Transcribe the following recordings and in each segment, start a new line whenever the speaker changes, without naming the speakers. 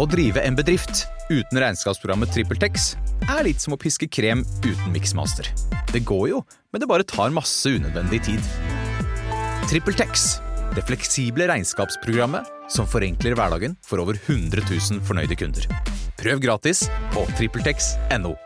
Å drive en bedrift uten regnskapsprogrammet TrippelTex er litt som å piske krem uten miksmaster. Det går jo, men det bare tar masse unødvendig tid. TrippelTex det fleksible regnskapsprogrammet som forenkler hverdagen for over 100 000 fornøyde kunder. Prøv gratis på TrippelTex.no.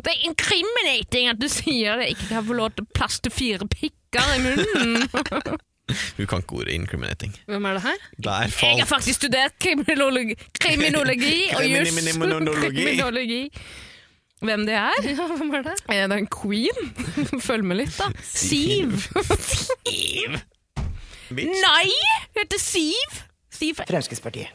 Det er incriminating at du sier jeg ikke kan få lov til plass til fire pikker i munnen.
Hun kan ikke ordet incriminating.
Hvem er det her?
Der
Jeg har
falt
faktisk studert kriminologi, kriminologi og juss.
Kriminiminologi.
Kriminologi. Hvem det er? Ja, hvem er det? Er det en queen? Følg med litt, da. Siv.
bitch.
Nei! Hun heter Siv. Siv er
Fremskrittspartiet.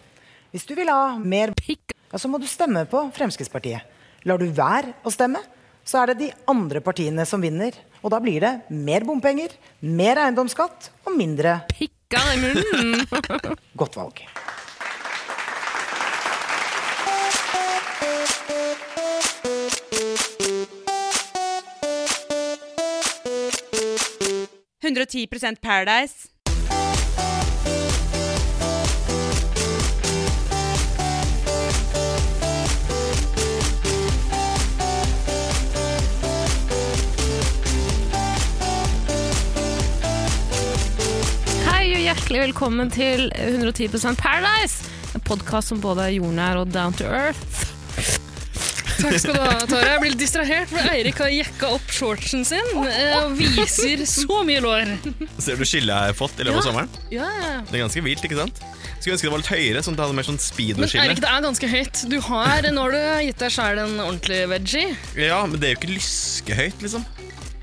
Hvis du vil ha mer
pikk.
ja, så må du stemme på Fremskrittspartiet. Lar du være å stemme, så er det de andre partiene som vinner. Og da blir det mer bompenger, mer eiendomsskatt og mindre
Pikker i munnen.
godt valg.
Paradise.
Hei og hjertelig velkommen til 110 Paradise. En podkast som både er jordnær og down to earth.
Takk skal du ha, Tara. Jeg blir litt distrahert, for Eirik har jekka opp shortsen sin eh, og viser så mye lår.
Ser du skillet jeg har fått i løpet av sommeren?
Ja, ja.
Det er ganske vilt, ikke sant? Skulle ønske det var litt høyere, sånn at det hadde mer sånn
Men Eirik,
speedo-skille.
det er ganske høyt. Du har, nå har du gitt deg sjæl en ordentlig veggie.
Ja, men det er jo ikke lyskehøyt, liksom.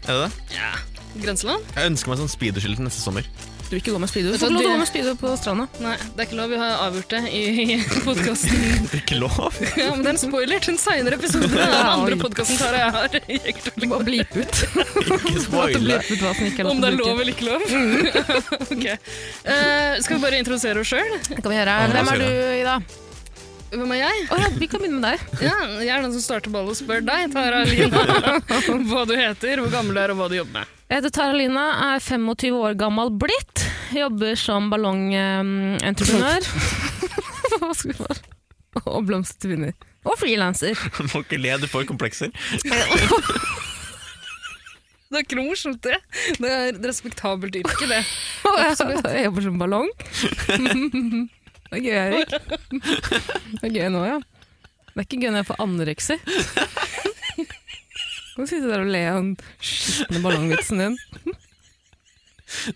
Er det det?
Ja. Grenseland?
Jeg ønsker meg sånn speedo-skille til neste sommer.
Du vil ikke gå med speedo? Du
Vet
får ikke
du
lov til å
det-
gå med speedo på stranda.
Nei, det er ikke lov. Vi har avgjort det i, i podkasten.
Det er ikke lov!
Ja, men det er en spoiler til en seinere episode av den
Oi.
andre podkasten Tara jeg har. jekket opp
Du må blipe ut.
Ikke
At det
spoil det.
blir ut hva som ikke er lov
Om det er
til å bruke.
lov eller ikke lov. ok. Eh, skal vi bare introdusere oss sjøl?
Det kan vi gjøre.
Ja, la oss
Hvem er
gjøre
du, Ida?
Hvem er jeg?
Å ja, vi kan begynne med deg.
Ja, jeg er den som starter ballet og spør deg, Tara Lina, hva du heter, hvor gammel du er og hva du jobber med.
Jeg heter Tara Lina, er 25 år gammel blitt. Jobber som ballongentreprenør. Hva skal vi være? Og blomstervinner. Og frilanser.
Du må ikke le, du får komplekser.
Det er ikke noe morsomt, det. Det er et respektabelt yrke, det.
Og jeg, jeg jobber som ballong. Det er gøy, Erik. Det er gøy nå, ja. Det er ikke gøy når jeg får anoreksi. Kan du sitte der og le av den skitne ballongvitsen din?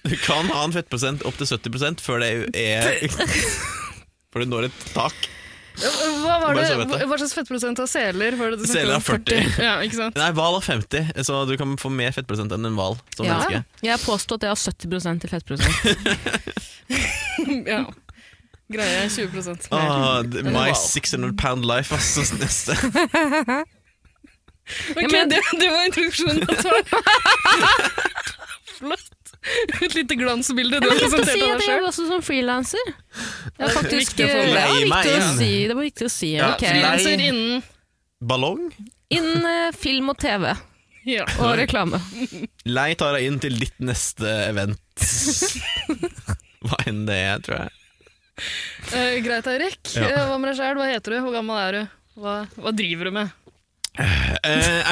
Du kan ha en fettprosent opp til 70 før det er Før du når et tak.
Hva, var
Bare
det,
så jeg vet det.
hva slags fettprosent av seler var det du
Seler er 40.
Ja, ikke sant?
Nei, hval har 50, så du kan få mer fettprosent enn en hval som
Ja.
menneske.
Jeg har påstått at jeg har 70 i fettprosent.
Ja. Greie 20 mer.
Ah, d-
en
my
hval.
600 pound life, ass. som Neste.
Ok,
Ja, men-
det, det var introduksjonen. av Tara. Flott. Et lite glansbilde du har
Jeg skal
presentert
si
av
at
deg
jeg jobber
sjøl.
også som frilanser. Det var faktisk
Viktig å få
det var
leie meg
viktig å
inn.
si. Det var viktig å si.
Ja,
ok.
frilans-
Frilanser innen
Ballong?
Innen eh, film og TV
ja.
og reklame.
Lei Tara inn til ditt neste event. Hva enn det er, tror jeg.
Eh, Greit, Eirik.
Ja.
Eh, Hva med deg sjøl? Hva heter du? Hvor gammel er du? Hva, hva driver du med?
Eh,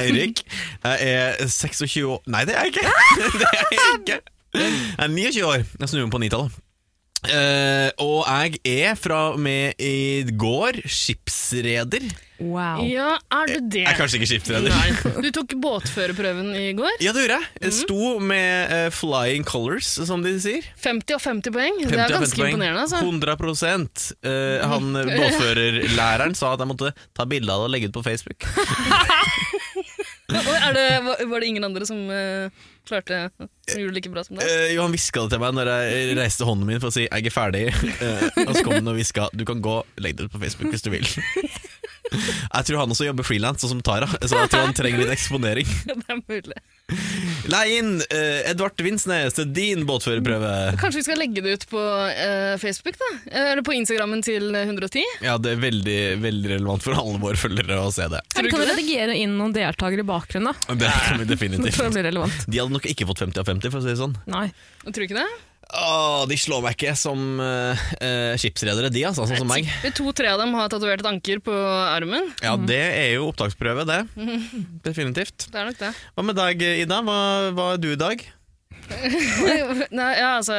Eirik, jeg er 26 år Nei, det er jeg ikke! Det er jeg ikke. Jeg er 29 år. Jeg snur meg på 9-tallet. Eh, og jeg er fra og med i går skipsreder.
Wow.
Ja, er du det?
Jeg er kanskje ikke skipsreder.
Nei. Du tok båtførerprøven i går.
Ja, det gjorde jeg. Jeg sto med eh, flying colors, som de sier.
50 av 50 poeng. det
50
er
av
ganske
50 poeng.
imponerende. Altså.
100 Eh, Han eh, båtførerlæreren sa at jeg måtte ta bilde av det og legge ut på Facebook.
Oi, er det, var- var det ingen andre som eh, klarte som gjorde det like bra som deg?
Eh, jo, han hviska det til meg når jeg reiste hånden min for å si 'jeg er ferdig'. Eh, og så kom han og hviska 'du kan gå, legg det ut på Facebook hvis du vil'. Jeg tror han også jobber frilans, sånn som Tara, så jeg tror han trenger litt eksponering.
det er mulig.
Lei inn eh, Edvard Vinsnes til din båtførerprøve.
Kanskje vi skal legge det ut på eh, Facebook, da? Eller på Instagrammen til 110?
Ja, det er veldig, veldig relevant for alle våre følgere å se det.
Eller kan vi redigere inn noen deltakere i bakgrunnen, da?
Det kan vi
For å
definitivt.
bli relevant.
De hadde nok ikke fått 50 av 50, for å si det sånn.
Nei.
Tror du ikke det?
Åh, de slår meg ikke som eh, eh, skipsredere, de, altså, sånn som meg.
To-tre av dem har tatovert et anker på armen.
Ja, det er jo opptaksprøve, det. Definitivt.
Det er nok det.
Hva med deg, Ida? Hva, hva er du i dag?
Nei, ja, altså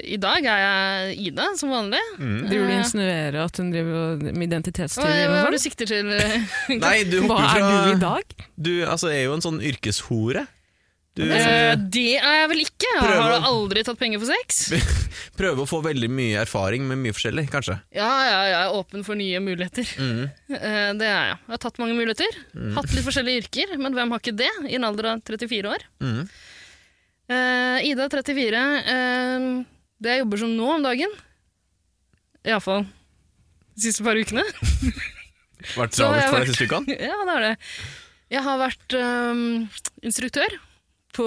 I dag er jeg Ida, som vanlig.
Driver du og insinuerer at hun driver og- med
Hva, hva
identitetsteori?
er
og
det du sikter til? Eh,
Nei, du
sånn? Hva
hopper
er
fra
du i dag?
Du altså, er jo en sånn yrkeshore. Du
Eh, det er jeg vel ikke. Jeg
Prøv
har
å-
da aldri tatt penger for sex.
prøver å få veldig mye erfaring med mye forskjellig, kanskje.
Ja, ja, jeg er åpen for nye muligheter.
Mm.
Eh, det er jeg. Jeg har tatt mange muligheter. Hatt litt forskjellige yrker, men hvem har ikke det i en alder av 34 år?
Mhm.
Eh, Ida, 34. eh, det jeg jobber som nå om dagen Iallfall de siste par ukene.
Vært
Så har
travelt
jeg
for
vært-
deg siste uka?
Ja, det er det. Jeg har vært øhm, instruktør på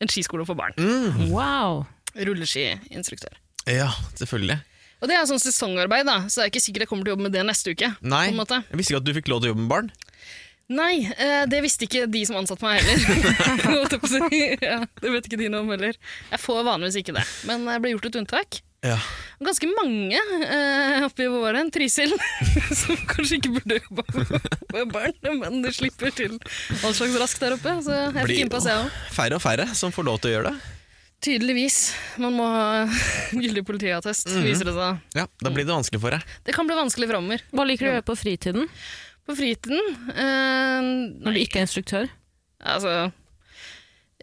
en skiskole for barn.
Mm.
Wow.
Rulleskiinstruktør.
Ja, selvfølgelig.
Og det er sånn sesongarbeid, da, så det er ikke sikkert jeg kommer til å jobbe med det neste uke.
Nei,
På en måte.
jeg visste ikke at du fikk lov til å jobbe med barn.
Nei, eh, det visste ikke de som ansatte meg heller. Holdt jeg på å si. ja, det vet ikke de noe om heller. Jeg får vanligvis ikke det, men jeg ble gjort et unntak.
Ja.
Ganske mange eh, oppe i våren, Trysil, som kanskje ikke burde jobba med barn, men det slipper til all slags rask der oppe. Så jeg fikk
Blir-
innpass, jeg òg.
Færre og færre som får lov til å gjøre det.
Tydeligvis. Man må ha gyldig politiattest,
Mhm.
viser det seg.
Ja, Da blir det vanskelig for deg.
Det kan bli vanskelig framover.
Hva liker du å gjøre på fritiden
På fritiden eh,
når du
Nei,
ikke er instruktør?
altså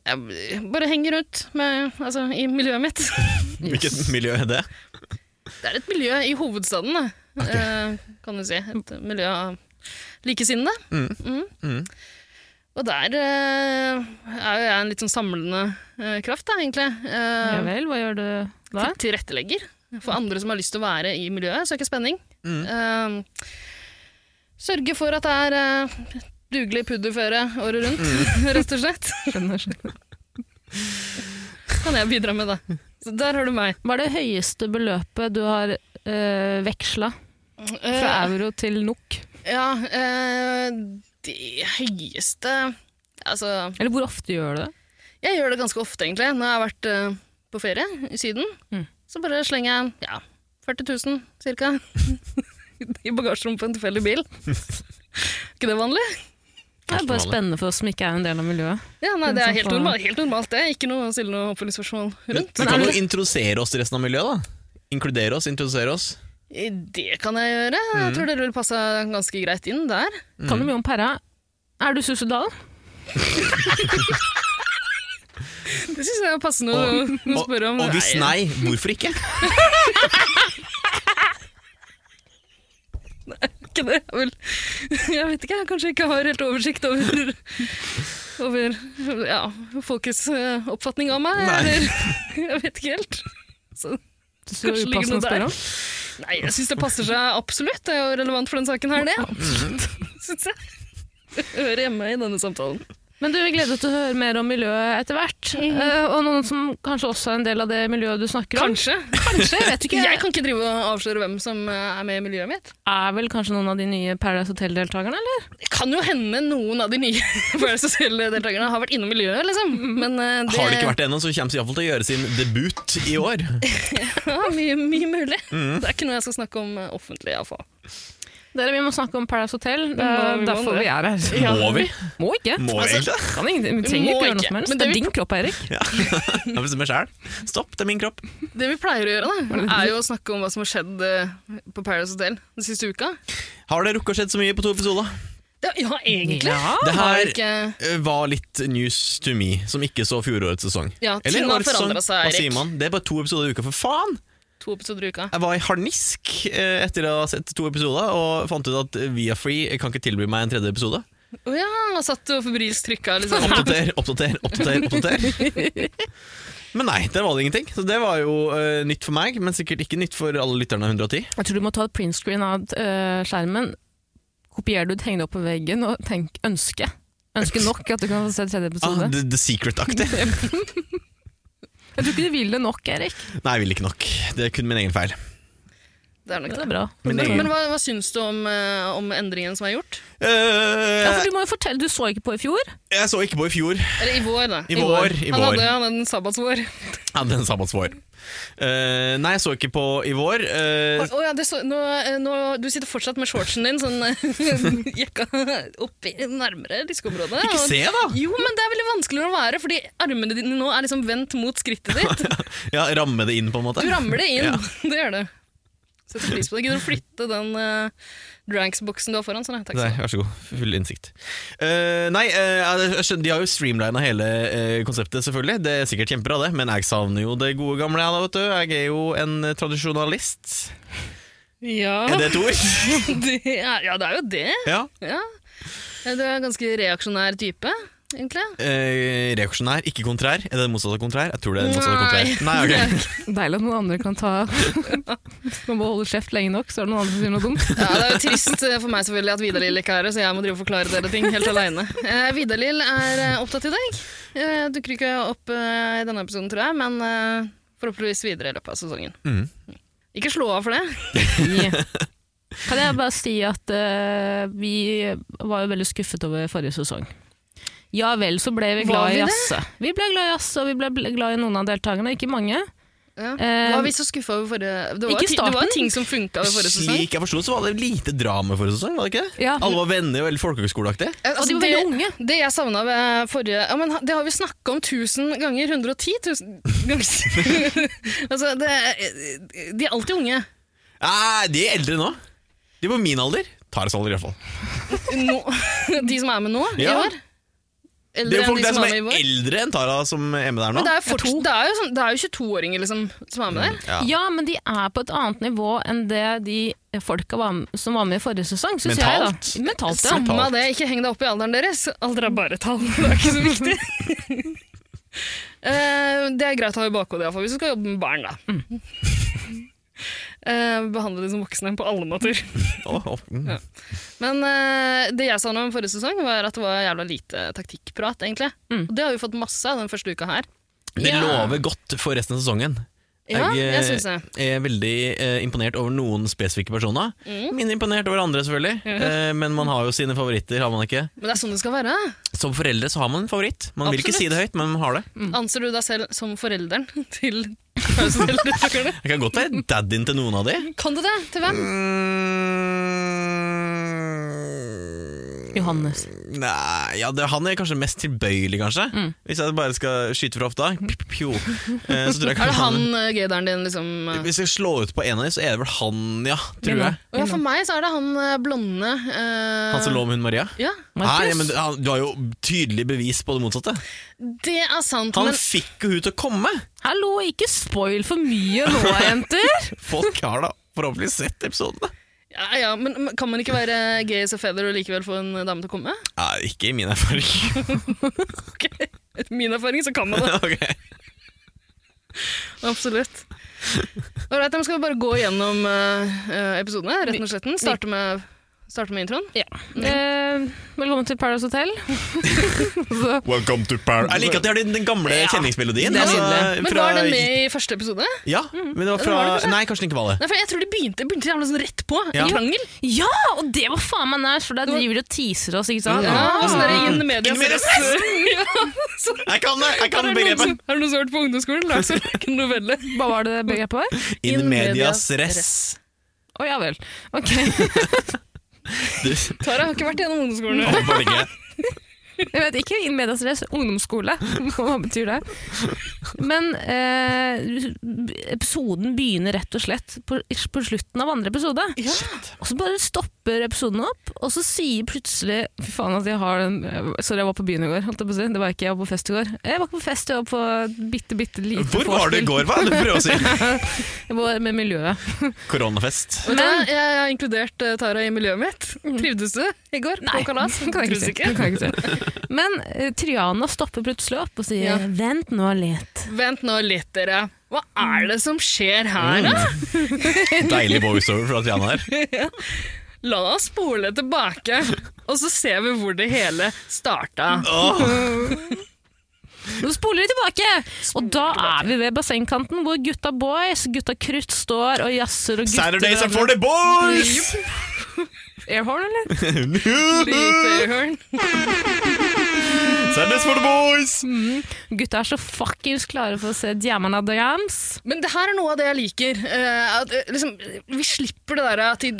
Jeg bare henger rundt med, altså, i miljøet mitt.
Hvilket miljø er det?
Det er et miljø i hovedstaden, da. Eh, kan du si. Et miljø av likesinnede. Mm.
Mm.
Og der eh, er jo jeg en litt sånn samlende eh, kraft, da, egentlig. Eh,
Ja vel, hva gjør du da?
til- tilrettelegger for andre som har lyst til å være i miljøet, søke spenning. Eh, sørge for at det er eh, dugelig pudderføre året rundt, rett og slett.
Skjønner, skjønner.
Kan jeg bidra med, da. Så der har du meg.
Hva er det høyeste beløpet du har uh, veksla fra
Eh,
euro til NOK?
ja, eh, de høyeste Altså,
Eller hvor ofte gjør du det?
jeg gjør det ganske ofte, egentlig. Når jeg har vært eh, på ferie i Syden,
Mm.
så bare slenger jeg ja, 40 000 cirka i bagasjerommet på en tilfeldig bil. ikke det vanlig?
Det er bare
vanlig.
spennende for oss som ikke er en del av miljøet.
Ja, nei,
Den
Det er
som
helt
får-
normalt, helt normalt det. Ikke noe å stille noe oppfølgingsspørsmål
Du,
rundt.
du kan jo introdusere oss til resten av miljøet, da. Inkludere oss, introdusere oss.
Det kan jeg gjøre. Jeg
Mm.
tror dere vil passe ganske greit inn der.
Kan du mye om pæra? Er du suicidal?
Det syns jeg er passende å å
Og,
spørre om.
og hvis
Nei,
nei, hvorfor ikke?
ikke det. Jeg Vel, jeg vet ikke, jeg kanskje ikke har helt oversikt over, over ja, folkets eh, oppfatning av meg.
Nei.
Eller, jeg vet ikke helt. Så,
Så
Kanskje ligger
upassende å
noe der.
spørre om.
nei, jeg syns det passer seg absolutt. Det er jo relevant for den saken her, det.
Mm.
Syns jeg. Hører hjemme i denne samtalen.
Men du, vi gleder oss til å høre mer om miljøet etter hvert. Eh, og noen som kanskje også er en del av det miljøet du snakker om.
Kanskje.
Kanskje, jeg vet ikke.
Jeg kan ikke drive og avsløre hvem som eh, er med i miljøet mitt.
Er vel kanskje noen av de nye Paradise Hotel-deltakerne, eller?
Det kan jo hende noen av de nye Paradise Hotel-deltakerne har vært innom miljøet, liksom. Men eh, det,
Har det ikke vært det ennå, så kommer de iallfall til å gjøre sin debut i år.
Ja, mye, mye mulig.
Mm.
Det er ikke noe jeg skal snakke om eh, offentlig, iallfall.
Dere, vi må snakke om Paradise Hotel. Det er
vi må
derfor
det.
vi er her.
Må vi?
Må ikke.
Må vi
Altså,
egentlig?
kan ingenting- vi trenger
Må
ikke gjøre noe
ikke.
som helst. Det
Men det
er
vi-
din kropp, Eirik.
Ja. Jeg bestemmer sjæl. Stopp, det er min kropp.
Det vi pleier å gjøre, da, er jo å snakke om hva som har skjedd eh, på Paradise Hotel den siste uka.
Har det rukket å skjedd så mye på to episoder?
Det, ja, egentlig.
Ja.
Det
Har
her
ikke,
eh, var litt news to me, som ikke så fjorårets sesong.
Ja, ting har
årets sesong.
forandret seg,
Hva
Erik.
sier man? Det er bare to episoder i uka, for faen!
to episoder i uka.
Jeg var i harnisk eh, etter å ha sett to episoder, og fant ut at Viafree kan ikke tilby meg en tredje episode.
Å ja, jeg satt og febrilsk trykka, liksom.
Oppdater, oppdater, oppdater, oppdater. Men nei, der var det ingenting. Så det var jo eh, nytt for meg, men sikkert ikke nytt for alle lytterne av 110.
Jeg tror du må ta et printscreen av eh, skjermen. Kopierer du, henge det opp på veggen og tenk ønske. Ønske nok at du kan få se tredje
Ah,
episode.
the The Secret-aktig.
Jeg tror ikke du vil det nok, Erik.
Nei, jeg vil ikke nok. Det er kun min egen feil.
Det er nok
Det
det.
er bra.
Men
Men,
det-
hva, hva syns du om, eh, om endringen som er gjort?
Ja,
Eh,
for du må jo fortelle, du så ikke på i fjor.
jeg så ikke på i fjor.
Eller i vår, da.
I vår, i
Han
vår.
hadde, han hadde en sabbatsvår.
Ja, den sabbatsvår. Eh, nei, jeg så ikke på i vår. Eh,
Å ja, det så, nå, eh, nå, du sitter fortsatt med shortsen din sånn eh, jekka oppi nærmere diskoområdet.
ikke
og-
se, da!
Jo, men det er veldig vanskelig å være, fordi armene dine nå er liksom vendt mot skrittet ditt.
Ja, Ramme det inn, på en måte.
Du rammer det inn.
Ja.
Det gjør du. Setter pris på det. Gidder du å flytte den eh, dranks-boksen du har foran? Sånn, ja. Takk
Nei,
skal du ha.
vær så god. Full innsikt. Eh, nei, eh, jeg skjønner, de har jo streamlina hele eh, konseptet, selvfølgelig. Det er sikkert kjempebra, det, men jeg savner jo det gode gamle, jeg da, vet du. Jeg er jo en eh, tradisjonalist. Er
Ja,
det et ord?
det er, ja, det er jo det.
ja.
Ja. Du er en ganske reaksjonær type, egentlig.
Eh, reaksjonær, ikke kontrær. Er det det motsatte av kontrær? Jeg tror det er det motsatte av
Nei.
kontrær. Nei, ok.
Deilig at noen andre kan ta Man må holde kjeft lenge nok, så er det noen andre som sier noe dumt.
Ja, Det er jo trist eh, for meg selvfølgelig at Vidar-Lill ikke er her, så jeg må drive og forklare dere ting helt aleine. Eh, Vidar-Lill er eh, opptatt i dag. Eh, dukker ikke opp eh, i denne episoden, tror jeg, men eh, forhåpentligvis videre i løpet av sesongen.
Mhm.
Ikke slå av for det.
Kan jeg bare si at eh, vi var jo veldig skuffet over forrige sesong. Ja vel, så ble vi
Var
glad
vi
i
det?
jazz. Vi ble glad i jazz, og vi ble bl- glad i noen av deltakerne, ikke mange.
Ja.
Eh,
var vi så skuffa over forrige det var,
ikke
ti- det var
starten.
ting som funka over forrige sesong.
Slik jeg forsto, så var det lite drama forrige sesong, var det ikke det?
Ja.
Alle var venner og veldig folkehøgskoleaktige.
Eh, altså,
Og de var
det-
veldig unge.
Det jeg savna ved forrige ja, men ha- Det har vi snakka om tusen ganger. 110 000 ganger. altså, det, de er alltid unge.
Nei, Eh, de er eldre nå. De er på min alder. Tares alder, iallfall.
Nå, de som er med nå i
Ja.
år?
Det
Eldre
er jo
enn
folk
de
der
som
som
er med i
er
vår?
eldre enn Tara som er med der nå.
Men det er jo, fort, det er jo, sånn, det er jo 22-åringer liksom, som er med der.
Mm, Ja.
Ja, men de er på et annet nivå enn det de folka var, som var med i forrige sesong, syns jeg. da.
Mentalt?
Mentalt, ja.
Samme
tall.
av det, ikke heng deg opp i alderen deres. Alder er bare tall, det er ikke så viktig. Eh, det er greit å ha i bakhodet iallfall, hvis du skal jobbe med barn, da.
Mm.
Eh, behandle dem som voksne på alle måter.
Åh, åh, mm.
Ja. Men eh, det jeg sa nå om forrige sesong, var at det var jævla lite taktikkprat, egentlig.
Mm.
Og det har vi fått masse av den første uka her.
Det
Ja.
lover godt for resten av sesongen.
Ja,
eh,
jeg synes det.
er veldig eh, imponert over noen spesifikke personer.
Mm.
Mindre imponert over andre, selvfølgelig. Eh, men man har jo sine favoritter, har man ikke?
Men det er sånn det skal være.
Som foreldre så har man en favoritt. Man vil ikke si
Absolutt.
det høyt, men man har det.
Anser du deg selv som forelderen til pauseforeldre?
Jeg kan godt være daddyen til noen av de.
Kan du det? Til hvem?
Mm.
Johannes.
Mm, Nei, ja, det, Han er kanskje mest tilbøyelig, kanskje.
Mm.
Hvis jeg bare skal skyte fra hofta, pip, pjo, eh, så tror jeg
Er det
kanskje
han eh, gøyderen din, liksom? eh?
Hvis jeg slår ut på en av dem, så er det vel han, ja. Tror
Hvem da?
jeg.
Å ja, for meg så er det han eh, blonde eh,
Han som lå med hun Maria.
Ja,
Nei,
Markus?
men han- Du har jo tydelig bevis på det motsatte.
det er sant,
Han
men
fikk jo hun til å komme!
Hallo, ikke spoil for mye nå, jenter!
Folk har da forhåpentligvis sett episodene.
ja, ja, men men kan man ikke være gay as a feather og likevel få en dame til å komme?
Nei, ikke i min erfaring.
Ok, Etter min erfaring så kan man det.
Ok.
Absolutt. All right, da skal vi bare gå gjennom eh, eh, episodene, retten og sletten. Starte med, starte med introen.
Eh, velkommen til Paradise Hotel. Så,
Welcome to Paris Jeg liker at de har den, den gamle kjenningsmelodien. altså,
det er nydelig.
Men var den med i første episode?
Ja, men det var fra
Var det kanskje?
Nei, kanskje den ikke var det.
Nei, for jeg tror de begynte, begynte jævla sånn rett på.
Ja.
En krangel.
ja, og det var faen meg nært, for der driver de og teaser oss, ikke sant?
Ja, og sånn der in media.
In medias Jeg kan det! Jeg
Har
kan
du noen som-
begrepet.
har du noen som har hørt på ungdomsskolen? Lagt seg like en novelle.
Hva var det begrepet var?
In medias
medias
res.
Å ja vel. Ok.
Du,
Tara har ikke vært gjennom ungdomsskolen.
Å, var det ikke?
Jeg vet ikke, in medias res, ungdomsskole, hva betyr det? Men eh, episoden begynner rett og slett på, på slutten av andre episode. Og så bare stopper episoden opp, og så sier plutselig Fy faen at jeg har den Sorry, jeg var på byen i går. Holdt jeg på å si. Det var ikke jeg var på fest i går. Jeg var ikke på fest, jeg var på et bitte, bitte lite
Hvor var du i
vorspiel.
går, hva? Du prøver å si
Jeg var med miljøet.
koronafest.
Vet du hva? jeg har inkludert eh, Tara i miljøet mitt. Trivdes du i går? på kalas?
det kan jeg
Trivdes
ikke si. Det Kan jeg ikke si. Men eh, Triana stopper plutselig opp og sier
Ja.
'vent nå litt'.
Vent nå litt, dere. Hva er det som skjer her,
Mm.
da?
Deilig voiceover fra Triana her.
La oss spole tilbake, og så ser vi hvor det hele starta.
Åh.
Nå spoler vi tilbake! Og da er vi ved bassengkanten hvor gutta boys, gutta krutt, står og jazzer og gutter
Saturdays are for the boys!
Airhorn, eller?
Lite ørn.
Saturdays for the boys!
Gutta er så fuckings klare for å se Diamana Diams.
Men det her er noe av det jeg liker. eh, at, eh, liksom, vi slipper det der at de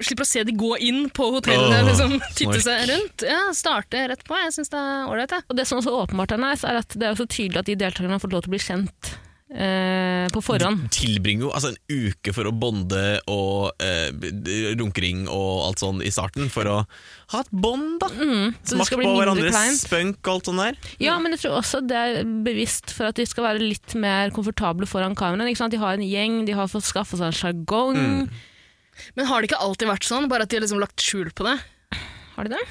vi slipper å se de gå inn på hotellene.
Åh,
liksom, titte
snork.
seg rundt. Ja, Starte rett på. Jeg syns det er ålreit. jeg.
Og det som også åpenbart er nice, er at det er jo så tydelig at de deltakerne har fått lov til å bli kjent eh, på forhånd.
Tilbringer jo altså, en uke for å bonde og eh, d- runkering og alt sånn i starten, for å ha et bånd, da.
Mm,
så det
Smakt
skal bli
på
mindre
hverandres
kleint.
spunk og alt sånt der.
Ja, men jeg tror også det er bevisst for at de skal være litt mer komfortable foran kameraet. ikke sant? De har en gjeng, de har fått skaffa seg en sjargong.
Men har det ikke alltid vært sånn? Bare at de har liksom lagt skjul på det?
Har de det?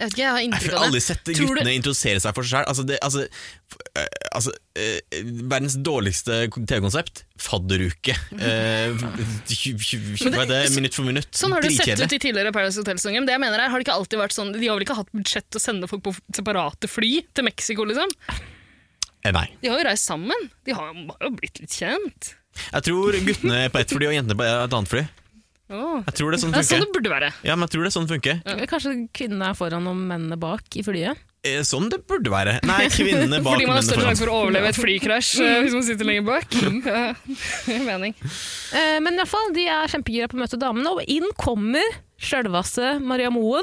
Jeg vet ikke, jeg har
Jeg
inntrykk
har
av
aldri
det.
sett
Tror du-
guttene introdusere seg for seg sjøl. Altså, det- altså, f- eh, altså eh, verdens dårligste TV-konsept fadderuke. Eh, tju- tju- tju- hva er det, minutt for minutt.
Sånn har det sett
Dritkjedelig.
ut i tidligere Paradise Hotel-sanger. Men det jeg mener er, har det ikke alltid vært sånn De har vel ikke hatt budsjett til å sende folk på separate fly til Mexico, liksom?
Eh, Nei.
De har jo reist sammen. De har jo har jo blitt litt kjent.
Jeg tror guttene på ett fly og jentene på et annet fly.
Åh.
Jeg tror det er sånn
Det er sånn
funker.
det burde være.
Ja, men jeg tror det er sånn det funker.
Kanskje kvinnene er foran og mennene bak i flyet?
Eh, Sånn det burde være. Nei, kvinnene bak
Fordi man har
mennene foran.
større
Mm.
sjanse for å overleve et flykrasj eh, hvis man sitter lenger bak. Ja, det gir mening.
Eh, men i hvert fall, de er kjempegira på å møte damene, og inn kommer sjølvasse Maria Moen.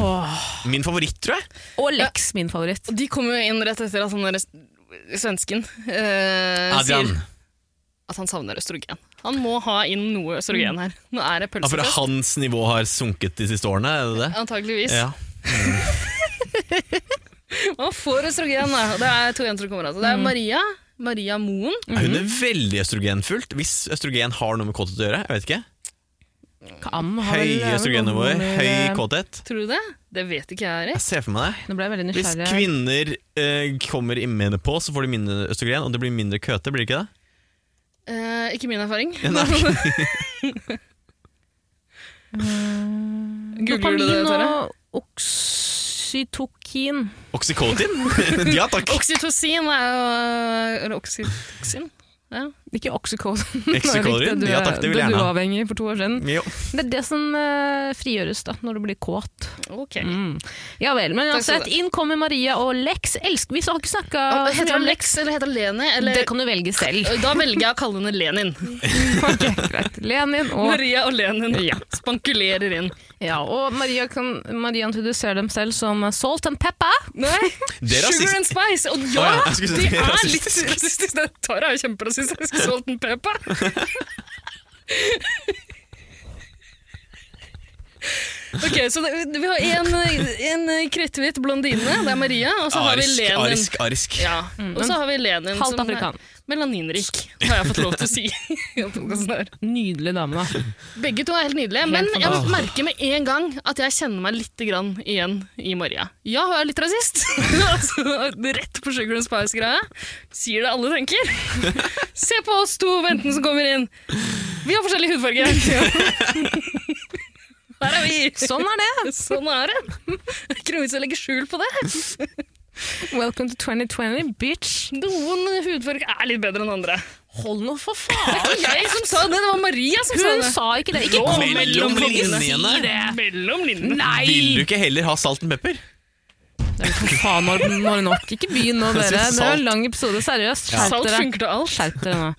Åh.
Min favoritt, tror jeg.
Og Lex, min favoritt.
Og de kommer jo inn rett etter at han der svensken eh,
Adrian.
sier at han savner østrogen. Han må ha inn noe østrogen her. Nå er det
Ja, for
pølsefest.
hans nivå har sunket de siste årene, er det det?
Antageligvis.
Ja.
Han får østrogen, da. Og Det er to jenter som kommer. Altså. Det er Maria. Maria Moen.
Hun er
Mhm.
veldig østrogenfullt. Hvis østrogen har noe med kåthet å gjøre. jeg vet ikke.
Kam har vel- eh,
eh,
Høye østrogennivåer, høy kåthet.
Tror du det? Det vet ikke jeg, Erik.
Jeg ser for meg det.
Nå ble jeg veldig
Hvis
nysgjerrig. her.
kvinner eh, kommer i på, så får de mindre østrogen, og det blir mindre køte, blir det ikke det?
Eh, ikke min erfaring. Googler du det,
Mm. Dopamin
Tore?
og oksytokin.
Oxycotin? ja takk!
Oksytocin er jo eh, Eller oksytocin? Ja.
Ikke oxycodone.
Oxycodone, ja takk, det vil jeg
Du
gjerne
var
ha.
avhengig for to år siden.
Jo.
Det er det som eh, frigjøres da, når du blir kåt.
Ok.
Mm. Ja vel, men
Takk skal
uansett,
du
inn kommer Maria og Lex. Elsker, vi har ikke snakka
Ah, heter han Lex eller heter han Leni? Eller,
Det kan du velge selv.
Da velger jeg å kalle henne Lenin.
Ok, greit. Lenin og
Maria og Lenin spankulerer inn.
Ja, og Maria, kan, Maria introduserer dem selv som Salt and Pepper.
Det er
Sugar and
rasist.
spice! Og
Å
ja,
ja, jeg skulle si
det
det er
er litt
rasistisk.
rasistisk. Det Tara er jo kjemperasistisk. Salt and pepper. Ok, så det, Vi har en, en kritthvit blondine, det er Maria, og så har vi
Arisk,
Lenin.
arisk, arisk.
Ja, Og så har vi Lenin,
Halvt
som
afrikan.
er melaninrik, har jeg fått lov til å si. i denne podcasten her.
Nydelig dame, da.
Begge to er helt nydelige, men jeg
fantastisk.
merker med en gang at jeg kjenner meg litt grann igjen i Maria. Ja, hun er litt rasist. altså, rett på Sugar and Spice-greia. Sier det alle tenker. Se på oss to ventene som kommer inn. Vi har forskjellig hudfarge. Her er vi.
Sånn er det.
Sånn er det. Det er Ikke noe vits i å legge skjul på det.
Welcome to 2020, bitch.
Noen hudfarger er litt bedre enn andre.
Hold nå for
Det
faen! Sånn
var ikke jeg som sa det, det var Maria som sa
Hun
det.
sa ikke det. Ikke kom med
Mellom
Mellom
linjene.
Si det.
Mellom linjene.
Vil du
Nei!
ikke heller ha salt enn pepper?
Nei, For faen, nå er det- nå er det nok. Ikke begynn nå,
Jeg
dere. Det
synes
er
salt-
en lang episode, seriøst. Skjerp
Salt
dere.
funker til alt.
Skjerp dere nå.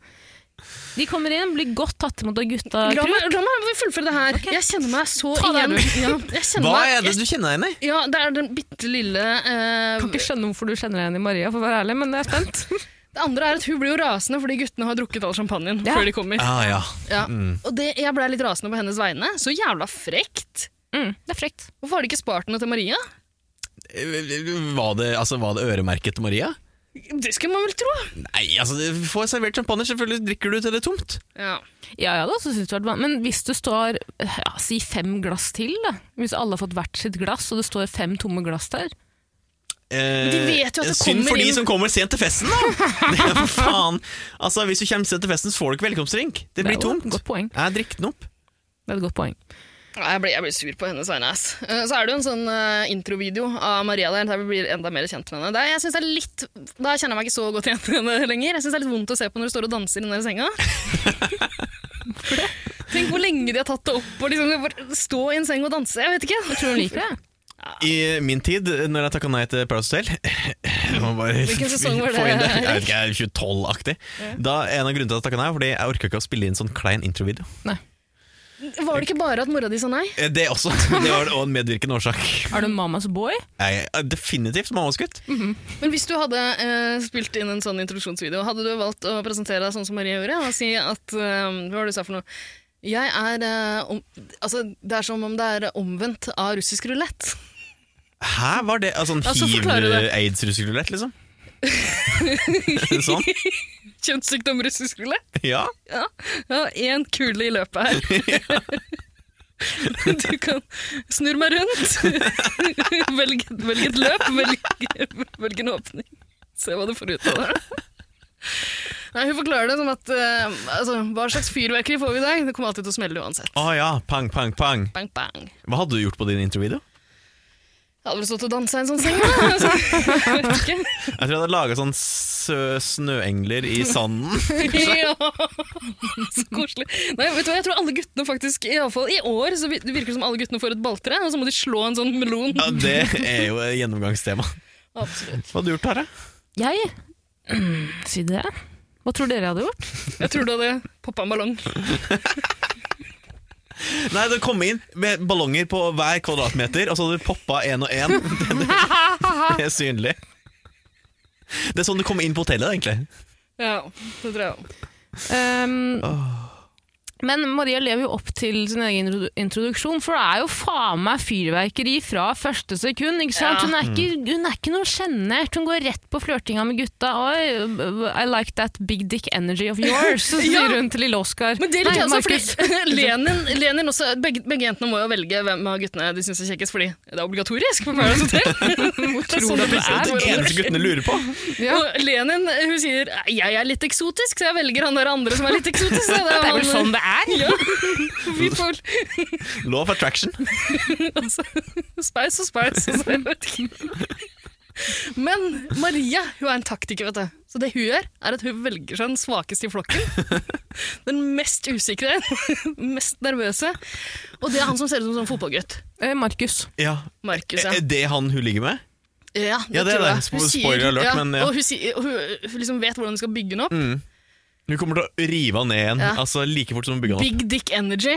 De kommer inn, blir godt tatt imot av gutta.
La meg, la meg fullføre det her. Jeg kjenner meg så
Ta deg
igjen.
en
Ja, jeg kjenner
Hva
meg,
er det du kjenner deg igjen i?
Jeg, ja, det er den bitte lille eh,
Kan ikke skjønne hvorfor du kjenner deg igjen i Maria, for å være ærlig, men jeg er spent.
Det andre er at hun blir jo rasende fordi guttene har drukket all champagnen
Ja.
før de kommer.
Ah, ja.
Ja. Og det, jeg ble litt rasende på hennes vegne. Så jævla frekt!
Mm, det er frekt.
Hvorfor har de ikke spart noe til Maria?
Var det, altså, var det øremerket til Maria?
Det skulle man vel tro!
Nei, altså, du får servert champagne, selvfølgelig drikker du til det er tomt.
Ja.
Ja, ja, da, så synes jeg det var- Men hvis du står ja, si fem glass til, da. Hvis alle har fått hvert sitt glass, og det står fem tomme glass der.
Men
de vet jo at det
Eh, Synd
kommer
for de
inn-
som kommer sent til festen, da! Det er for faen. Altså, Hvis du kommer sent til festen, så får du ikke velkomstdrink. Det
Det er
blir
jo et
tomt.
godt poeng.
Jeg drikk den opp.
Det er et godt poeng.
Nei, Jeg blir, jeg blir sur på hennes vegne. ass. Eh, Så er det jo en sånn eh, introvideo av Maria der, der vi blir enda mer kjent med henne. Det, er- jeg synes det er litt, Da kjenner jeg meg ikke så godt igjen til henne lenger. Jeg synes det er litt vondt å se på når du står og danser inni den senga. Tenk hvor lenge de har tatt det opp og liksom bare stå i en seng og danse. Jeg vet ikke. Jeg tror hun liker det.
I min tid, når jeg takka nei til Paradise Hotel jeg må bare
Hvilken sesong var
få
det,
inn Jeg vet ikke, jeg er 2012-aktig. Da En av grunnene til at jeg takka nei, var fordi jeg orka ikke å spille inn sånn klein introvideo.
Var det ikke bare at mora di sa nei?
Eh, Det også. Det var også en medvirkende årsak.
Er du en mamas boy?
Jeg er definitivt mammaskutt.
Men hvis du hadde eh, spilt inn en sånn introduksjonsvideo, hadde du valgt å presentere deg sånn som Maria gjorde, og si at eh, Hva var det du sa for noe? Jeg er eh, om, Altså, det er som om det er omvendt av russisk rulett.
Hæ, var det altså, sånn
Ja, så forklarer du det.
hiv-aids-russerulett, liksom? sånn?
Kjønnssykdom russisk rulett?
Ja.
Ja. Ja, én kule i løpet her. Du kan snurre meg rundt, velg, velg et løp, velg, velg en åpning. Se hva du får ut av det. Nei, hun forklarer det som at eh, altså, Hva slags fyrverkeri får vi i dag? Det kommer alltid til å smelle uansett.
Å ja, pang, pang, pang.
Bang, bang.
Hva hadde du gjort på din introvideo?
Jeg hadde vel stått og dansa i en sånn seng, da. Altså, jeg vet ikke.
Jeg tror jeg hadde laga sånn sø- snøengler i sanden.
Ja, så koselig. Nei, vet du hva, Jeg tror alle guttene faktisk, i, alle fall, i år, så vi- det virker som alle guttene får et balltre, og så må de slå en sånn melon.
Ja, Det er jo et gjennomgangstema.
Absolutt.
Hva hadde du gjort, Tare?
Jeg? Si det. Hva tror dere jeg hadde gjort?
Jeg tror du hadde poppa en ballong.
Nei, det kom inn med ballonger på hver kvadratmeter, og så hadde du poppa én og én. Den er synlig. Det er sånn du kommer inn på hotellet, egentlig.
Ja, det tror jeg også.
Ehm, Men Maria lever jo opp til sin egen introdu- introduksjon, for det er jo faen meg fyrverkeri fra første sekund. ikke sant?
Ja.
Hun,
Mm.
er ikke, hun er ikke noe sjenert. Hun går rett på flørtinga med gutta. Oi, I like that big dick energy of yours, så sier
Ja.
hun til lille Oskar.
Men det liker jeg også,
Markus.
fordi Lenin, Lenin også, begge, begge jentene må jo velge hvem av guttene de syns er kjekkest, fordi det er obligatorisk på Paradise Hotel. Hvor
tror du det er?
Det er det eneste guttene lurer på.
Og Lenin hun sier jeg er litt eksotisk, så jeg velger han der andre som er litt eksotisk. Det er,
Det er vel
han-
sånn det er?
Ja, vi får
Law of attraction.
Altså, Spice og spice. Altså, jeg vet ikke. Men Maria hun er en taktiker, vet du. Så det hun gjør, er at hun velger seg den svakeste i flokken. Den mest usikre, den mest nervøse. Og det er han som ser ut som en sånn fotballgutt.
Eh, Markus.
Ja.
Markus, ja.
Er Eh, det han hun ligger med?
Ja,
eh, Ja, det er
tror jeg.
det. Spo-
Hun sier-
spoiler alert, men ja. Mm.
Og hun, sier, og hun, hun liksom vet hvordan hun skal bygge den opp.
Hun kommer til å rive han ned igjen
Ja.
Altså like fort som hun bygger han opp.
Big dick energy.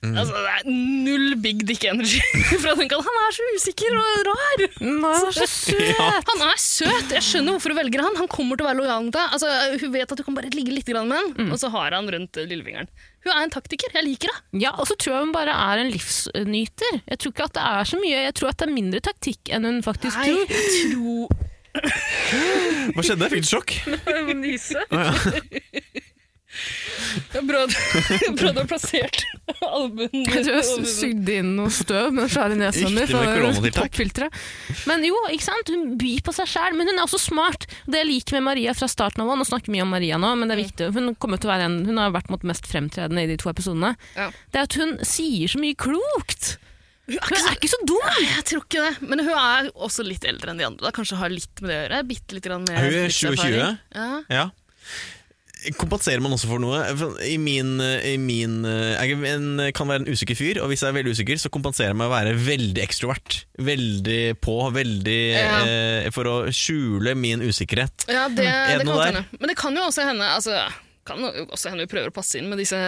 Mm.
Altså, det er null big dick energy. For jeg tenker at han er så usikker og rar.
Nå, hun er så søt!
Han er søt! Jeg skjønner hvorfor du velger han. Han kommer til å være lojal mot deg. Altså, hun vet at du kan bare ligge litt grann med han,
Mm.
og så har han rundt eh, lillefingeren. Hun er en taktiker. Jeg liker det.
Ja, og så tror jeg hun bare er en livsnyter. Jeg tror ikke at det er så mye. Jeg tror at det er mindre taktikk enn hun faktisk tror.
jeg tror
Hva skjedde? Fikk du sjokk?
Nyse. Jeg prøvde å plassere albuen
Jeg tror jeg sugde inn noe støv med den svære nesa mi.
Riktig
fra
med koronatiltak.
popfilteret. Men jo, ikke sant? Hun byr på seg sjæl, men hun er også smart. Det jeg liker med Maria fra starten av, nå snakker vi mye om Maria nå, men det er viktig. Hun, kommer til å være en, hun har vært mot mest fremtredende i de to episodene.
Ja.
Det er at hun sier så mye klokt. Hun er ikke så dum!
Jeg tror ikke det. Men hun er også litt eldre enn de andre. Da. Kanskje har litt med det å gjøre. Bitte litt grann mer
Hun er
livserfaring.
27.
Ja.
Ja. Kompenserer man også for noe? I min, i min eh, Jeg er en, kan være en usikker fyr, og hvis jeg er veldig usikker, så kompenserer jeg meg å være veldig ekstrovert. Veldig på, veldig
Ja.
eh, For å skjule min usikkerhet.
Ja, det,
Er det
det kan
noe
godt
der?
hende. Men det kan jo også hende altså, kan jo også hende vi prøver å passe inn med disse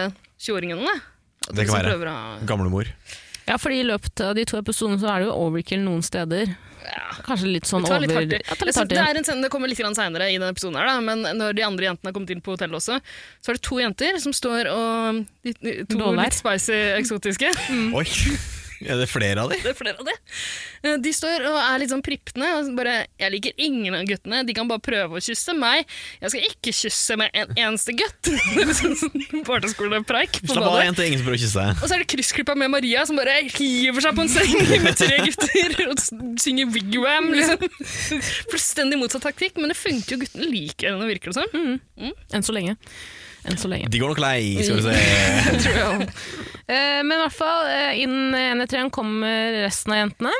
20-åringene. da. At
Det kan
vi liksom
være.
prøver å-
Gamlemor.
Ja, fordi i løpet av de to episodene så er det jo overkill noen steder.
Ja.
Kanskje litt sånn
Det tar
over...
litt hardt i.
Ja, ta
Jeg
litt
synes
hardt i.
Det er en scene, det kommer litt grann senere i denne episoden, her, da, men når de andre jentene har kommet inn på hotellet også, så er det to jenter som står og de, de, To
Dollar.
litt spicy eksotiske.
Oi! Er det flere av de?
Det er flere av det. Eh, De står og er litt sånn pripne og bare 'Jeg liker ingen av guttene. De kan bare prøve å kysse meg. Jeg skal ikke kysse med en eneste gutt.' Det er sånn sånn Barneskolepreik. på
Slapp av,
badet.
jente. Ingen som prøver å kysse deg.
Og så er det kryssklippa med Maria som bare hiver seg på en seng med tre gutter og s- synger wigwam. Liksom.
Mm.
Fullstendig motsatt taktikk, men det funker jo. Guttene liker henne, virker det som.
Enn så lenge. enn så lenge.
De går nok lei, skal du se.
Tror jeg også.
Eh, men i hvert fall, eh, innen ene treen kommer resten av jentene.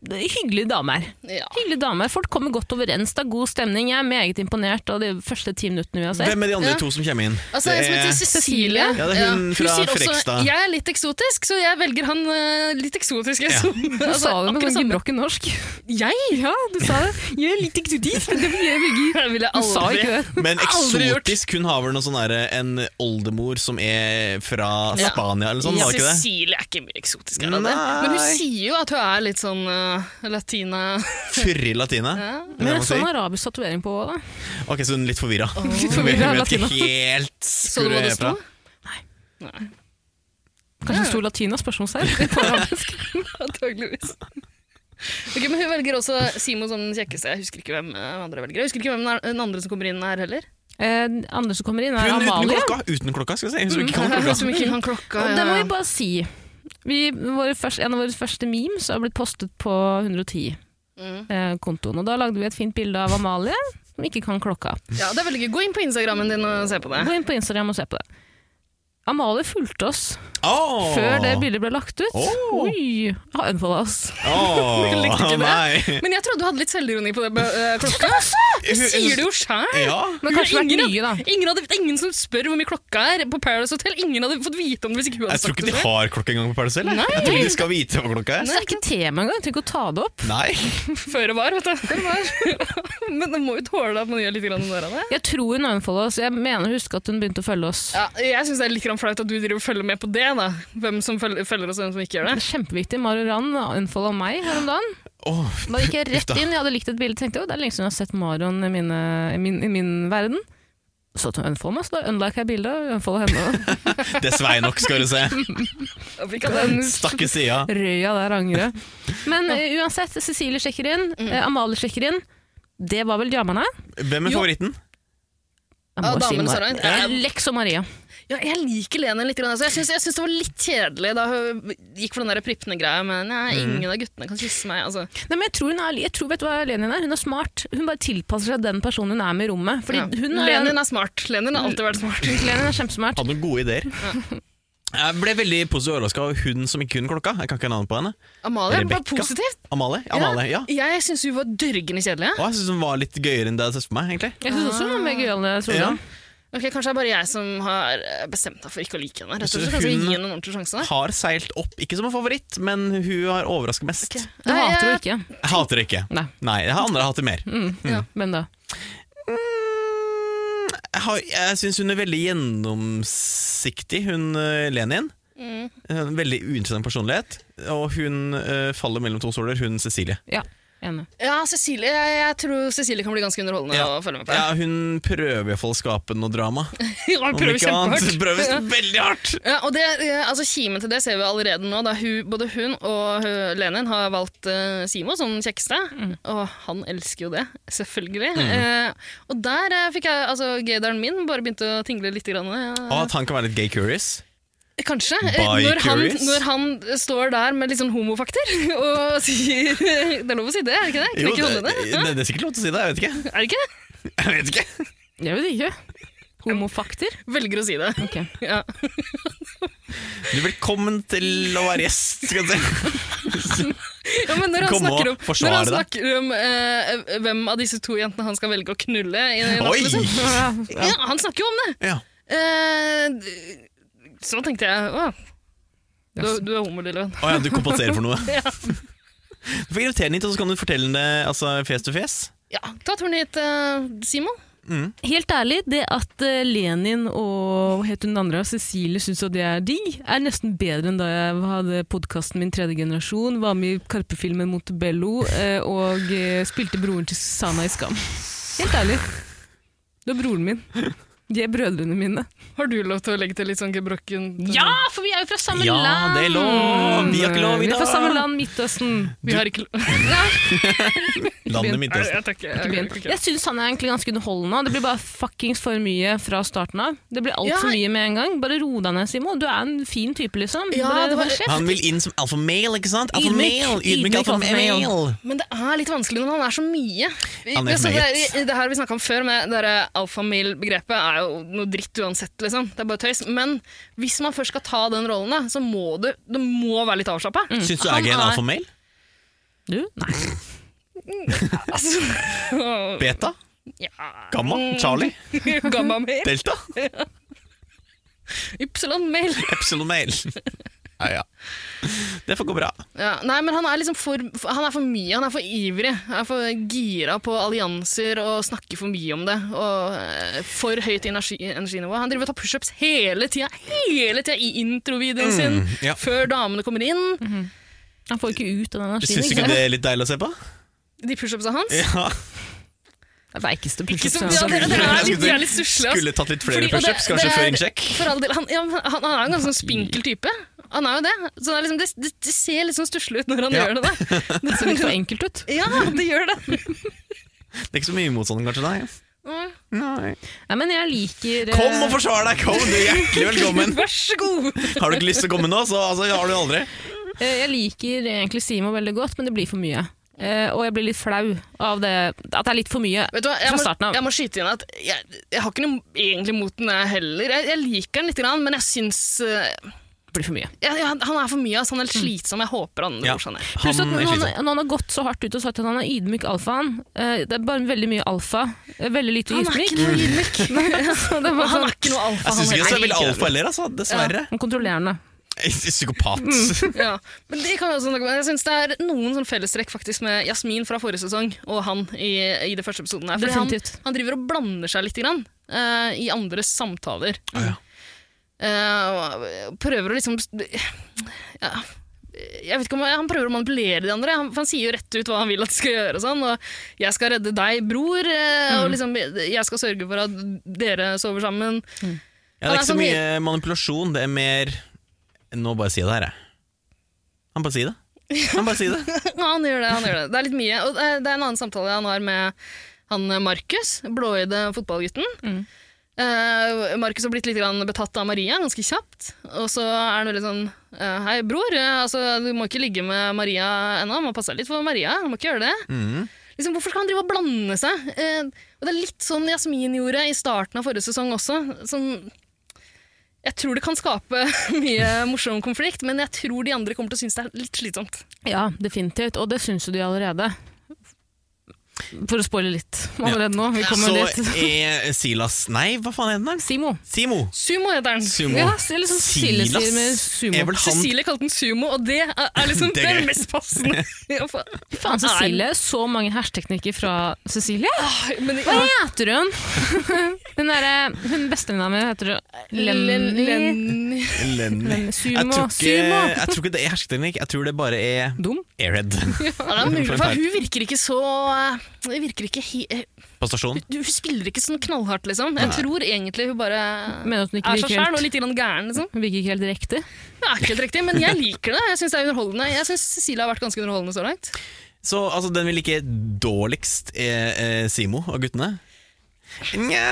Det er Hyggelige damer.
Ja.
Hyggelige damer. Folk kommer godt overens, det er god stemning. Jeg er meget imponert av de første ti minuttene vi har sett.
Hvem er de andre
Ja.
to som kommer inn?
Altså, en som
Det
heter
er-
Cecilie.
Ja, det er hun fra
sier også,
Frekstad.
Jeg er litt eksotisk, så jeg velger han eh, litt eksotiske.
Ja.
Som,
Nå
altså,
sa du det med
akkurat
sånn
samme.
gebrokken norsk.
Jeg?
Ja, du sa det. Jeg er litt eksotisk, men det vil jeg velge.
Det ville jeg
Du sa
aldri.
ikke det.
Men
Aldri gjort.
eksotisk, hun har vel noe sånn derre en oldemor som er fra
Ja.
Spania eller sånn, var det ikke det?
Cecilie er ikke mye eksotisk. Er hun det?
Nei.
Men hun sier jo at hun er litt sånn eh, latina.
Fyrre latina. er det
Men
man
en
sier.
sånn arabisk tatovering på henne, da.
Ok, så hun er litt forvirra.
Litt forvirra
vet
latina.
ikke helt
Så du
hvor
hva
er
det sto?
fra.
Nei.
Kanskje det sto latina spørsmålstegn på arabisk.
Antageligvis. Ok, men Hun velger også Simo som den kjekkeste. Jeg husker ikke hvem eh, andre velger. Jeg husker ikke hvem den er- den andre som kommer inn her heller.
Eh, den andre som kommer inn, er
Hun uten
Amalie.
klokka, uten klokka skal jeg si. Hun som ikke kan
Hun
klokka.
som ikke kan klokka.
Og
ja.
det må vi bare si. Vi, våre første, en av våre første memes har blitt postet på 110-kontoen.
Mm.
eh, og Da lagde vi et fint bilde av Amalie, som ikke kan klokka.
Ja, det er veldig gøy. Gå inn på Instagrammen din og se på det.
Gå inn på Instagram og se på det. Amalie fulgte oss
Åh!
før det bildet ble lagt ut.
Åh.
Oi! Har unfolda oss.
Åh,
Likte ikke det.
nei.
Men jeg trodde du hadde litt selvironi på det med eh, klokka. Du sier det jo sjæl!
Ja.
Men kanskje det
Ingen
vært
hadde-
mye, da.
Ingen, hadde, ingen som spør hvor mye klokka er på Paradise Hotel. Ingen hadde fått vite om det hvis ikke hun
Jeg
hadde
tror
sagt
ikke
det.
de har klokka engang på Paradise Hotel. Jeg Jeg tror ikke de skal vite hva klokka er.
Så Altså, det er ikke tema engang. Trenger ikke å ta det opp.
Nei.
før. Før det var, vet du. Men det må jo tåle at man gjør litt grann narr av det.
Jeg tror hun unfolda oss. Jeg mener å huske at hun begynte å følge oss.
Ja, jeg syns det er litt grann flaut at du driver og følger med på det. da. Hvem som følger, følger oss, og hvem som ikke gjør
Det
det.
er kjempeviktig. Mario Rand unfolda meg her om dagen.
Åh,
Da gikk jeg rett
Ufta.
inn, jeg hadde likt et bilde tenkte jeg, «Å, det er lenge siden jeg har sett Marion i, mine, i, min, i min verden. Så til unfollow meg, så da unlike jeg bildet og unfollow henne.
det svei nok, skal du se.
Afrikaner.
Stakke sida.
Røya der angrer. Men eh, uansett, Cecilie sjekker inn,
Mm.
eh, Amalie sjekker inn. Det var vel jammerne?
Hvem er
Jo.
favoritten?
Jeg
Ja,
må si
damene,
Mar-
Sarah.
Eh, Lex og Maria.
Ja, jeg liker Lene litt. Grann, altså. jeg, syns, jeg syns det var litt kjedelig da hun gikk for den der prippende greia, men nei,
Mm.
ingen av guttene kan kysse meg. Altså.
Nei, men jeg tror, hun er, jeg tror vet du hva Lenin er? Hun er smart. Hun bare tilpasser seg den personen hun er med i rommet. Fordi
Ja.
hun er,
Lenin er smart. Lenin har alltid vært smart.
Lenin er kjempesmart.
Hadde noen gode ideer. Jeg ble veldig positivt overraska av hun som ikke kunne klokka. Jeg kan ikke navnet på henne.
Amalie var
Rebecca?
positivt.
Amalie. Amalie, ja.
Jeg syns hun var dørgende kjedelig.
Og jeg syns hun var litt gøyere enn det jeg hadde sett for meg. egentlig
Jeg syns også hun var mer gøyal enn jeg trodde.
Ja.
Ok, Kanskje det er bare jeg som har eh, bestemt meg for ikke å like henne. Rett og
Jeg
slett
synes
kanskje
hun-
gi henne en ordentlig sjanse da.
Har seilt opp, ikke som en favoritt, men hun har overraska mest.
Du
Nei,
hater
jeg-
henne ikke.
Jeg hater det ikke.
Nei.
jeg har andre jeg hater mer.
Hvem da?
Mm, Jeg, har- jeg syns hun er veldig gjennomsiktig, hun eh, Lenin. En veldig uinteressant personlighet. Og hun eh, faller mellom to stoler, hun Cecilie.
Ja, enig.
Ja, Cecilie, jeg, jeg tror Cecilie kan bli ganske underholdende å følge med på.
Ja, hun prøver iallfall å skape noe drama.
Hun
Om
prøver
ikke annet,
kjempehardt.
prøver
Ja.
veldig hardt!
Ja, og det, eh, altså Kimen til det ser vi allerede nå. Da hun, både hun og eh, Lenin har valgt eh, Simo som kjekkeste.
Mm.
Og han elsker jo det, selvfølgelig. Eh, og der eh, fikk jeg altså gaydaren min bare begynte å tingle litt. Grann, eh,
Og at han kan være litt gay curious.
Kanskje. eh,
By
Når han,
curious?
når han står der med litt sånn homofakter og sier Det er lov å si det, er det ikke det?
Jo,
Knekker
det,
hodene.
det, det er sikkert lov til å si det, jeg vet ikke.
Er det ikke? det?
Jeg vet ikke.
Jeg vet ikke. Homofakter?
Velger å si det.
Ok.
Ja.
Du er velkommen til å være gjest. Skal jeg si.
Ja, men når han
Kom og
snakker om, når
forsvare
han
deg.
snakker om eh, hvem av disse to jentene han skal velge å knulle i natt,
Oi!
liksom. Ja. han snakker jo om det.
Ja.
Eh, d- så tenkte jeg Å, du, du er homo, lille venn.
Å ja, du kompenserer for noe.
Ja.
Du får invitere den hit, og så kan du fortelle den det altså, fjes til fjes.
Ja, ta turen hit, eh, Simon.
Helt ærlig, det at eh, Lenin og hva het hun andre, Cecilie syns at jeg er digg, er nesten bedre enn da jeg hadde podkasten min tredje generasjon, var med i Karpe-filmen Montebello eh, og eh, spilte broren til Sana i Skam. Helt ærlig. Du er broren min. De er brødrene mine.
Har du lov til å legge til litt sånn gebrokken
Ja, for vi er jo fra samme
Ja,
land!
det er lov. Vi har ikke lov
Vi
i
er fra
dag.
samme land, Midtøsten.
Vi har ikke lov
Landet mitt
Nei,
også.
jeg takker. Jeg, jeg, jeg,
Jeg syns han er egentlig ganske underholdende. og Det blir bare fuckings for mye fra starten av. Det blir altfor for
Ja.
mye med en gang. Bare ro deg ned, Simon. Du er en fin type, liksom.
Ja,
Bare
det var-
hold kjeft.
Han vil inn som alfa male, ikke sant? Alfa
Ydmyk.
male,
Ydmyk
ydmyk alfa
alfa male.
male.
Men det er litt vanskelig når han er så mye.
Han er
Altså, det,
meget.
det her vi snakka om før, med det alfamil-begrepet, er er jo noe dritt uansett, liksom. Det er bare tøys. Men hvis man først skal ta den rollen, da, så må du, du må være litt avslappa.
Syns du
Han
jeg er en
er-
alfamail?
Du? Nei.
Altså,
Beta?
ja.
Gamma? Charlie?
Gamma-mail.
Delta?
Ypsilon-mail.
Epsilon-mail? Ja, ja. Det får gå bra.
Ja, nei, men han er liksom for, han er for mye, han er for ivrig. Han er for gira på allianser og snakker for mye om det. Og eh, for høyt energi, energinivå. Han driver og tar pushups hele tida, hele tida i introvideoen sin,
Mm, ja.
før damene kommer inn.
Han får ikke ut den energien. liksom.
Syns du
Ikke
ikke
sant?
det er litt deilig å se på?
De pushupsa hans.
Ja.
Det veikeste
Ikke som,
pushet.
ja, dere, dere er
Jeg
litt,
skulle-
dere er litt susle. ass.
Skulle tatt litt
Fordi-
flere
og det-
pushups, kanskje
det
før
er-
innsjekk.
For all del, han, ja, men han, han er en ganske sånn spinkel type. Han er jo det. Så det, er liksom, det, det, det ser litt sånn stusslig ut når han
Ja.
gjør det. Da.
Det ser litt for enkelt ut.
Ja, det gjør det.
Det er ikke så mye motstand, kanskje? Nei. Nei.
Nei, men jeg liker eh,
Kom og forsvar deg! Kom, du er hjertelig velkommen!
Vær så god!
Har du ikke lyst til å komme nå, så altså, har du aldri.
eh, Jeg liker egentlig Simo veldig godt, men det blir for mye. Eh, og jeg blir litt flau av det, at det er litt for mye
Vet du hva, jeg
fra
må,
starten av.
jeg må skyte inn at jeg, jeg har ikke noe egentlig mot den jeg heller. Jeg, jeg liker den litt, grann, men jeg syns eh,
Det blir for mye.
jeg, jeg, Han er for mye, altså, han er litt slitsom. Jeg håper han
Mm. Ja.
roer seg ned.
Pluss at når
Han er
han,
slitsom.
når han har gått så hardt ut og sagt at han er ydmyk alfaen eh, Det er bare veldig mye alfa, eh, veldig lite
Han er
ydmyk.
ikke noe ydmyk.
Så det er bare
Han
sånn-
er ikke noe alfa.
Jeg syns ikke
han
jeg er
heller.
veldig alfa heller, altså. Dessverre.
Han kontrollerende.
Psykopat.
Ja. Men det kan vi også snakke om. Jeg synes det er noen sånn fellestrekk faktisk med Jasmin fra forrige sesong og han i, i det første episoden. her. Fordi han,
Definitivt.
han driver og blander seg litt grann, eh, i andres samtaler.
Å, ja.
Eh, og prøver å liksom ja, jeg vet ikke om Han prøver å manipulere de andre. Han, for han sier jo rett ut hva han vil at de skal gjøre. Og sånn, og 'Jeg skal redde deg, bror', eh, og liksom 'Jeg skal sørge for at dere sover sammen'.
Ja, det er ikke så mye manipulasjon, det er mer Nå bare si det her, jeg. Han bare sier det. Han bare sier det.
Ja, han gjør det. han gjør Det Det er litt mye. Og eh, det er en annen samtale han har med han eh, Markus, blåøyde fotballgutten. Eh, Markus har blitt litt grann betatt av Maria ganske kjapt. Og så er han veldig sånn eh, Hei, bror. eh, Altså, du må ikke ligge med Maria ennå. Må passe deg litt for Maria. Du må ikke gjøre det. Liksom, hvorfor skal han drive og blande seg? Eh, og Det er litt sånn Jasmin gjorde i starten av forrige sesong også. Som jeg tror det kan skape mye morsom konflikt, men jeg tror de andre kommer til å synes det er litt slitsomt.
Ja, definitivt. Og det syns jo de allerede. For å spoile litt allerede nå. Vi kommer
Så
dit.
er Silas Nei, hva faen er den der?
Simo.
Simo.
Sumo heter den.
Sumo.
Ja, så- eller sånn Silje
Silas
sier med sumo.
er vel han
Cecilie kalte den sumo, og det er, er liksom
Det er gøy.
den mest passende. Ja, for-
Faen, Cecilie. Så mange hersteknikker fra Cecilie.
Ai, Men,
Hva
ja.
heter hun? Hun, derre- hun bestevenninna mi heter
Len-
Lenny
Lenny.
Lenny.
Lenny-
Jeg
Sumo.
tror, ikke,
Sumo.
jeg tror ikke det er hersketeknikk, jeg tror det bare er
Dum.
airhead
Ja, det er mulig, for hun virker ikke så eh, hun virker ikke he, eh,
på stasjonen.
Hun spiller ikke sånn knallhardt, liksom. Jeg tror egentlig hun bare
Mener at hun ikke
er seg
liker helt-
sjæl og litt grann gæren. liksom.
Hun virker ikke helt riktig.
Det er ikke helt riktig, men jeg liker det. Jeg syns det er underholdende. Jeg synes Cecilie har vært ganske underholdende så langt.
Så altså, den vi liker dårligst, er eh, Simo og guttene. Nja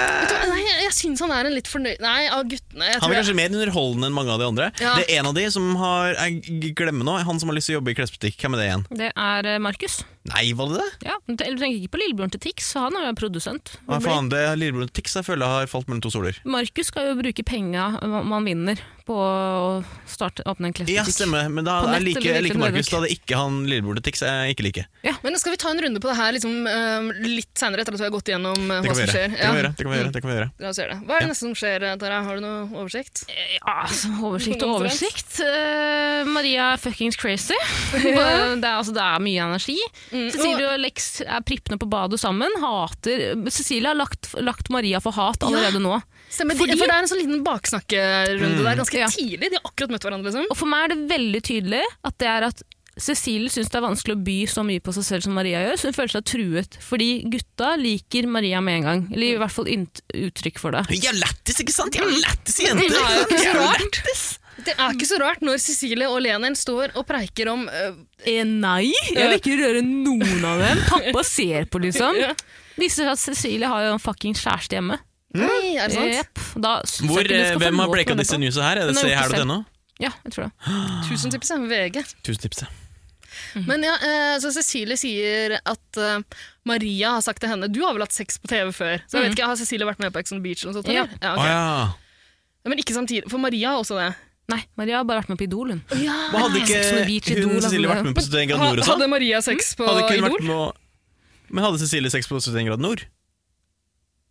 Nei, jeg, jeg syns han er en litt fornøyd Nei, av guttene. Jeg
Han
tror
er
jeg,
kanskje mer underholdende enn mange av de andre.
Ja.
Det er en av de som har Jeg glemmer nå, han som har lyst til å jobbe i klesbutikk. Hvem er det igjen?
Det er eh, Markus.
Nei, var det det?
Ja, men Du tenker ikke på lillebroren til Tix, han er jo produsent.
Hva faen, det er lillebroren Tix jeg føler har falt mellom to soler.
Markus skal jo bruke penga man vinner på å starte, åpne en
Ja,
klesbutikk.
stemmer. Men da
På nett
jeg liker,
eller
jeg liker
Riktig
Markus.
Nedrykk.
Da det er ikke han lillebroren til Tix jeg ikke liker.
Men skal vi ta en runde på det her liksom, eh, litt seinere, etter at vi har gått igjennom eh,
Det
hva
kan vi
som
gjøre.
skjer?
Det kan vi gjøre. Det kan vi gjøre, det kan vi gjøre.
La oss gjøre det. Hva er det
Ja.
neste som skjer, Tara? Har du noe oversikt?
Ja, altså, oversikt og oversikt. Eh, Maria er fuckings crazy. det, er, altså, det er mye energi. Cecilie og Lex er prippende på badet sammen. Hater Cecilie har lagt, lagt Maria for hat allerede nå.
Stemmer,
Fordi-
de, for det er en sånn liten
Mm.
baksnakkerunde der ganske
Ja.
tidlig. De har akkurat møtt hverandre, liksom.
Og for meg er det veldig tydelig at det er at Cecilie syns det er vanskelig å by så mye på seg selv som Maria gjør, så hun føler seg truet. Fordi gutta liker Maria med en gang. Eller i hvert fall ynt- uttrykk for det.
Jeg er lættis, ikke sant? Jeg er lættis jente!
Det er jo ikke
Jeg
så
er
rart.
lættis.
Det er ikke så rart når Cecilie og Leneren står og preiker om øh,
Eh, nei, jeg vil ikke røre noen av dem. Pappa ser på, liksom.
Ja.
Viser seg at Cecilie har jo en fuckings kjæreste hjemme.
Nei, er det sant?
Jepp. Da syns jeg
Hvor,
ikke du
eh,
skal få
hvem har
lov til å
breaka
være
disse
på.
newsa her? Er
Hun
det
har gjort det
seher.no?
Ja, jeg tror det.
Tusen tips, jeg. VG.
Tusen tipset.
Men ja, eh, så Cecilie sier at eh, Maria har sagt til henne Du har vel hatt sex på TV før? Så jeg vet ikke, Har Cecilie vært med på Ex on the Beach? Eller noe sånt,
Ja.
eller? Mhm. Ja,
Å
ok.
ja.
Ja, Men ikke samtidig, for Maria har også det.
Nei, Maria har bare vært med på Idol, hun.
Men hadde
Sex on the Beach,
ikke
Idol,
hun
altså,
Cecilie
det-
vært med på Studentgrad
Ha,
Nord sånn? også?
hadde Maria sex på
Mhm. Hadde ikke hun vært
Idol?
med å- Men hadde Cecilie sex på Studentgrad Nord?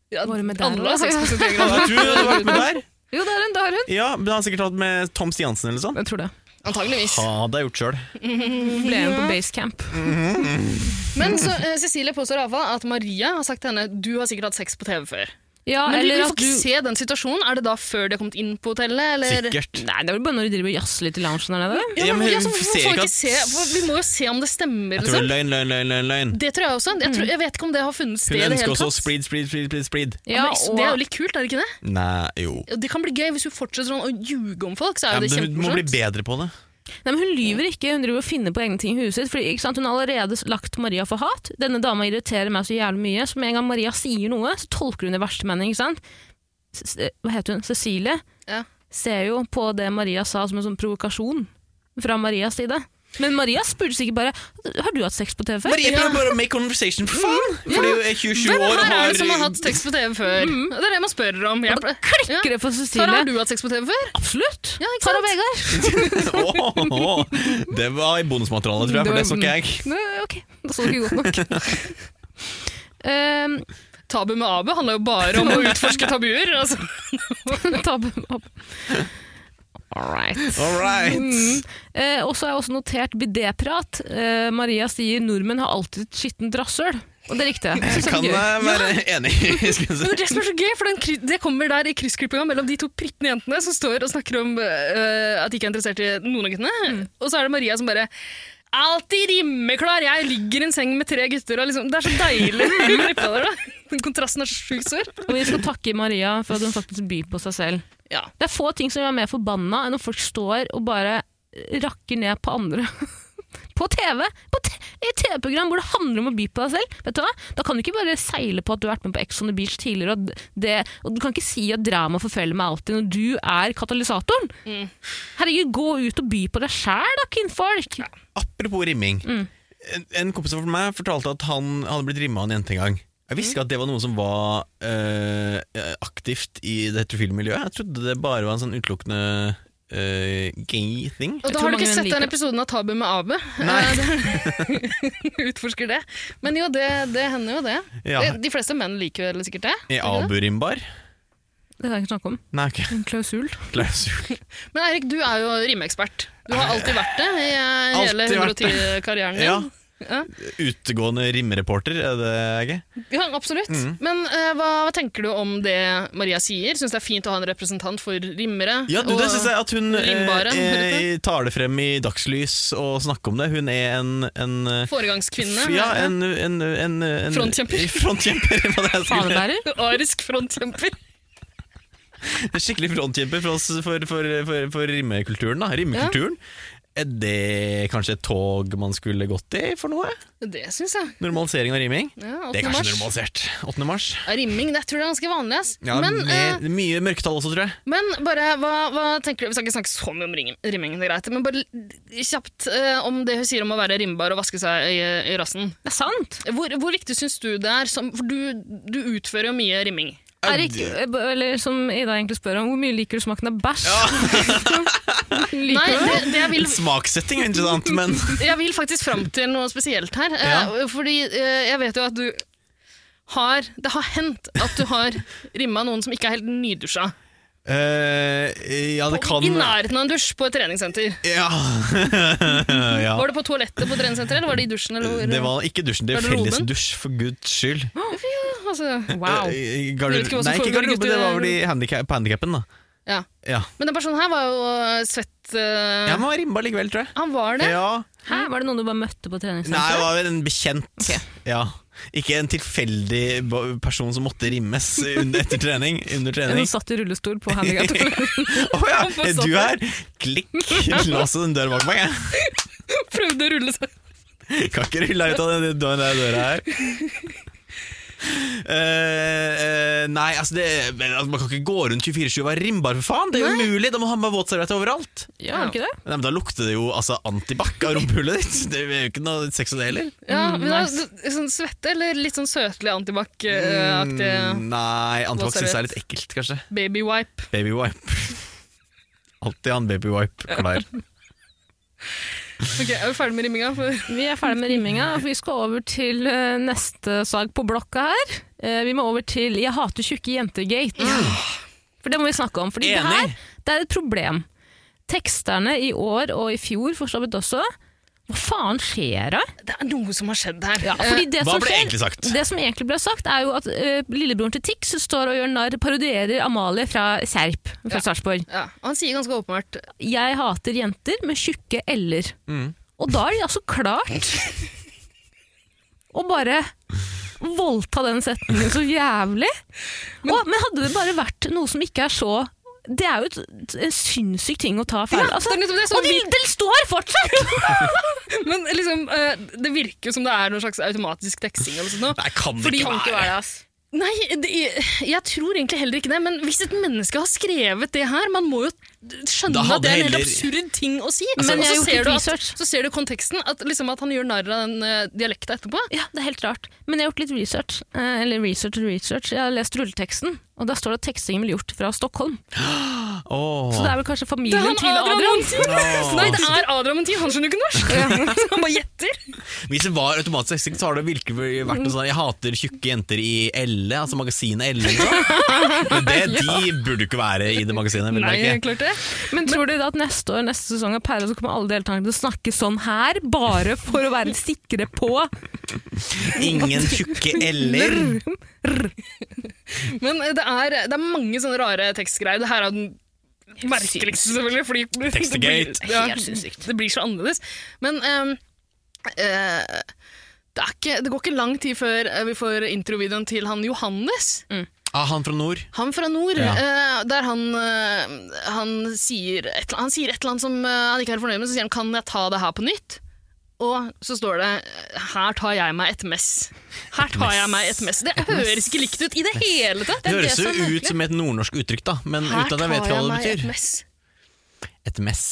Ja,
Var hun med der
alle har
også?
sex på sitt eget
Ja, Jeg tror hun hadde vært med
navn.
der.
Jo, det er hun! Det har hun!
Ja, men han har sikkert hatt med Tom Stiansen eller sånn.
Jeg tror det.
Antageligvis.
Hadde jeg gjort sjøl.
Hun ble med på Basecamp.
Men så, eh, Cecilie påstår i hvert fall at Maria har sagt til henne du har sikkert hatt sex på TV før.
Ja,
Men vi, vi
eller
får
at
ikke
du
se den situasjonen. Er det da før de har kommet inn på hotellet? Eller?
Sikkert.
Nei, det er vel bare når de driver og jazzer litt i loungen der nede.
Ja,
Ja,
men,
men
ja, så
vi
hvorfor
ser ikke
får vi,
at-
ikke se, for vi må jo se om det stemmer.
Jeg tror det er
Liksom.
løgn, løgn, lønn, løgn, løgn.
Det tror jeg også. Jeg, tror, jeg vet ikke om det har funnet sted.
Hun
i det
ønsker
hele
også
tatt.
spreed, spreed, spreed, spreed, spreed.
Ja,
Ja,
men Det er jo litt kult, er det ikke det?
Nei, jo.
Og Det kan bli gøy hvis hun fortsetter sånn å ljuge om folk. Så
Ja,
er
men
jo
hun
det
må bli
kjempemorsomt.
bedre på det.
Nei, men Hun lyver ikke, hun driver og finner på egne ting i huset sitt. Fordi, ikke sant? Hun har allerede lagt Maria for hat. Denne dama irriterer meg så jævlig mye. Så med en gang Maria sier noe, så tolker hun i verste mening. ikke sant? S s- hva heter hun? Cecilie
Ja.
ser jo på det Maria sa som en sånn provokasjon fra Marias side. Men Maria spurte sikkert bare Har du hatt sex på TV før?
Marie prøver bare å make conversation, for faen! For du er 27
Mm. Hvem
år og
her er det som har
har
hatt sex på TV før?
Mm.
Det er det man spør om. Jeg,
Da klikker det for
Ja. Tara,
Cecilie.
har du hatt sex på TV før?
Absolutt!
Ja, ikke
Tara
sant?
Vegard.
Åh, Det var i bonusmaterialet, tror jeg, for det så ikke jeg.
Nå, ok, da så det ikke godt nok. um,
Tabu med Abu handler jo bare om å utforske tabuer. Altså.
Tabben opp. All right.
All
Mm,
right.
Eh, og så har jeg også notert bidéprat. Eh, Maria sier nordmenn har alltid et skittent rasshøl. Og det likte jeg. Jeg synes det
Kan
var gøy.
jeg være enig? Skal jeg si.
Men det som er så gøy, for den, kry- Det kommer der i kryssklippinga mellom de to prittende jentene som står og snakker om øh, at de ikke er interessert i noen av guttene.
Mm.
Og så er det Maria som bare Alltid rimeklar! Jeg ligger i en seng med tre gutter. Og liksom, det er så deilig. klipp av det, da. Den kontrasten er så sjukt stor.
Og vi skal takke Maria for at hun faktisk byr på seg selv.
Ja.
Det er få ting som gjør meg mer forbanna enn når folk står og bare rakker ned på andre. På TV! På t I et TV-program hvor det handler om å by på deg selv. Vet du hva? Da kan du ikke bare seile på at du har vært med på Ex on the Beach tidligere, og, det, og du kan ikke si at drama forfølger meg alltid når du er katalysatoren. Herregud, gå ut og by på deg sjæl da, kvinnfolk!
Apropos rimming.
Mm.
En, en kompis av meg fortalte at han hadde blitt rimma av en jente en gang. Jeg
Mm.
visste ikke at det var noe som var eh, aktivt i det heterofile miljøet. Jeg trodde det bare var en sånn utelukkende eh, gay thing.
Og
Jeg
da
tror
har
mange
du ikke
menn
sett
liker
den
det.
episoden av Tabu med Abu. Eh, Utforsker det. Men jo, det, det hender jo det. Eh,
Ja.
De- De fleste menn liker vel sikkert det.
I
Gjør de det?
Abu-rimbar?
Det kan jeg ikke snakke om.
Nei, ok.
En klausul.
Klausul.
Men Eirik, du er jo rimeekspert. Du har alltid vært det i eh, hele
Alltid vært det.
110-karrieren
Ja.
din. Ja.
Utegående rimreporter, er det ikke?
Ja, absolutt.
Mm.
Men eh, hva, hva tenker du om det Maria sier? Syns det er fint å ha en representant for rimmere?
Ja, du, det
og-
syns jeg at hun
rimbaren,
eh, eh, tar det frem i dagslys og snakker om det. Hun er en, en eh,
Foregangskvinne.
Ja, en, en, en, en
Frontkjemper.
Frontkjemper, hva det er jeg skulle
Fanebærer.
Arisk frontkjemper.
En Skikkelig frontkjemper for oss for, for, for, for rimekulturen. da Rimekulturen Er det kanskje et tog man skulle gått i for noe?
Det syns jeg.
Normalisering av riming?
Ja, 8.
Det er kanskje
mars.
normalisert. 8. mars.
Ja, Rimming, det tror jeg er ganske vanlig. ass.
Ja,
men, eh,
med mye mørketall også, tror jeg.
men bare, hva, hva tenker du Vi skal ikke snakke så mye om ring- rimming, det er greit. Men bare l- kjapt eh, om det hun sier om å være rimbar og vaske seg i, i rassen.
Det er sant!
Hvor, hvor viktig syns du det er? Som, for du, du utfører jo mye rimming.
Erik, eh, eller som Ida egentlig spør om, hvor mye liker du smaken av bæsj? liker
Nei,
du det?
det, det jeg vil
Smakssetting er interessant, men
Jeg vil faktisk fram til noe spesielt her.
Ja.
eh, Fordi eh, jeg vet jo at du har Det har hendt at du har rimma noen som ikke er helt nydusja.
Eh, Ja, det kan
I nærheten av en dusj på et treningssenter.
Ja. ja.
Var det på toalettet på treningssenteret, eller var det i dusjen? Eller hvor,
Det var ikke dusjen, det er
Garderoben?
fellesdusj, for guds skyld.
altså,
Wow.
Eh,
Jeg vet ikke
Garder
hva som
Nei, ikke
foregår i
garderoben, det var
gutter-
vel i handika på handikappen, da.
ja.
Ja.
Men den personen her var jo eh, svett eh,
Jeg må ha rimba likevel, tror jeg.
Han var det.
Ja.
Hæ? Var det noen du bare møtte på
Nei, det
treningssenteret?
var vel en bekjent.
Ok.
Ja. Ikke en tilfeldig bo- person som måtte rimmes under, etter trening. Under
Hun
trening.
satt i rullestol på handikap.
Å ja, er du her? Klikk! Lås den døra bak meg. jeg.
Prøvde å rulle seg.
Kan ikke rulle deg ut av den den døra her. Eh, eh, nei, altså, det, men, altså man kan ikke gå rundt 24-7 og være rimbar, for faen! Det er jo umulig! Da må han ha med våtserviett overalt.
Ja, er det ikke det?
Nei, men Da lukter det jo altså, antibac av rumpehullet ditt! Det er jo ikke noe sex av det heller.
Ja, men da, d- sånn svette eller litt sånn søtlig eh, antibac-aktig
Mm, Nei, antibac syns jeg er
Våtserviett.
litt ekkelt, kanskje.
baby wipe.
Babywipe. Alltid han babywipe klar.
Ok, Er vi ferdig med rimminga? For
Vi er ferdig med rimminga. for Vi skal over til eh, neste sag på blokka her. Eh, Vi må over til 'Jeg hater tjukke jenter'-gate. For det må vi snakke om. Fordi det her
Enig.
det er et problem. Teksterne i år og i fjor for så vidt også. Hva faen skjer da?
det er noe som har skjedd her.
Ja, fordi det
Hva
som
ble
skjer-
egentlig sagt?
Det som egentlig ble sagt, er jo at eh, lillebroren til Tix står og gjør narr, parodierer Amalie fra Serp fra Sarpsborg.
Ja, og han sier ganske åpenbart
Jeg hater jenter med tjukke l-er.
Mm.
Og da er de altså klart å bare voldta den setningen så jævlig. Men, og, men hadde det bare vært noe som ikke er så Det er jo et, en sinnssyk ting å ta feil
Ja,
altså.
det er nettopp det, så
Og det
vi-
det står fortsatt!
Men liksom, eh, det virker jo som det er noen slags automatisk teksting. Eller sånt, nå.
Nei, kan det
Fordi-
ikke være.
Nei, det, jeg tror egentlig heller ikke det. Men hvis et menneske har skrevet det her, man må jo skjønne
Da hadde
at det er en helt
heller- Altså,
absurd ting å si.
Men jeg
Og
har
så
gjort
ser
litt
du at-
research.
Så ser du konteksten, at, liksom, at han gjør narr av den eh, dialekta etterpå.
Ja, det er helt rart. Men jeg har gjort litt research. eh, Eller research og research. Jeg har lest rulleteksten, og der står det at tekstingen ble gjort fra Stockholm. Så det er vel kanskje
Det er
familien
han
til
Adrian
Adrian.
Montin! Nei, det er Adrian Montin, han skjønner jo ikke norsk! Så han bare gjetter.
Hvis det var automatisk teksting, så har det virkelig vært noe sånn Jeg hater tjukke jenter i Elle, altså magasinet Elle. liksom. Men det, de burde jo ikke være i det magasinet. Vil
Nei,
jeg ikke.
klart det.
Men tror dere da at neste år, neste sesong av Perla, så kommer alle deltakerne til å snakke sånn her, bare for å være sikre på
Ingen tjukke L-er.
Men eh, det er, det er mange sånne rare tekstgreier. Det her er den merkeligste, selvfølgelig. Fordi det
Tekstegate.
blir- ja, Det blir så annerledes. Men ehm, eh, det, er ikke, det går ikke lang tid før eh, vi får introvideoen til han Johannes.
Ah, han fra nord.
Han fra nord.
Ja.
eh, der han, eh, han, sier et, han sier et eller annet som eh, han ikke er fornøyd med, så sier han 'kan jeg ta det her på nytt'? Og så står det 'her tar jeg meg et mess'. Her tar jeg meg et mess. Det høres ikke likt ut i det hele tatt.
Det høres
det
jo
som er
ut som et nordnorsk uttrykk, da, men
Her
uten at jeg vet
tar
hva
jeg
det
meg et
betyr.
mess.
Et mess.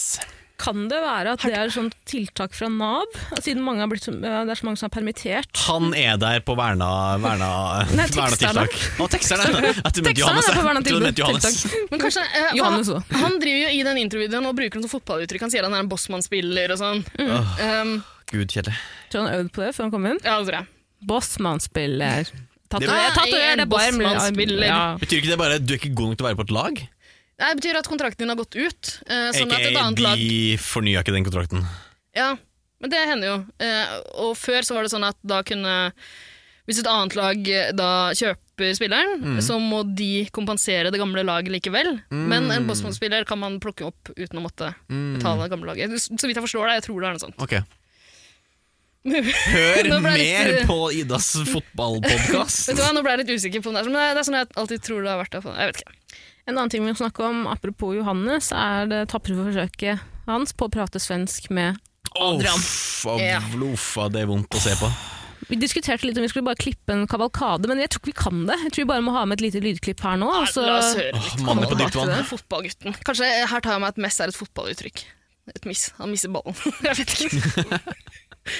Kan det være at det er et sånt tiltak fra Nav, siden mange har blitt, det er så mange som er permittert?
Han er der på verna... verna
Nei, teksterne.
vernatiltak. Å, teksterne! Jeg trodde
Teksterne
Johannes.
er på
jeg. Jeg trodde du mente
vernatiltak.
Johannes.
Men kanskje, eh, hva-
Johannes også.
Han driver jo i den introvideoen og bruker noen sånn fotballuttrykk. Han sier han er en bossmann-spiller og sånn. Um,
Gud, Kjelle.
Tror du han øvde på det før han kom inn?
ja, altså det tror jeg.
Bossmann-spiller.
Ja,
Tatover,
jeg er
tatover, det er
bossmann-spiller.
bare ja.
Betyr ikke det bare at du er ikke god nok til å være på et lag?
Nei, Det betyr at kontrakten din har gått ut. eh, sånn at et
Aka,
annet lag
de fornya ikke den kontrakten.
Ja, men det hender jo. Eh, og før så var det sånn at da kunne Hvis et annet lag eh, da kjøper spilleren,
Mm.
så må de kompensere det gamle laget likevel. Men
Mm.
en bossmann-spiller kan man plukke opp uten å måtte betale det gamle laget. Så så vidt jeg forstår det, jeg tror det er noe sånt.
Ok. Hør
Nå ble
mer
jeg litt-
på Idas fotballpodkast.
Vet du hva, Nå ble jeg litt usikker på om det er sånn, men det er- det er sånn jeg alltid tror det har vært. det. Jeg vet ikke.
En annen ting vi må snakke om, apropos Johannes, er det tapre forsøket hans på å prate svensk med Adrian.
Uff, av
Ja.
lofa, det er vondt å se på.
Vi diskuterte litt om vi skulle bare klippe en kavalkade, men jeg tror ikke vi kan det. Jeg tror vi bare må ha med et lite lydklipp her nå. og så-
La oss høre litt.
Åh, Mannen på
Kommer
dypt vann.
tilbake
Fotballgutten. Kanskje eh, her tar jeg meg et mess er et fotballuttrykk. Et miss. Han misser ballen. jeg vet ikke.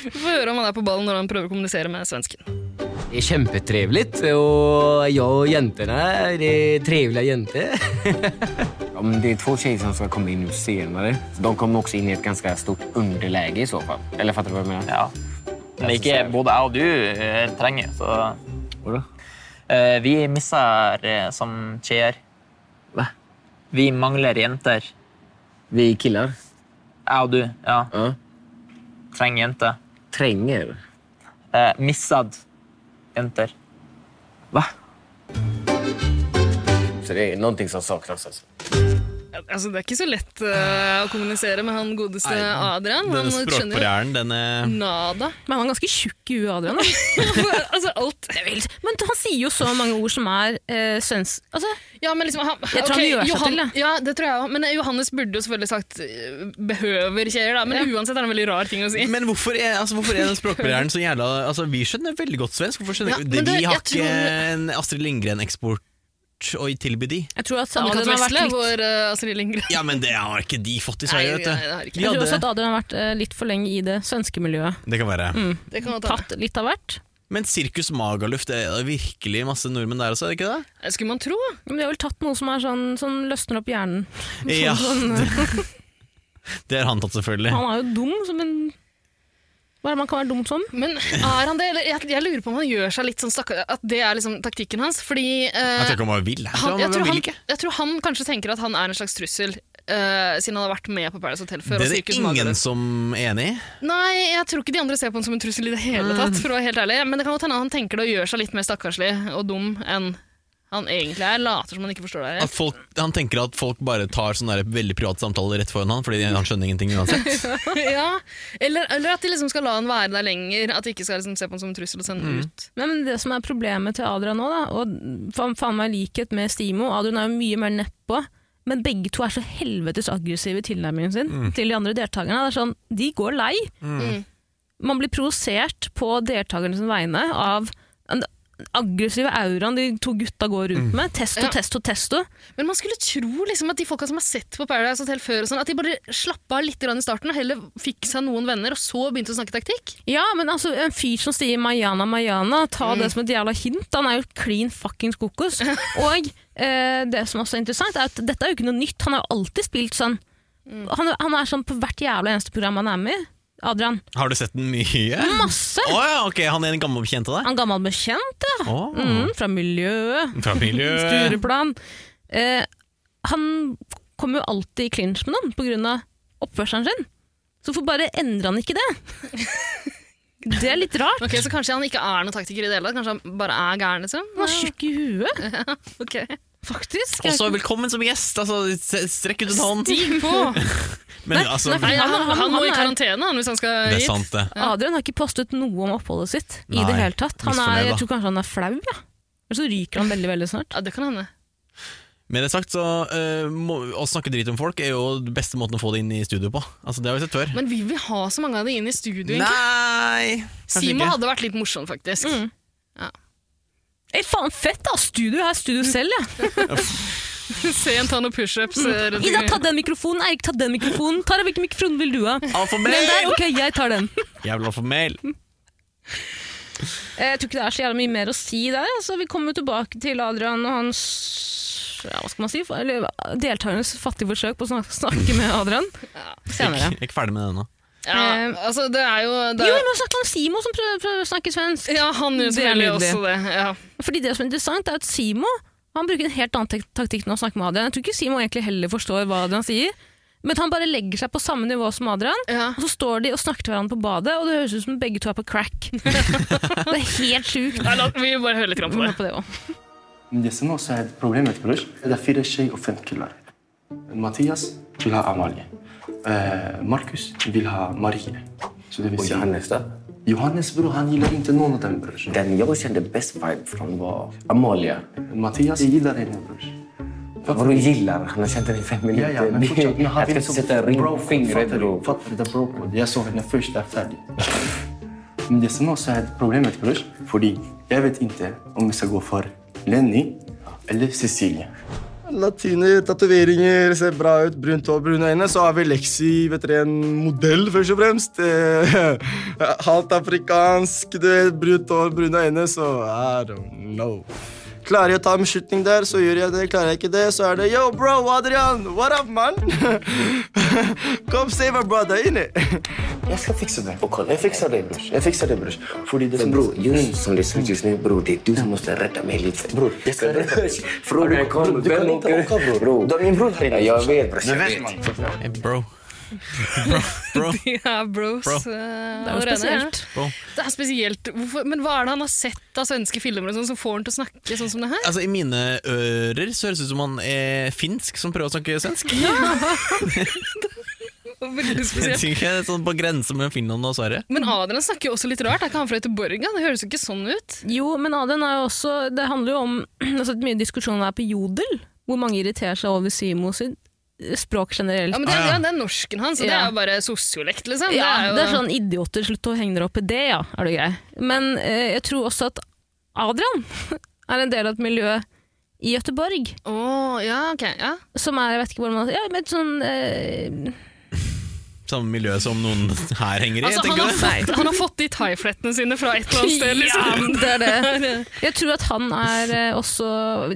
Vi får høre om han er på ballen når han prøver å kommunisere med svensken.
Det er kjempetrevligt, og jeg og jentene er eh, trevlige jenter. ja, men det er to tjejer som skal komme inn nu senere. De kommer også inn i et ganske stort underläge i så fall. Eller fatter du hva jeg mener?
Ja. Men ikke både jeg og du eh, trenger, så Eh, Vi misser eh, som skjer.
Hva?
Vi mangler jenter.
Vi killar
Jeg og du, ja.
Ja.
Trenger jenter.
trenger.
Eh, missad jenter.
Så det er noe som saknas. Altså.
Altså, det er ikke så lett eh, å kommunisere med han godeste
Nei,
Adrian. Han
Denne
skjønner jo
språkbarrieren, den er
nada.
Men han er ganske tjukk i huet, Adrian. da.
altså, alt
Det er vel- Men han sier jo så mange ord som er eh, svensk altså,
Ja, men liksom han,
Jeg tror han
ok,
gjør seg til det.
Ja, det tror jeg også. Men eh, Johannes burde jo selvfølgelig sagt eh, 'behøver kjære', da. Men uansett er det en veldig rar ting å si.
Men hvorfor er, altså, hvorfor er den språkbarrieren så jævla altså, Vi skjønner veldig godt svensk. Hvorfor skjønner
Ja,
ikke-
men det-
Vi har
jeg
ikke
tror-
en Astrid Lindgren-eksport å tilby de.
Jeg tror at
Annika
Adrian har vært
Vesle,
litt
vår eh, Astrid Lindgren.
Ja, men det har ikke de fått i
Nei,
Sverige, vet
nei, det har
du.
ikke.
De
jeg tror også at
hadde,
Adrian har vært eh, litt for lenge i det svenske miljøet.
det kan være.
Det kan godt hende.
Tatt litt av hvert.
Men Sirkus Magaluf, det er virkelig masse nordmenn der også, er det ikke det?
Eh, Skulle man tro.
Men de har vel tatt noe som er sånn, som løsner opp hjernen. Sånn,
Ja.
sånn,
Det har han tatt, selvfølgelig.
han er jo dum som en Hva er det man kan være dum som?
Men er han det? Eller jeg, jeg lurer på om han gjør seg litt sånn stakkar At det er liksom taktikken hans. Fordi eh,
Jeg tror ikke han bare vil. Jeg tror
han, jeg,
han
tror
bare
han,
vil ikke.
jeg tror han kanskje tenker at han er en slags trussel. eh, siden han har vært med på Paradise Hotel før.
Det
og
er det
Sirkus
ingen
Magaluf.
som er enig i.
Nei, jeg tror ikke de andre ser på han som en trussel i det hele
Mm.
tatt, for å være helt ærlig. Men det kan godt hende han tenker det og gjør seg litt mer stakkarslig og dum enn han egentlig er. Later som han ikke forstår det.
At folk, han tenker at folk bare tar sånne der veldig private samtaler rett foran han, fordi han skjønner ingenting uansett.
ja. eller, eller at de liksom skal la han være der lenger. At de ikke skal liksom se på han som en trussel og sende
Mm.
han ut.
Men det som er problemet til Adrian nå, da, og faen faen meg likhet med Stimo Adrian er jo mye mer nedpå, men begge to er så helvetes aggressive i tilnærmingen sin til de andre deltakerne. Det er sånn, De går lei. Man blir provosert på deltakernes vegne av den aggressive auraen de to gutta går rundt med. Testo,
Ja.
testo, testo.
Men man skulle tro liksom at de folka som har sett på Paradise Hotel før, og sånn, at de bare slappa av litt grann i starten og heller fikk seg noen venner, og så begynte å snakke taktikk.
Ja, men altså, en fyr som sier Mayana, Mayana, ta det som et jævla hint. Han er jo clean fuckings kokos. Og eh, det som også er interessant, er at dette er jo ikke noe nytt. Han har jo alltid spilt sånn. Han, han er sånn på hvert jævla eneste program han er med i. Adrian.
Har du sett den mye?
Masse!
Å ja, ok, han er en gammel bekjent av deg?
Han gammel bekjent,
Ah.
ja.
Å.
Mm, fra miljøet.
Fra miljøet.
Stureplan. Eh, han kommer jo alltid i clinch med noen på grunn av oppførselen sin. Så hvorfor bare endrer han ikke det? Det er litt rart.
Ok, Så kanskje han ikke er noen taktiker i det hele tatt? Kanskje han bare er gæren, liksom?
Han er tjukk i huet.
Ok.
Faktisk.
Og så velkommen som gjest! Altså, s- strekk ut en hånd.
Stig på!
Men altså,
nei, for-
Nei, han, han,
han-
må i
han er-
karantene han, hvis han skal
det er
hit.
sant, det.
Adrian har ikke postet noe om oppholdet sitt i
Nei,
det hele tatt. Han er,
misfornøyd, da.
jeg tror kanskje han er flau, ja. Eller så ryker han veldig veldig snart.
Ja, det kan hende.
Med det sagt, så eh, må, Å snakke drit om folk er jo den beste måten å få det inn i studio på. Altså, Det har vi sett før.
Men vil vi ha så mange av de inn i studio? egentlig?
Nei! Kanskje
Simo
ikke.
hadde vært litt morsom, faktisk.
Mm. Ei, faen fett da! Studio her, studio selv, ja.
Se en ta noen pushups. eh, rundt
Ida,
omkring.
ta den mikrofonen! Eirik, ta den mikrofonen! Tara, hvilken mikrofon vil du ha? Den
Alfamel!
der? Ok, jeg tar den.
Jævla alfamel.
Eh, Jeg tror ikke det er så jævla mye mer å si der. Altså, vi kommer jo tilbake til Adrian og hans ja, hva skal man si? Eller, deltakernes fattige forsøk på å snak- snakke med Adrian senere.
Ikke, ikke ferdig med det ennå.
Ja, altså, det er jo det
Jo,
er,
vi må snakke om Simo som prøver, prøver å snakke svensk.
Ja, han gjør
Det er
selvfølgelig
nydelig.
også det. Ja.
Fordi det som er interessant er at Simo han bruker en helt annen tek- taktikk når han snakker med Adrian. Jeg tror ikke Simo egentlig heller forstår hva Adrian sier, men han bare legger seg på samme nivå som Adrian.
Ja.
Og så står de og snakker til hverandre på badet, og det høres ut som begge to er på crack. det er helt sjukt.
Nei, la, vi bare hører litt grann på
Vi
det.
må på det også.
ده سنة وساعد بروبليمات بروش هذا في شيء وفين كيلر ماتياس فيلها أماليا آه ماركوس فيلها ماريا سو ده بيسي
Johannes då?
يوهانس برو هان gillar inte någon av dem brors.
Den jag kände bäst vibe från var Amalia.
Mattias gillar henne brors.
Vadå gillar? Han har känt den i fem
Ja,
minuter.
ja, men fortsätt. Men han
jag
vill
ska
så-
inte sätta en ring
sånn bro
på
code,
fingret
fattar du?
då.
Fattar du? Det är bro code. Jag såg henne först där färdig. Men det som också är ett problemet brors, för jag vet inte om jag ska gå för Lenny eller Cecilia.
Latiner, tatoveringer, ser bra ut, brunt hår, brune øyne. Så har vi Lexi, vet dere, en modell, først og fremst. Eh, Halvt afrikansk, du vet, brunt hår, brune øyne, så I don't know. Klarer jeg å ta en beslutning der, så gjør jeg det. Klarer jeg ikke det, så er det yo, bro, Adrian, what up, man? Kom, save our brother, inni.
Jag ska fixa det.
Och kolla,
Jag fixar det brors. Jag fixar det brors. För det
Men
som liksom
bror, just som det ser ut just nu bror, det är du som måste rädda mig lite.
Bror, jag ska rädda dig.
Frågan kom,
du kan
vem
inte åka, bror.
bror?
Du har min bror här inne.
Jag vet bror,
Det
jag
vet
vet.
man.
Eh, Bro.
De er bros.
Bro.
eh,
Det er jo
allerede, ja.
spesielt.
Det er spesielt. Hvorfor, men hva er det han har sett av svenske filmer og sånn, som får han til å snakke sånn som det her?
Altså, I mine ører så høres det ut som han er finsk som prøver å snakke svensk.
Veldig
Jeg
spesielt.
tenker jeg er sånn På grense mellom Finland og Sverige.
Men Adrian snakker jo også litt rart. Er ikke han fra Göteborg? ja? Det høres jo ikke sånn ut.
Jo, men Adrian er jo også Det handler jo om altså, det er mye diskusjon her på Jodel, hvor mange irriterer seg over Simo sitt språk generelt.
Ja,
Ja,
men det, er- ja, det er norsken hans, og det er
Ja.
jo bare sosiolekt, liksom.
det er sånn idioter, slutt å henge dere opp i det, ja, er du grei. Men eh, jeg tror også at Adrian er en del av et miljø i Gøteborg
Å, ja, ok. Ja.
som er, jeg vet ikke hvordan man ja, men et sånn eh,
Samme miljø som noen her henger i.
Altså, han,
tenker
har
jeg.
fått, han har fått de thaiflettene sine fra et eller annet sted,
Ja,
liksom.
det er det. Jeg tror at han er eh, også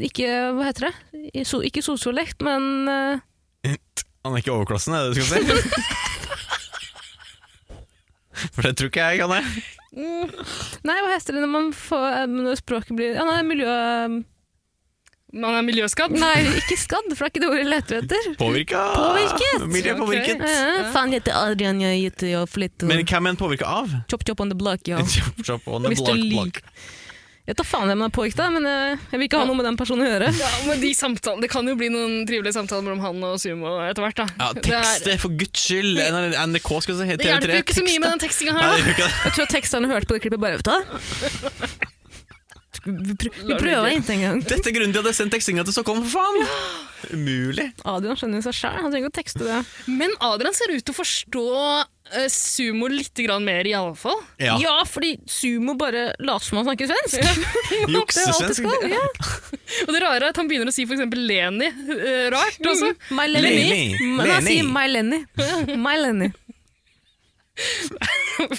Ikke hva heter det? I So, ikke sosiolekt, men eh,
Han er ikke overklassen, er det du skal si? For det tror ikke jeg han er.
Nei, hva heter det når man får eh, Når språket blir Ja, nei, miljø...
Man er miljøskadd.
Nei, ikke skadd, for det er ikke det ordet jeg leter etter.
Påvirka!
Påvirket.
Miljøpåvirket.
Eh, faen, jeg heter Adrian, jeg heter jeg flytter
Men hvem er han påvirka av?
Chop chop on the block, ja.
Chop, chop on the
Mr.
block,
Lee.
block.
Jeg tar faen hvem han er påvirket av, men eh, jeg vil ikke ha noe med den personen å gjøre.
Ja, men de samtalene, Det kan jo bli noen trivelige samtaler mellom han og Sumo etter hvert. da.
Ja,
Det er-
tekst eh, er for guds skyld! NRK skal si
Det
TV3.
hjelper jo ikke så mye med den tekstinga
Nei,
her.
det
da.
gjør ikke det.
Jeg tror at teksterne hørte på det klippet bare vet du hva? Vi, pr vi prøver ikke engang.
Dette er grunnen til at jeg sendte tekstinga til Stockholm, for faen! Umulig.
Adrian skjønner jo seg sjæl, han trenger ikke å tekste det.
Men Adrian ser ut til å forstå eh, Sumo litt grann mer, iallfall.
Ja, fordi Sumo bare later som han snakker svensk.
Juksesvensk.
sånn.
skal, ja.
Og det rare er at han begynner å si f.eks. Leni eh, rart også.
My
Lenny.
Lenny. Men han
Lenny.
sier My Lenny. My Lenny.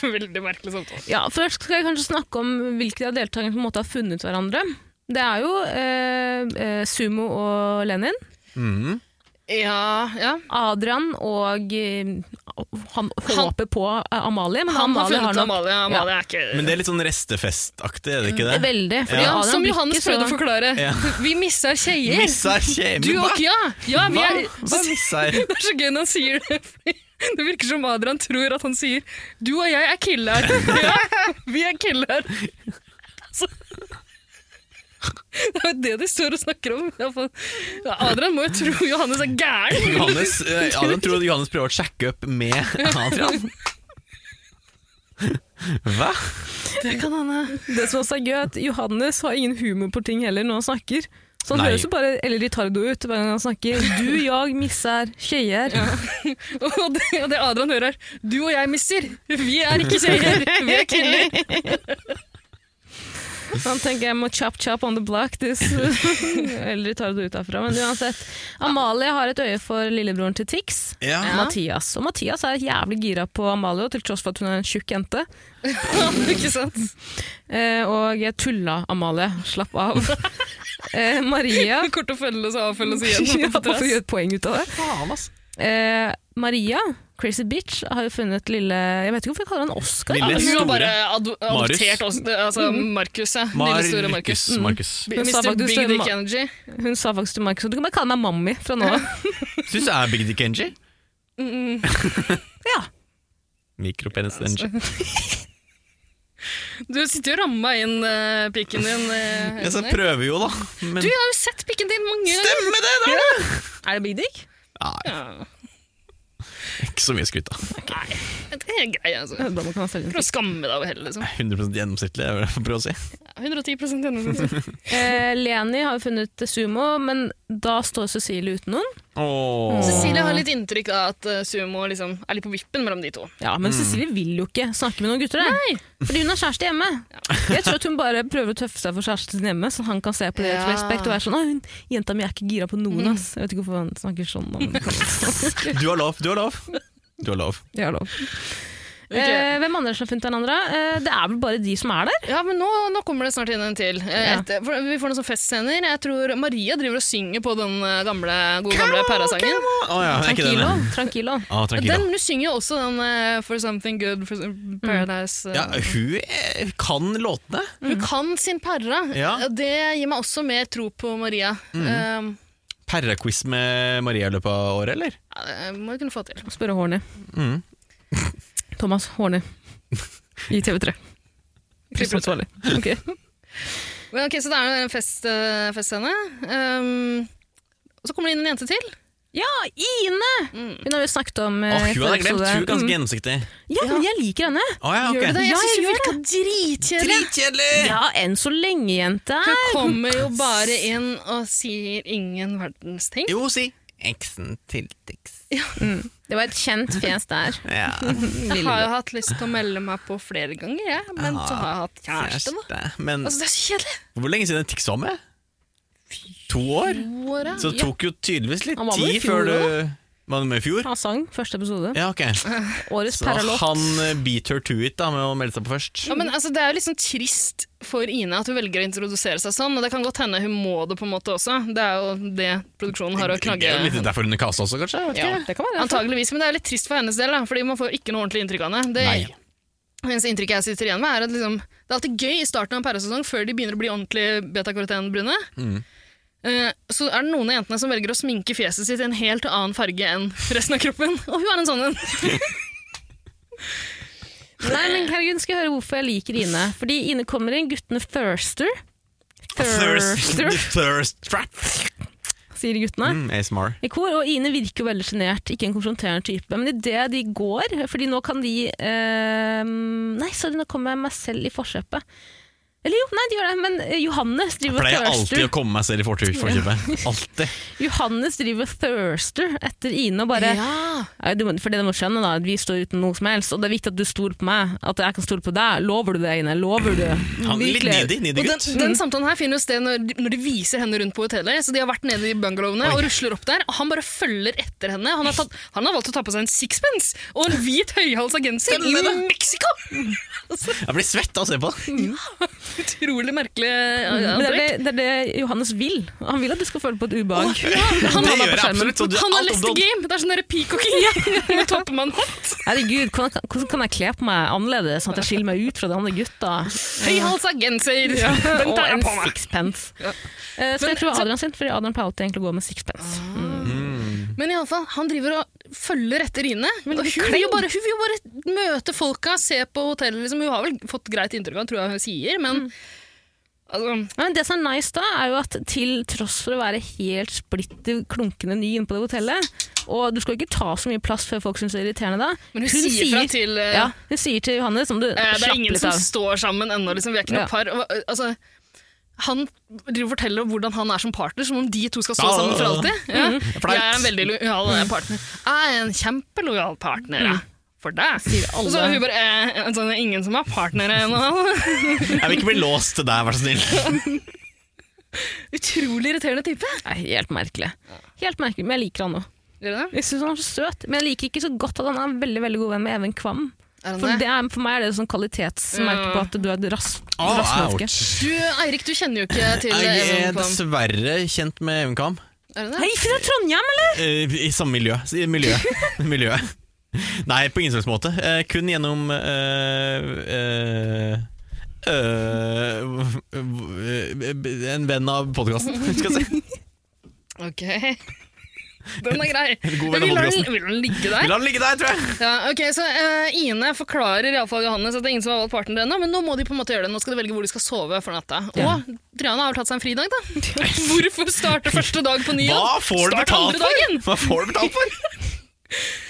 Veldig merkelig samtale.
Ja, først skal jeg kanskje snakke om hvilke av deltakerne som på en måte har funnet hverandre. Det er jo eh, eh, Sumo og Lenin.
Ja, ja.
Adrian og eh, Han håper på eh, Amalie, men
Han
Amalie
har funnet
har nok
Amalie. Amalie er ikke
Men det er litt sånn restefestaktig, er det
Mm,
ikke det?
Veldig. Fordi
ja,
Adrian
Som
blir
Johannes
ikke så-
prøvde å forklare.
Ja.
Vi misser tjejer.
Missa kjemi...
Du og Kia. Ja, vi
Hva?
er,
Hva missa jeg?
det er så gøy når han sier det. fordi Det virker som Adrian tror at han sier 'du og jeg er killer'. Ja, vi er killer. Altså, det er jo det de står og snakker om. i hvert fall. Ja, Adrian må jo tro Johannes er gæren.
Johannes, eh, Adrian tror at Johannes prøver å sjekke opp med Adrian. Hva?
Det som også er gøy, er at Johannes har ingen humor på ting heller når han snakker. Så han
Nei.
høres jo bare eller retardo ut hver gang han snakker. Du, jeg, misser, skeier.
Og det, og det Adrian hører, er 'du og jeg mister'. Vi er ikke kjeller, vi er killer.
Så han tenker jeg må chop chop on the block this. eller retardo ut herfra. Men uansett. Amalie har et øye for lillebroren til Tix.
Ja.
Mathias. Og Mathias er jævlig gira på Amalie, til tross for at hun er en tjukk jente.
ikke sant?
Eh, og jeg tulla Amalie. Slapp av. eh, Maria
Kort å følge oss og avfølge oss
Ja,
igjen.
hvorfor gjøre et poeng ut av det? Eh, Maria, Crazy Bitch, har jo funnet lille Jeg vet ikke hvorfor jeg kaller han Oscar.
Lille.
Ja, men hun har
store.
bare ado-
Marius.
adoptert oss, det- altså Markus, ja. Lille store Markus. Mm.
Markus. Markus.
Hun sa
Mr.
faktisk
Big
det,
Dick
Ma-
Energy.
Hun sa faktisk til Markus at du kan bare kalle meg Mammi fra nå av.
Syns jeg er Big Dick Engie.
Mm,
Ja.
Mikropenis Engie.
Du sitter jo og rammer inn eh, pikken din. eh,
Ja, så
Henrik.
prøver jo, da. Men
du jeg har jo sett pikken din mange ganger.
stemmer det, da!
Er det Big Dick?
Nei,
Ja,
ikke så mye skryt, da.
det er grei, altså.
Da må kan man selge den.
Prøv å skamme deg over heller, liksom.
100 gjennomsnittlig, er det jeg prøver å si.
110 gjennomsnitt.
Eh, Leni har jo funnet Sumo, men da står Cecilie uten noen.
Åh.
Cecilie har litt inntrykk av at eh, Sumo liksom er litt på vippen mellom de to.
Ja,
Mm.
Men Cecilie vil jo ikke snakke med noen gutter. Der.
Nei.
Fordi hun har kjæreste hjemme. Jeg tror at hun bare prøver å tøffe seg for kjæresten sin hjemme, så han kan se på det
Ja. Mm.
med respekt og være sånn «Å, hun, 'Jenta mi er ikke gira på noen', ass. Jeg vet ikke hvorfor han snakker sånn om
Du har lov, du har lov. Du har lov.
Jeg har lov. Eh, hvem andre som har funnet hverandre? Eh, det er vel bare de som er der?
Ja, men nå, nå kommer det snart inn en til. Eh,
Ja.
etter- for vi får noen sånne festscener. Jeg tror Maria driver og synger på den eh, gamle, gode gamle Perra-sangen.
Å ja, er ikke den
Tranquilo.
ja.
Tranquilo.
Ah, tranquilo.
Den, men hun synger jo også den eh, For Something Good, For Some- Paradise.
Mm.
eh.
Ja, hun eh, kan låtene.
Hun kan sin perra.
Ja. Mm.
Det gir meg også mer tro på Maria. Um,
Perra-quiz med Maria i løpet av året, eller?
Ja, det må vi kunne få til.
Spørre Horny.
Mm.
Thomas Horny i TV3. Prisansvarlig. Ok.
Men ok, Så det er jo en fest, eh, festscene. Ehm, og så kommer det inn en jente til.
Ja, Ine!
Mm.
Hun har vi snakket om
Å,
eh,
hun hadde jeg glemt. Hun er
Mm.
ganske gjennomsiktig.
Ja, men jeg liker henne.
Å ja,
Gjør du
ok.
det? Jeg
Ja,
synes
jeg
hun
gjør
virka dritkjedelig!
Dritkjedelig!
Ja, enn så lenge, jente.
Hun kommer jo bare inn og sier ingen verdens ting.
Jo, si eksen til Tix.
Det var et kjent fjes der.
Ja.
Jeg har jo hatt lyst til å melde meg på flere ganger, jeg. Men så har jeg hatt kjæreste, da.
Kjæreste. Men
Altså, det er så kjedelig.
hvor lenge siden er Tix var med? To år?
Åra.
Så det tok jo tydeligvis litt
Han var med i
tid
fjor
før du Var han med i fjor?
Han sang første episode.
Ja, ok.
Årets
Så
perralåt.
han eh, beat her to it da med å melde seg på først.
Ja, men altså, Det er jo liksom trist for Ine at hun velger å introdusere seg sånn, og det kan godt hende hun må det på en måte også. Det er jo det produksjonen har å
Det
knagge.
er jo Litt derfor hun er kasta også, kanskje? Jeg vet
Ja.
ikke.
Det kan være.
Antageligvis, men det er litt trist for hennes del, da, fordi man får ikke noe ordentlig inntrykk av henne. Det
Nei.
eneste inntrykket jeg sitter igjen med, er at liksom, det er alltid gøy i starten av en pæresesong, før de begynner å bli ordentlig betakarotenbrune.
Mm.
Eh, så er det noen av jentene som velger å sminke fjeset sitt i en helt annen farge enn resten av kroppen. Og hun er en sånn en.
Nei, men herregud, skal jeg høre hvorfor jeg liker Ine. Fordi Ine kommer inn, guttene thirster.
Thirst,
Thirster,
thirst trap.
sier guttene.
Mm, ASMR.
I kor, og Ine virker jo veldig sjenert, ikke en konfronterende type. Men idet de går Fordi nå kan de eh, Nei, sorry, nå kommer jeg meg selv i forkjøpet. Eller jo, nei, de gjør det, men eh, Johannes
Jeg
driver
pleier alltid
thirster.
å komme meg selv i fortur- forkjøpet. Alltid.
Johannes driver thirster etter Ine og bare
Ja.
Nei, du må, for det du må skjønne da, at vi står uten noe som helst, og det er viktig at du stoler på meg, at jeg kan stole på deg. Lover du det, Ine? Lover du?
Han er litt
Virkelig.
needy, needy
Og den,
gutt.
den samtalen her finner jo sted når, de- når de viser henne rundt på hotellet. Så De har vært nede i bungalowene og rusler opp der. Og Han bare følger etter henne. Han har, tatt, han har valgt å ta på seg en sixpence og en hvit høyhalsa genser i Mexico!
Jeg blir svett av å se på.
Utrolig merkelig eh,
Men det er
antrekk.
det, det er det Johannes vil. Han vil at du skal føle på et ubehag.
Han
det
har
gjør
meg på
jeg
skjermen.
absolutt, og du-
Han har
alt
lest
om
the
det.
game! Det er sånn derre peacocking. Nå topper man hatt.
Herregud, hvordan kan, hvordan kan jeg kle på meg annerledes, sånn at jeg skiller meg ut fra de andre gutta?
Høyhalsa genser! Den
Og
tar jeg
en
på meg.
sixpence. Eh, så jeg tror det var Adrian sin, fordi Adrian pleier alltid egentlig å gå med sixpence.
Men i alle fall, han driver og følger etter Ine. Og hun,
klem.
vil jo bare, hun vil jo bare møte folka, se på hotellet. Liksom. Hun har vel fått greit inntrykk av tror jeg hun sier, men
Mm.
altså,
Ja, Men det som er nice da, er jo at til tross for å være helt splitter klunkende ny inne på det hotellet, og du skal ikke ta så mye plass før folk syns det er irriterende da.
Men hun sier fra til, eh,
Ja, hun sier til Johannes om du
eh, Det er
slapper
ingen
litt
som
av.
står sammen ennå, liksom. vi er ikke
Ja.
noe par. Og, eh, altså, han driver og forteller om hvordan han er som partner, som om de to skal stå
Ah,
sammen for alltid. Ja.
Mm.
flaut.
Jeg er en veldig lojal eh, partner. Jeg er en kjempelojal partner,
Mm.
jeg. For deg. Og så er hun bare eh, en sånn, Ingen som har partnere ennå.
Jeg vil ikke bli låst til deg, vær så snill.
Utrolig irriterende type.
Nei, helt merkelig. Helt merkelig, men jeg liker han nå.
Gjør du det?
Jeg synes han er så søt, men jeg liker ikke så godt at han er en veldig, veldig god venn med Even Kvam.
Er han
For,
det?
det er, for meg er det sånn kvalitetsmerke
Mm.
på at du er et rass,
Å,
rassmenneske.
Ah, ouch.
Du, Eirik, du kjenner jo ikke til
Jeg er
Even Kvam.
dessverre kjent med Even Kam.
Er du det?
Hei, fra Trondheim, eller?
Eh, I samme miljø. I miljø. miljø. Nei, på ingen slags måte. Eh, kun gjennom eh, eh, eh, En venn av podkasten, skal jeg si.
Ok. Den er grei.
En god
Ja,
venn av
vil, han,
podkasten.
vil han ligge
Vi
der?
lar den ligge der, tror jeg.
Ja, ok, så eh, Ine forklarer iallfall Johannes at det er ingen som har valgt partner ennå, men nå må de på en måte gjøre det. Nå skal de velge hvor de skal sove for natta. Og Triana har vel tatt seg en fridag, da. Hvorfor starte første dag på ny jobb?
Hva får du
Start
betalt
andre
for?
dagen!
Hva får du betalt for?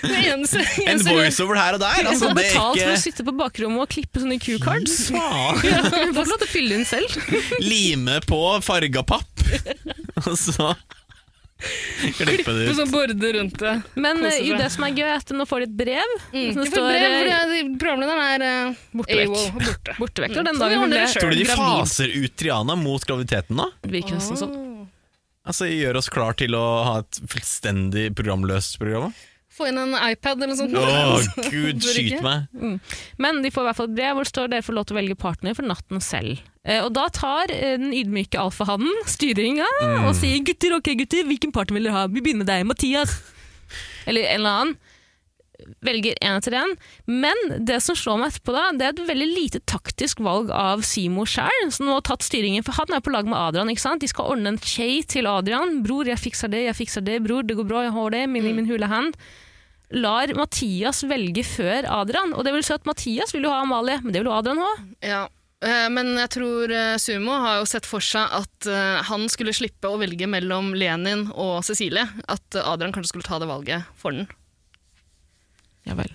Det eneste,
En
eneste
voiceover her og der?
Hun
Altså,
får
det
betalt for å
er
sitte på bakrommet og klippe sånne Q-cards.
ikke
Hun får ikke lov til å fylle inn selv.
Lime på farga papp, og så klippe det
på
ut.
sånn borde rundt det.
Men
Kose
eh,
seg.
det som er gøy, er at nå får de et brev. Som
Mm. Det
det
får
står
brev,
eh,
fordi programlederen er uh,
Borte vekk.
borte.
borte vekk.
Mm.
Og den
Så vi
dagen hun
ordner
ble
det selv.
Tror du de
gravid,
faser ut Triana mot graviditeten da?
virker nesten sånn.
Altså Gjør oss klar til å ha et fullstendig programløst program?
Få inn en iPad eller noe sånt.
Å, gud,
Bør
skyt
ikke.
meg!
Men de får i hvert fall et brev hvor det står dere får lov til å velge partner for natten selv. Eh, og da tar eh, den ydmyke alfahannen styringa og sier gutter, ok gutter, hvilken partner vil dere ha? Vi begynner med deg, Mathias. Eller en eller annen. velger én etter én. Men det som slår meg etterpå da, det er et veldig lite taktisk valg av Simo sjøl, som nå har tatt styringen. For han er på lag med Adrian, ikke sant? De skal ordne en skje til Adrian. 'Bror, jeg fikser det, jeg fikser det. Bror, det går bra, jeg har det. Min, min hule hand.' Lar Mathias velge før Adrian. Og det vil si at Mathias vil jo ha Amalie, men det vil jo Adrian ha.
Ja. Eh, Men jeg tror eh, Sumo har jo sett for seg at eh, han skulle slippe å velge mellom Lenin og Cecilie. At eh, Adrian kanskje skulle ta det valget for den.
Ja vel.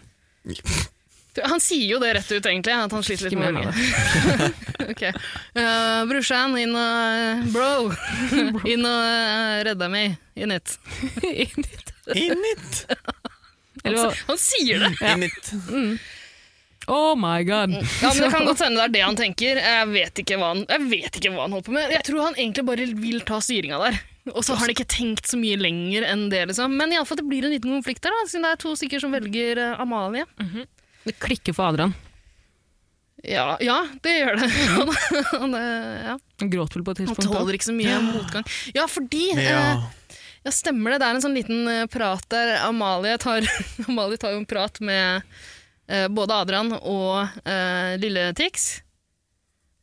Han sier jo det rett ut, egentlig. At han sliter litt
Ikke mer
med
med
det. okay. Eh, brorsan, inn og eh, Bro! inn og eh, redd deg meg. In it.
Innit!
Han,
Eller,
s- han sier det!
Innit.
oh my god.
Ja, men Det kan godt hende det er det han tenker. Jeg vet ikke hva han, jeg vet ikke hva han holder på med. Jeg tror han egentlig bare vil ta styringa der. Og så har han ikke tenkt så mye lenger enn det. liksom. Men i alle fall, det blir en liten konflikt der, da, siden det er to stykker som velger eh, Amalie.
Det klikker for Adrian.
Ja, ja det gjør det. Han, han, eh, ja.
Han gråter vel på et
han
tidspunkt. da.
tåler ikke så mye motgang. Ja, fordi eh,
Ja.
Ja, stemmer det. Det er en sånn liten eh, prat der. Amalie tar, Amalie tar jo en prat med eh, både Adrian og eh, lille Tix.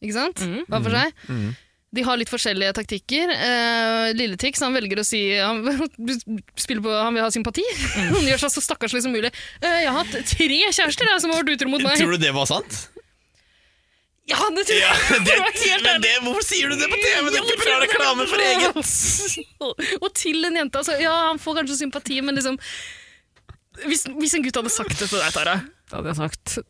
Ikke sant?
Mhm.
Hver for seg.
Mm.
De har litt forskjellige taktikker. Eh, lille Tix han velger å si han, spiller på, han vil ha sympati. han gjør seg så stakkarslig som mulig. Eh, 'Jeg har hatt tre kjærester jeg, som har vært utro mot meg.'
Tror du det var sant?
Ja, det tror jeg! det var helt
men
ærlig.
det, hvorfor sier du det på TV? Det er ikke bra reklame for eget!
Og til en jente. Altså, ja, han får kanskje sympati, men liksom Hvis, hvis en gutt hadde sagt det til deg, Tara
Da hadde jeg sagt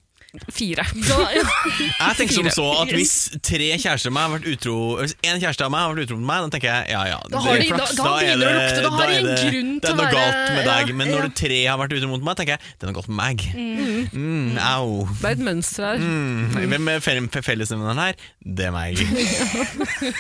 fire.
da, ja.
Jeg tenker som så at hvis tre kjærester av meg har vært utro Hvis en kjæreste av meg har vært utro mot meg, da tenker jeg ja ja.
Da har
det er
de- da-
flaks,
da
er
begynner det å lukte, da har de
er
en
det-
grunn
Det
til å
er noe
være-
galt med deg.
ja,
Men
ja.
når tre har vært utro mot meg, tenker jeg det er noe galt med meg. Mm, au.
Det er et mønster her.
Mm, Hvem er fel- fe- fellesnevneren her? Det er meg.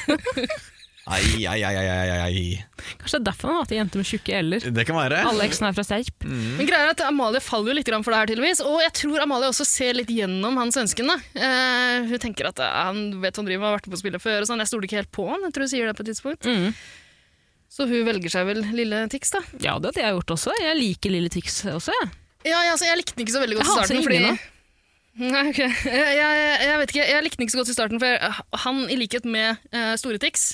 Ai, ai, ai, ai, ai, ai.
Kanskje det er derfor han har hatt ei jente med tjukke l-er.
Det kan være.
Alle eksene er fra Serp.
Men greia er at Amalie faller jo litt grann for det her, tydeligvis. Og jeg tror Amalie også ser litt gjennom han svensken. da. Eh, hun tenker at eh, han vet hva han driver med, har vært med på spillet før. og sånn. Jeg stoler ikke helt på han. jeg tror hun sier det på et tidspunkt.
Mhm.
Så hun velger seg vel lille Tix, da.
Ja, det hadde jeg gjort også. Jeg liker Lille Tix også. jeg.
Ja, ja, altså, jeg likte den ikke så veldig godt
Jeg
i
hater
starten.
ingen,
Fordi... Nei, ok. Jeg, jeg, jeg vet ikke, jeg likte den ikke så godt i starten, for jeg, han, i likhet med eh, Store Tix,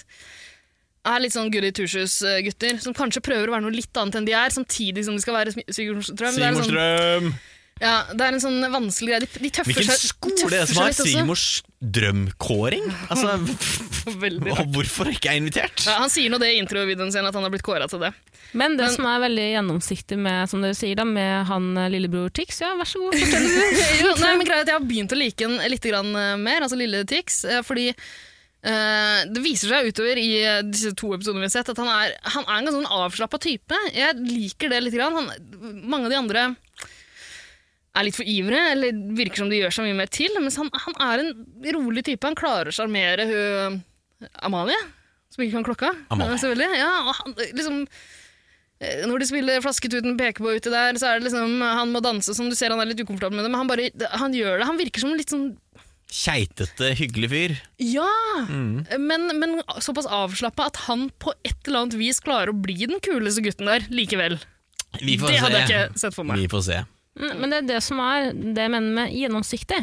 er litt sånn goody two-shoes-gutter, som kanskje prøver å være noe litt annet enn de er, samtidig som de skal være Smi- Sigurdstrøm. Det er en sånn,
Sigmorstrøm!
ja, det er en sånn vanskelig greie. De, de tøffer
Hvilken
seg de
skole
tøffer
er det som
seg
har
litt også.
Sigmors drømkåring? Altså,
Veldig rart.
og hvorfor er ikke jeg invitert?
Ja, han sier nå det i introvideoen sin, at han har blitt kåra til det.
Men det som er veldig gjennomsiktig med som dere sier da, med han eh, lillebror Tix, ja, vær så god, fortell det du.
jo, nei, men greia er at jeg har begynt å like den litt grann, eh, mer, altså Lille Tix, eh, fordi eh, det viser seg utover i eh, disse to episodene vi har sett, at han er, han er en ganske sånn avslappa type. Jeg liker det litt. Grann. Han, mange av de andre er litt for ivrige, eller virker som de gjør seg mye mer til. Mens han, han er en rolig type. Han klarer å sjarmere hun Amalie, som ikke kan klokka.
Amalie.
eh, Selvfølgelig. Ja, og han, eh, liksom... Eh, Når de spiller Flasketuten peker på ute der, så er det liksom Han må danse, som du ser han er litt ukomfortabel med det, men han bare Han gjør det. Han virker som en litt sånn
Keitete, hyggelig fyr.
Ja! Men, men såpass avslappa at han på et eller annet vis klarer å bli den kuleste gutten der likevel.
Vi får
Det
se.
hadde jeg ikke sett for meg.
Vi får se.
Mm, Men det er det som er det jeg mener med gjennomsiktig.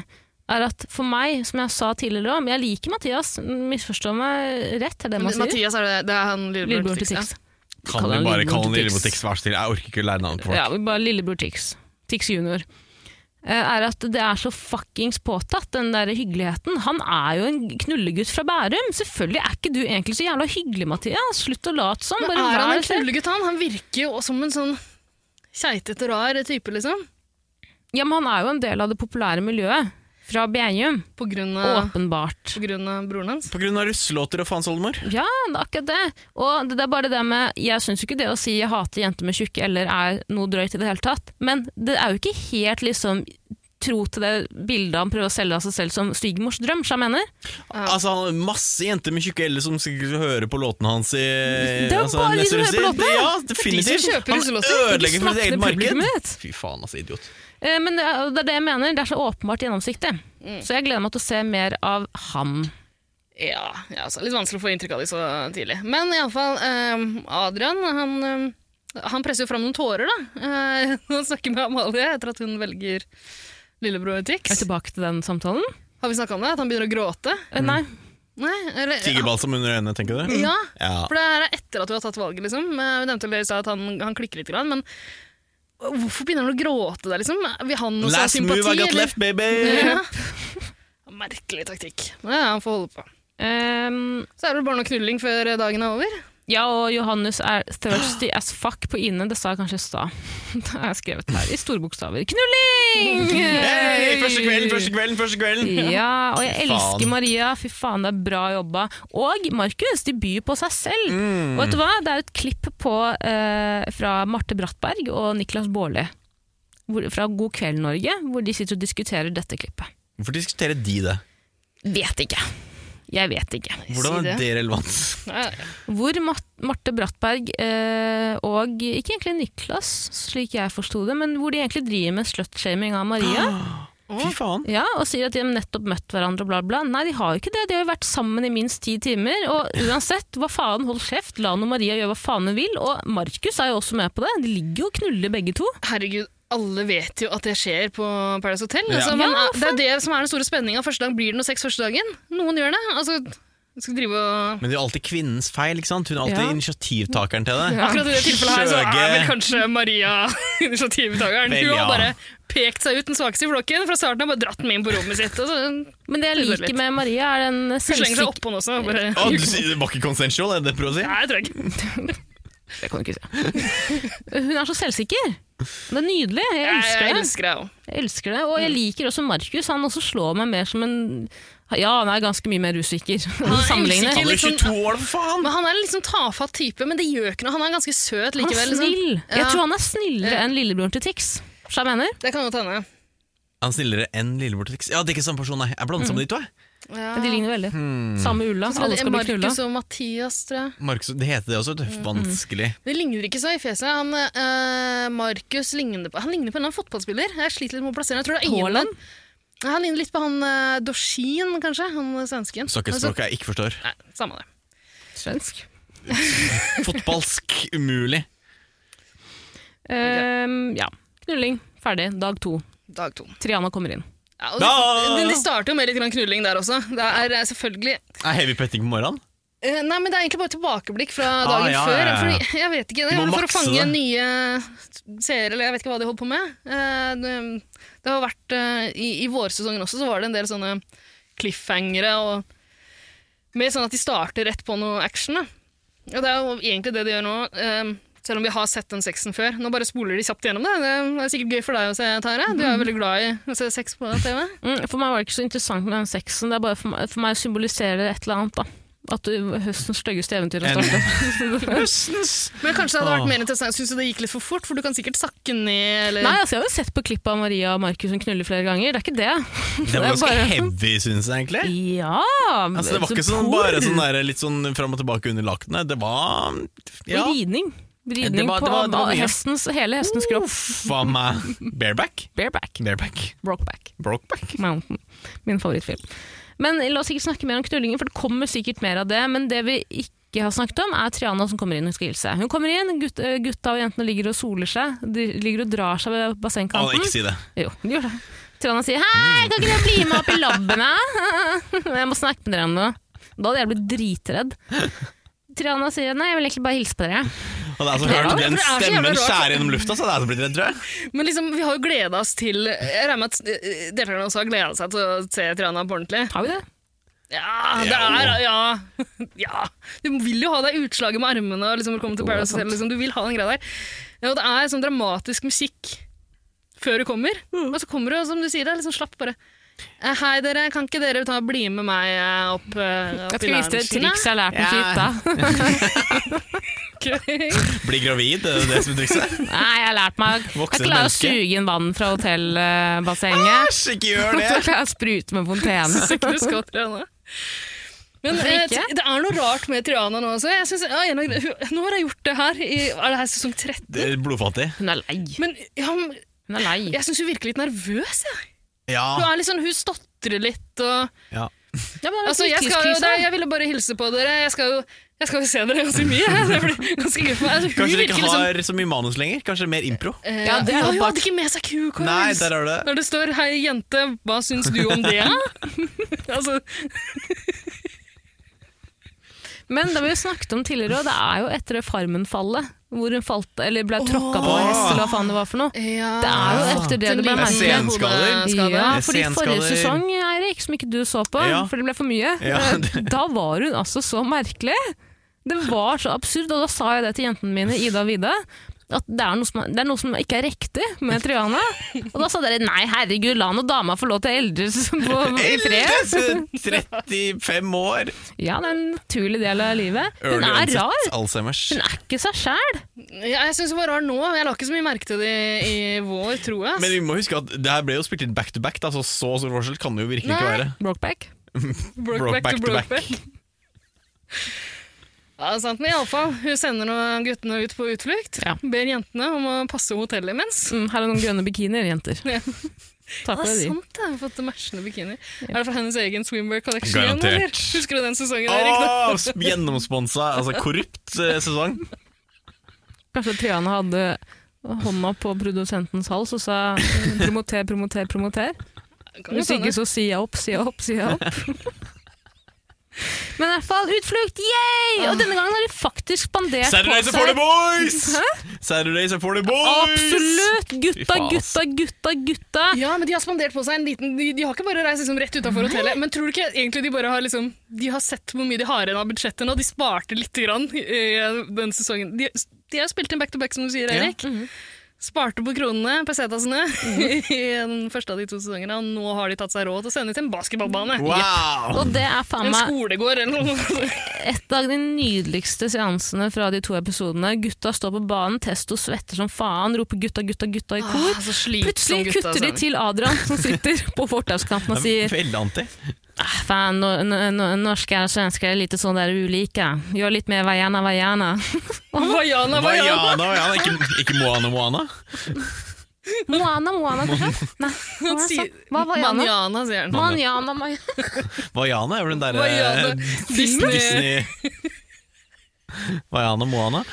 Er at for meg, som jeg sa tidligere òg, jeg liker Mathias, misforstå meg rett, er det man sier.
Mathias er det, det er han lillebror
Lillebror
til
til
Tix.
Tix.
Kan
Kaller
vi
han
bare
lillebror
kalle han
til
lillebror
Tix?
Tix, vær så snill? Jeg orker ikke lære navnet på folk.
Ja, vi bare lillebror Tix. Tix junior. Eh, Er at det er så fuckings påtatt, den der hyggeligheten. Han er jo en knullegutt fra Bærum. Selvfølgelig er ikke du egentlig så jævla hyggelig, Mathias. Slutt å late som.
Men
Bare
er han
vær
en
selv.
knulegutt, han? Han virker jo som en sånn keitete, rar type, liksom.
Ja, men han er jo en del av det populære miljøet. Fra Beinum.
På grunn av,
Åpenbart.
på grunn av broren hans.
På grunn av russelåter og faens oldemor.
Ja, det er akkurat det. Og det er bare det der med Jeg syns jo ikke det å si 'jeg hater jenter med tjukke' eller er noe drøyt i det hele tatt, men det er jo ikke helt liksom tro til det bildet han prøver å selge av seg selv som svigermors drøm, som jeg mener.
Altså, han- masse jenter med tjukke l som sikkert skal høre på låtene hans i
Det er jo
altså,
bare de
neste
som hører på
russer.
låtene.
Det- Ja,
Det er de
definitivt.
som kjøper russelåter.
Han
Du
ødelegger for sitt
snakker
eget
til publikummet
marked.
ditt.
Fy faen, altså, idiot.
Eh, Men det er det er det jeg mener. Det er så åpenbart gjennomsiktig. Så jeg gleder meg til å se mer av ham.
Ja, ja altså, litt vanskelig å få inntrykk av de så tidlig. Men iallfall, eh, Adrian han eh, Han presser jo fram noen tårer, da. Eh, Han snakker med Amalie etter at hun velger lillebror
Er vi
Tix.
tilbake til den samtalen?
Har vi snakka om det? At han begynner å gråte?
Eh, Nei.
Nei, eller,
Tigerbalsam under øynene, tenker du?
Ja,
Ja.
for det her er etter at du har tatt valget, liksom. Eh, Vi nevnte vel i stad at han, han klikker litt, grann, men hvorfor begynner han å gråte der, liksom? Vil han også ha
Last
sympati?
move I got
eller?
left, baby!
Ja. Merkelig taktikk. Men ja, han får holde på.
Ehm,
Så er det vel bare noe knulling før dagen er over.
ja, og Johannes er thirsty as fuck på Ine. Det sa jeg kanskje i stad. Det har jeg skrevet her i store bokstaver. Knulling!
Hey, første kvelden, første kvelden, første kvelden!
Ja, og jeg
Fy faen.
elsker Maria. Fy faen, det er bra jobba. Og Markus, de byr på seg selv.
Mm.
Og vet du hva? Det er et klipp på, eh, fra Marte Brattberg og Niklas Baarli hvor- fra God kveld, Norge, hvor de sitter og diskuterer dette klippet.
Hvorfor diskuterer de det?
Vet ikke. Jeg vet ikke.
Hvordan
Si
er
det.
det relevant?
Ja, ja.
Hvor Mat- Marte Brattberg eh, og ikke egentlig Niklas, slik jeg forsto det, men hvor de egentlig driver med slutshaming av
Ah.
Maria.
Fy faen.
Ja, og sier at de har nettopp møtt hverandre og bla bla. Nei, de har jo ikke det. De har jo vært sammen i minst ti timer. Og uansett, hva faen, hold kjeft. La nå Maria gjøre hva faen hun vil. Og Markus er jo også med på det. De ligger jo og knuller begge to.
Herregud, alle vet jo at det skjer på Paradise Hotel.
Ja.
Altså, man,
Ja,
det er det som er den store spenninga. Første dag blir det noe sex første dagen. Noen gjør det. Altså, skal drive og
Men det er jo alltid kvinnens feil. ikke sant? Hun er alltid
Ja.
initiativtakeren til det.
Akkurat i det tilfellet her så er vel
Skjøge.
kanskje Maria initiativtakeren.
Vel,
Hun har
ja.
bare pekt seg ut den svakeste i flokken fra starten av, bare dratt den med inn på rommet sitt. Og så, hun
Men det jeg
Knuller litt.
liker med Maria, er den
slenger seg
selvsikker...
oppå den også. og Bare,
Å, du sier det var ikke consensual, er det det du prøver å si?
Nei, jeg tror ikke.
Jeg kan ikke si. Hun er så selvsikker. Det er nydelig. Jeg
Jeg,
elsker det.
jeg elsker deg òg.
Jeg elsker det. Og jeg liker også Markus. Han også slår meg mer som en Ja, han er ganske mye mer usikker. Sammenlignet.
usikker.
Han er
litt sånn-
22 år, for faen!
Men han er en litt sånn tafatt type, men det gjør ikke noe. Han er ganske
Han
søt
er
likevel. Liksom.
snill. Jeg
Ja.
tror han er snillere
Ja.
enn lillebroren til Tix. Skjønner du hva jeg mener?
Det kan godt hende.
Han er snillere enn lillebror til Tix. Ja, det er ikke samme person, nei. Jeg blander sammen de to. jeg.
Ja.
Men De ligner veldig.
Hmm.
Samme ulla.
Så tror
Alle
jeg det er
skal bli knulla.
Markus Sånn og Mathias, tror jeg.
Markus, det heter det også, vet du. Vanskelig.
De ligner ikke så i fjeset. Han, eh, Markus ligner på, han ligner på en eller annen fotballspiller. Jeg sliter litt med å plassere ham. Jeg tror det er ingen-
Haaland?
Nei, Han ligner litt på han uh, Dorsin, kanskje. Han eh, svensken.
Snakker et
Altså,
språk jeg ikke forstår.
Nei, samme det.
Svensk.
Fotballsk umulig.
Ehm, ja. Knulling. Ferdig. Dag to.
Dag to.
Triana kommer inn.
Ja, og
Da-
de, de starter jo med litt grann knulling der også. Det er eh, selvfølgelig
Er heavy petting på morgenen?
Eh, Nei, men Det er egentlig bare tilbakeblikk fra
Ah,
dagen
ja,
før.
ja, ja.
Fordi, jeg vet ikke, det
Du må
er For å
makse
fange
det.
nye seere, eller jeg vet ikke hva de holdt på med. Eh, Det, det har vært eh, I, i vårsesongen også så var det en del sånne cliffhangere. Og, mer sånn at de starter rett på noe action. Da. Og det er jo egentlig det de gjør nå. eh, Selv om vi har sett den sexen før. Nå bare spoler de kjapt gjennom det. Det er sikkert gøy for deg å se, Tara. Du er jo veldig glad i å se sex på TV.
Mm, for meg var det ikke så interessant med den sexen. Det er bare for meg, for meg symboliserer det et eller annet. da At du, høstens styggeste eventyr har
En-
startet.
Høstens!
Men kanskje det hadde
Åh.
vært mer interessant. Syns du det gikk litt for fort? For du kan sikkert sakke ned, eller
Nei, altså, jeg har jo sett på klippet av Maria og Markus som knuller flere ganger. Det er ikke det.
Det var
er
ganske
bare-
heavy, syns jeg, egentlig.
Ja
Altså, det var ikke sånn, bare sånn der, litt sånn fram og tilbake under lakenet. Det var Ja,
Ridning. Ridning
Det var- det var- det
på
var mye.
hestens, hele hestens kropp.
faen meg. Bareback?
Bareback.
Bareback.
Brokeback.
Brokeback.
Mountain. Min favorittfilm. Men la oss ikke snakke mer om knullingen, for det kommer sikkert mer av det. Men det vi ikke har snakket om, er Triana som kommer inn og skal hilse. Hun kommer inn, gut, eh, gutta og jentene ligger og soler seg. De ligger og drar seg ved
Å,
bassengkanten.
ikke si det.
Jo, de gjør det. Triana sier 'hei, kan ikke dere bli med opp i labben', da?» Jeg må snakke med dere om noe. Da hadde jeg blitt dritredd. Triana sier 'nei, jeg vil egentlig bare hilse på dere'.
Og det er så
Det er
hørt
rart,
den
for det er så jævla
stemmen
rart.
skjære gjennom lufta, så det er så blitt redd, tror jeg.
Men liksom, vi har jo gleda oss til Jeg regner med at eh, deltakerne også har gleda seg til å se Triana på ordentlig.
Har vi det?
Ja, det
Ja.
er Ja! ja. Du vil jo ha det utslaget med armene og liksom velkommen til Paradise Hotel. Liksom. Du vil ha den greia der. Ja, og det er sånn dramatisk musikk før du kommer.
Mm.
Og så kommer du, og som du sier, det er liksom slapp bare. Eh, Hei, dere. Kan ikke dere ta bli med meg eh, opp, eh,
Jeg
opp
skal vise dere et triks jeg har lært meg til hytta.
Okay.
Bli gravid, det er det som er trikset.
Nei, jeg har lært meg
Voksen
Jeg klarer å
menneske.
suge inn vann fra hotellbassenget.
Æsj, ikke gjør
Så
det!
kan jeg sprute med fontene.
Ikke noe skvatt, Triana. Men
Hvorfor
eh,
ikke?
t- det er noe rart med Triana nå også. Jeg synes, ja, en av, gre- nå har jeg gjort det her i er det her sesong 13.
det er blodfattig.
Hun er lei.
Men ja, men
Hun er lei.
jeg syns hun virker litt nervøs. Jeg. Hun,
Ja.
er litt sånn, hun stotrer litt og
ja.
Ja, men det er
Altså, jeg, skal jo,
midtlivskrise.
det, jeg ville bare hilse på dere. Jeg skal jo, jeg skal jo se dere ganske mye. Det blir ganske gøy for meg. Altså, hun
Kanskje dere
virker
ikke
liksom-
har så mye manus lenger? Kanskje mer impro?
Eh,
Ja, det
ja,
hadde
hun
vært-
hadde ikke med seg kukorps!
Nei, der er det.
Når det står 'Hei, jente, hva syns du om det?' altså,
Men det har vi jo snakket om tidligere, og det er jo etter det Farmen-fallet, hvor hun falt, eller ble tråkka på av hest, eller hva faen det var for noe.
ja.
Det er jo etter det
Den
det ble
lille
merkelig.
Senskader.
Ja,
hodeskaden.
Det er
fordi forrige
senskader.
sesong, Eirik, som ikke du så på,
Ja.
for det ble for mye,
Ja,
eh,
det-
da var hun altså så merkelig. Det var så absurd, og da sa jeg det til jentene mine, Ida og Vida, at det er, noe som, er- det er noe som ikke er riktig med Triana. Og da sa dere nei, herregud, la nå dama få lov til å eldes på- i fred.
Eldre, 35 år!
Ja, det er en naturlig del av livet. Hun
Early
er
onset
rar.
Alzheimer's.
Hun er ikke seg sjæl.
Ja, jeg syns hun var rar nå. men Jeg la ikke så mye merke til det i, i vår, tror jeg. ass.
Men vi må huske at det her ble jo spilt inn back to back, da, så så stor forskjell kan det jo virkelig ikke
Nei.
være.
Brokeback.
Brokeback
Brokeback
to
to back.
Brokeback. Ja, det er sant, men i alle fall, Hun sender nå guttene ut på utflukt.
Ja.
Ber jentene om å passe hotellet imens.
Mm, her er noen grønne bikinier, jenter.
Ja. sånn
Ta
Ja,
på
det er
deg de.
sant, jeg har fått matchende bikinier. Er det fra hennes egen swimwear collection? igjen,
Garantert.
eller? Husker du den sesongen, Erik? da?
Åh, gjennomsponsa, altså korrupt eh, sesong.
Kanskje Triana hadde hånda på produsentens hals og sa mm, promoter, promoter, promoter.
Kan jo
Hvis
sånn,
ikke
ja.
så sier jeg opp, sier jeg opp, sier jeg opp. Men i hvert fall utflukt, yay! Og denne gangen har de faktisk spandert på
Saturdays are for the
seg
boys!
Hæ?
Saturdays are for the boys!
Absolutt! Gutta,
faen, ass.
gutta, gutta, gutta!
ja, men De har spandert på seg en liten De, de har ikke bare reist liksom rett utenfor hotellet. Men tror du ikke egentlig de bare har liksom De har sett hvor mye de har igjen av budsjettet nå. De sparte litt grann i den sesongen. De, de har spilt inn back to back, som du sier,
Ja.
Erik. Sparte på kronene, pesetasene, i den første av de to sesongene. Og nå har de tatt seg råd til å sende til en basketballbane.
Wow!
Og det er faen
En
meg
skolegård eller noe.
et av de nydeligste seansene fra de to episodene. Gutta står på banen, Testo svetter som faen, roper 'gutta, gutta, gutta' i kor.
Ah, så slitsom
Plutselig
gutta, altså.
kutter de
Sanne.
til Adrian, som sitter på fortauskanten og sier
Veldig anti.
«Ah, Fan, no, no, no, norske og svensker er litt sånn der ulike. Gjør litt mer vaiana, vaiana.
Vaiana, Vaiana.
Vaiana, Vaiana, ikke, ikke Moana Moana.
Moana, moana, kanskje? Nei, hva sa
sier-
han? Hva var Jana?
Manjana, sier han.
Manjana, Manjana.
Vaiana er vel den derre
Vaiana. Disney.
Disney Vaiana Moana.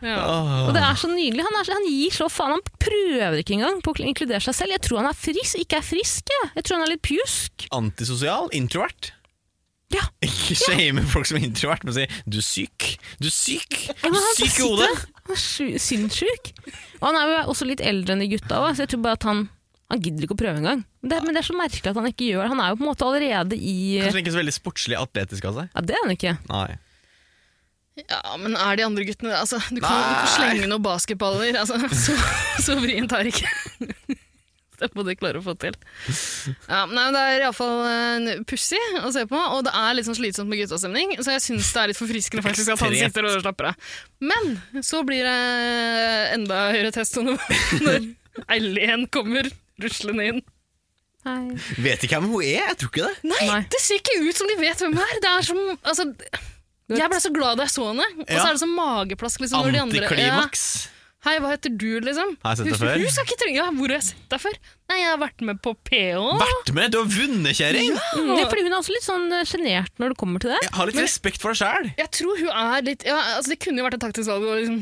Ja.
Og
Åh.
det er så nydelig. Han, er, så- han gir så faen. Han prøver ikke engang på å inkludere seg selv. Jeg tror han er frisk, ikke er frisk. Jeg, jeg tror han er litt pjusk.
Antisosial, introvert.
Ja.
Ikke shame folk som er introvert, men si 'du er syk', 'du er syk',
Ja,
du
men
er
han
syk i
sitter-
hodet.
Han er sy- sinnssyk. Og han er jo også litt eldre enn de gutta òg, så jeg tror bare at han han gidder ikke å prøve engang. Det, men det er så merkelig at han ikke gjør det. Han er jo på en måte allerede i
Kanskje ikke så veldig sportslig atletisk av seg.
Ja, det er han ikke.
Nei.
ja, men er de andre guttene altså, Du kan jo ikke slenge noen basketballer. Altså, så, så vrient har ikke Det må de klare å få til. Ja, nei, men Det er iallfall pussig å se på, og det er litt sånn slitsomt med guttastemning. Så jeg syns det er litt forfriskende faktisk at han
Ekstremt.
sitter og slapper av. Men så blir det eh, enda høyere testo når når Eileen kommer ruslende inn.
Nei.
Vet ikke hvem hun er, jeg tror ikke det.
Nei,
Nei.
det ser ikke ut som de vet hvem det er! Det er som, altså, jeg ble så glad da jeg så henne, og så
Ja.
er det sånn mageplask. Liksom, når de andre-
Antiklimaks.
Ja. Hei, hva heter du, liksom?
Har jeg sett deg
Hun-
før?
Hun skal ikke trenge ja, Hvor har jeg sett deg før? Nei, jeg har vært med på PH.
Vært med! Du har vunnet, kjerring!
Mm, ja, fordi hun er også litt sånn eh, sjenert når det kommer til det.
Ha litt respekt for deg sjæl.
Jeg tror hun er litt ja, altså, Det kunne jo vært et taktisk valg å liksom,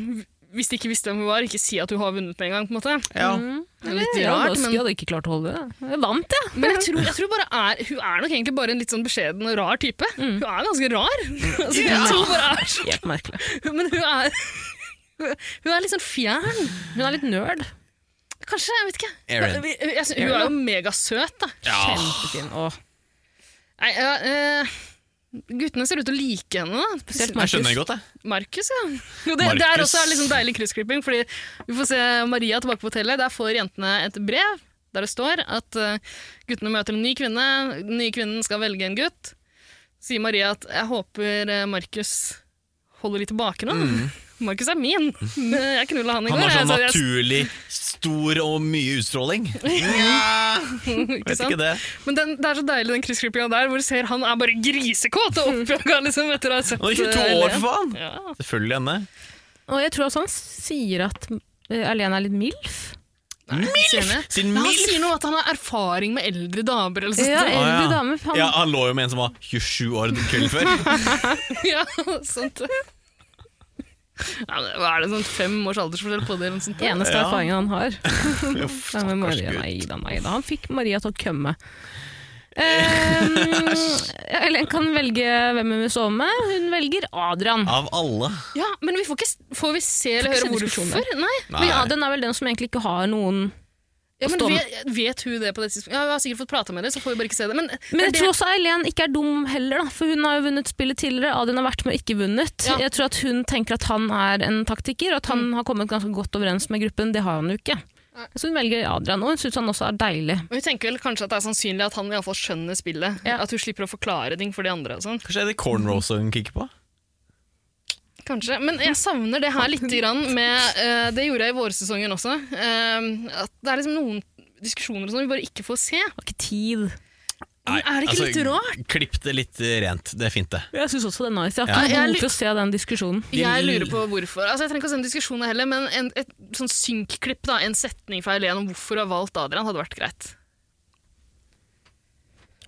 hvis de ikke visste hvem hun var, ikke si at hun har vunnet med en gang. på en måte.
Ja.
Mm.
Det er litt
Jeg hadde
rart,
bare- jeg
men,
hadde ikke klart å holde det. Jeg vant, jeg.
men jeg tror, jeg tror bare er, hun er nok egentlig bare en litt sånn beskjeden og rar type. Hun er ganske rar.
Mm.
altså, jeg tror hun bare er så,
Helt merkelig.
men hun er, hun er litt sånn fjern.
Hun er litt nerd.
Kanskje, jeg vet ikke.
Erin.
Jeg, jeg, jeg, hun er jo megasøt, da.
Ah.
Kjempefin. Åh,
Nei, ja, eh, guttene ser ut til å like henne. da.
spesielt
Jeg skjønner det
Markus.
godt, jeg.
Markus, ja. Jo, det, det er
Markus.
også liksom deilig kryssklipping, fordi vi får se Maria tilbake på hotellet. Der får jentene et brev der det står at eh, guttene møter en ny kvinne. Den nye kvinnen skal velge en gutt. Sier Maria at 'jeg håper eh, Markus holder litt tilbake nå'. Markus er min! Jeg knulla han i går.
Mm. Han har sånn
jeg, så jeg-
naturlig stor og mye utstråling. Vet
sant?
ikke det.
Men den, det er så deilig den kryssklippinga der, hvor du ser han er bare grisekåt og oppjaga liksom, etter å ha sett
Han er 22
eh,
år, for faen!
Ja.
Selvfølgelig henne.
Og jeg tror også han sier at eh, Alene er litt MILF.
MILF!
Sin
Han
MILF!
sier noe at han har erfaring med eldre damer eller
Ja,
sånt.
eldre
Å, ja.
dame. faen.
Ja, han lå jo med en som var 27 år kvelden før.
Ja, sånt. Ja, men hva er det, sånn fem års aldersforskjell på det? eller noe sånt?
Eneste
Ja.
erfaringen han har.
Uff,
Nei, men Maria,
gutt.
nei da, nei da. Han fikk Maria til å kømme. Um, Ellen kan velge hvem hun vil sove med. Hun velger Adrian.
Av alle.
Ja, men vi får, ikke, s- får vi se eller
Får ikke
høre
se diskusjonen
hvorfor? Nei.
Men Adrian er vel den som egentlig ikke har noen
Ja, men
Forstår
vet, vet hun det på det tidspunktet? Ja, Vi har sikkert fått prata med det, så får vi bare ikke se det. Men,
Men
er
jeg
det-
tror også Eileen ikke er dum heller, da, for hun har jo vunnet spillet tidligere. Adrian har vært med og ikke vunnet.
Ja. Mm.
Jeg tror at hun tenker at han er en taktiker, og at han har kommet ganske godt overens med gruppen. Det har han jo ikke. Så hun velger Adrian, og hun syns han også er deilig.
Men Vi tenker vel kanskje at det er sannsynlig at han i alle fall skjønner spillet.
Ja.
At hun slipper å forklare ting for de andre. og sånn.
Kanskje er det cornrows hun kikker på?
Kanskje. Men
Mm.
jeg savner det her litt grann med eh, Det gjorde jeg i vårsesongen også. eh, at det er liksom noen diskusjoner og sånn vi bare ikke får se.
Har ikke tid.
Men er det ikke litt rart?
altså, Klipp det litt rent. Det er fint, det.
Jeg syns også det er nice. Jeg
Ja.
har ikke
Jeg
noe
lu-
behov for å se den diskusjonen.
Jeg lurer på hvorfor. Altså, jeg trenger ikke å se en diskusjon heller, men en, et sånn synkklipp, da, en setning fra Helen om hvorfor hun har valgt Adrian, hadde vært greit.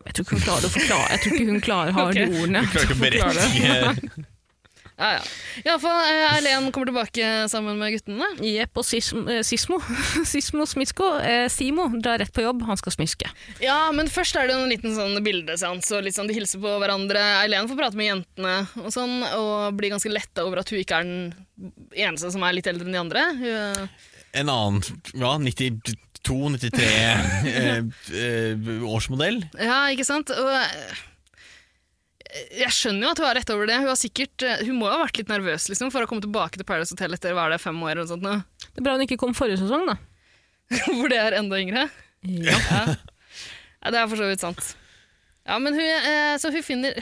Jeg tror ikke hun klarer å forklare Jeg tror ikke hun klarer har
Ok.
de ordene.
Klarer ikke å berekke
Ja, ja. Iallfall uh, Erlen kommer tilbake sammen med guttene.
Jepp og Sism, eh, Sismo. Sismo Smisko. Eh, Simo drar rett på jobb, han skal smiske.
Ja, men først er det jo en liten sånn bildeseanse, og litt sånn de hilser på hverandre. Eileen får prate med jentene og sånn, og blir ganske letta over at hun ikke er den eneste som er litt eldre enn de andre. Hun-
En annen ja, 92-93 eh, eh, årsmodell.
Ja, ikke sant? Og eh, jeg skjønner jo at hun er rett over det. Hun, har sikkert, eh, hun må jo ha vært litt nervøs liksom, for å komme tilbake til Paradise Hotel etter hva er det, fem år eller noe sånt, nå?
Det er bra hun ikke kom forrige sesong, da.
hvor det er enda yngre.
Ja.
Ja. ja, det er for så vidt sant. Ja, men hun, eh, så hun finner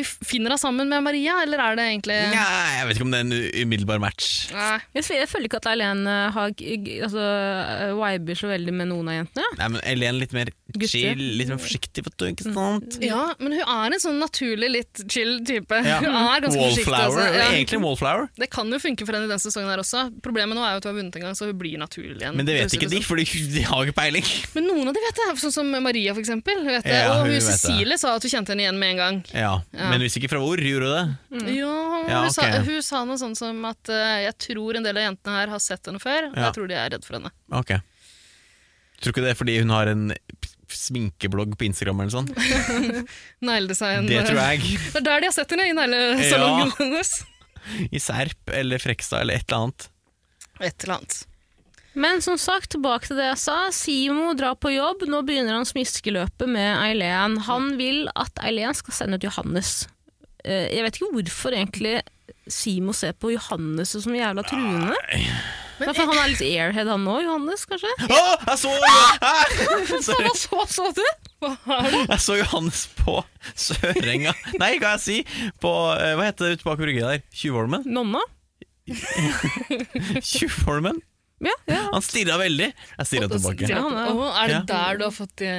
Hun finner henne sammen med Maria, eller er det egentlig
Nja, jeg vet ikke om det er en umiddelbar match.
Nei.
Jeg, ser- jeg føler ikke at Eileen eh, har, g- g- altså, eh, viber så veldig med noen av jentene. ja.
Nei, men Elen litt mer
Gutter. Mm.
chill, litt mer forsiktig, vet du. Ikke sant?
Ja, men hun er en sånn naturlig litt chill type.
Ja.
Hun er ganske forsiktig.
Wallflower.
Altså. Ja.
Egentlig en wallflower,
Det kan jo funke for henne i den sesongen her også. Problemet nå er jo at hun har vunnet en gang, så hun blir naturlig igjen.
men det vet ikke de, for de har ikke peiling.
Men noen av de vet det, sånn som Maria for eksempel. Hun Vet det.
Ja,
og
hun
hun
vet det.
Cecilie sa at hun kjente henne igjen med en gang.
Ja, Men hvis ikke fra hvor, gjorde du det?
Ja,
Ja,
hun, sa,
ok.
hun sa noe sånn som at eh, jeg tror en del av jentene her har sett henne før, og
Ja.
jeg tror de er redd for henne.
Ok. Tror ikke det er fordi hun har en sminkeblogg på Instagram eller sånn.
Negledesign.
Det tror
eh,
jeg.
eh, Det er der de har sett henne, i neglesalongen hennes.
I Serp eller Frekstad eller et eller annet.
Et eller annet.
Men som sagt, tilbake til det jeg sa. Simo drar på jobb. Nå begynner han smiskeløpet med Eileen. Han vil at Eileen skal sende ut Johannes. Eh, Jeg vet ikke hvorfor egentlig Simo ser på Johannes som jævla truende. Men for han er litt airhead han nå, Johannes, kanskje?
Å, jeg så Hæ? Sorry.
Hva så, så du?
Hva er det?
Jeg så Johannes på Sørenga Nei, hva jeg si? På, eh, hva heter det ute bak brygga der? Tjuvholmen?
Nonna?
Tjuvholmen?
Ja, ja.
Han stirra veldig. Jeg stirra tilbake.
Ja, han er-
Åh, er det
Ja.
der du har fått de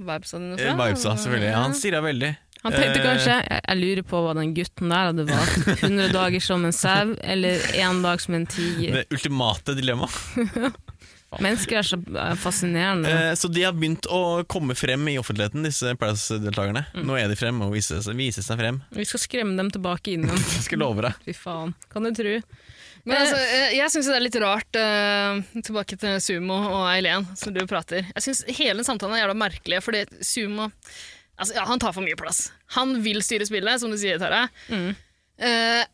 vibesa dine
Eh,
fra?
Bausa, selvfølgelig. Han stirra veldig.
Han tenkte
Eh,
kanskje jeg, jeg lurer på hva den gutten der hadde valgt. 100 dager som en sau, eller én dag som en tiger.
Det ultimate dilemmaet.
Mennesker er så eh, fascinerende.
Eh, Så de har begynt å komme frem i offentligheten, disse Paradise-deltakerne. Nå er de frem og viser seg, viser seg frem.
Vi skal skremme dem tilbake inn igjen.
Jeg skal love deg.
Fy faen, kan du tro.
Men altså, eh, jeg syns det er litt rart, eh, tilbake til Sumo og Eileen, som du prater. Jeg synes Hele den samtalen er jævla merkelig, fordi Sumo altså, ja, Han tar for mye plass. Han vil styre spillet, som du sier, Tara. Eh,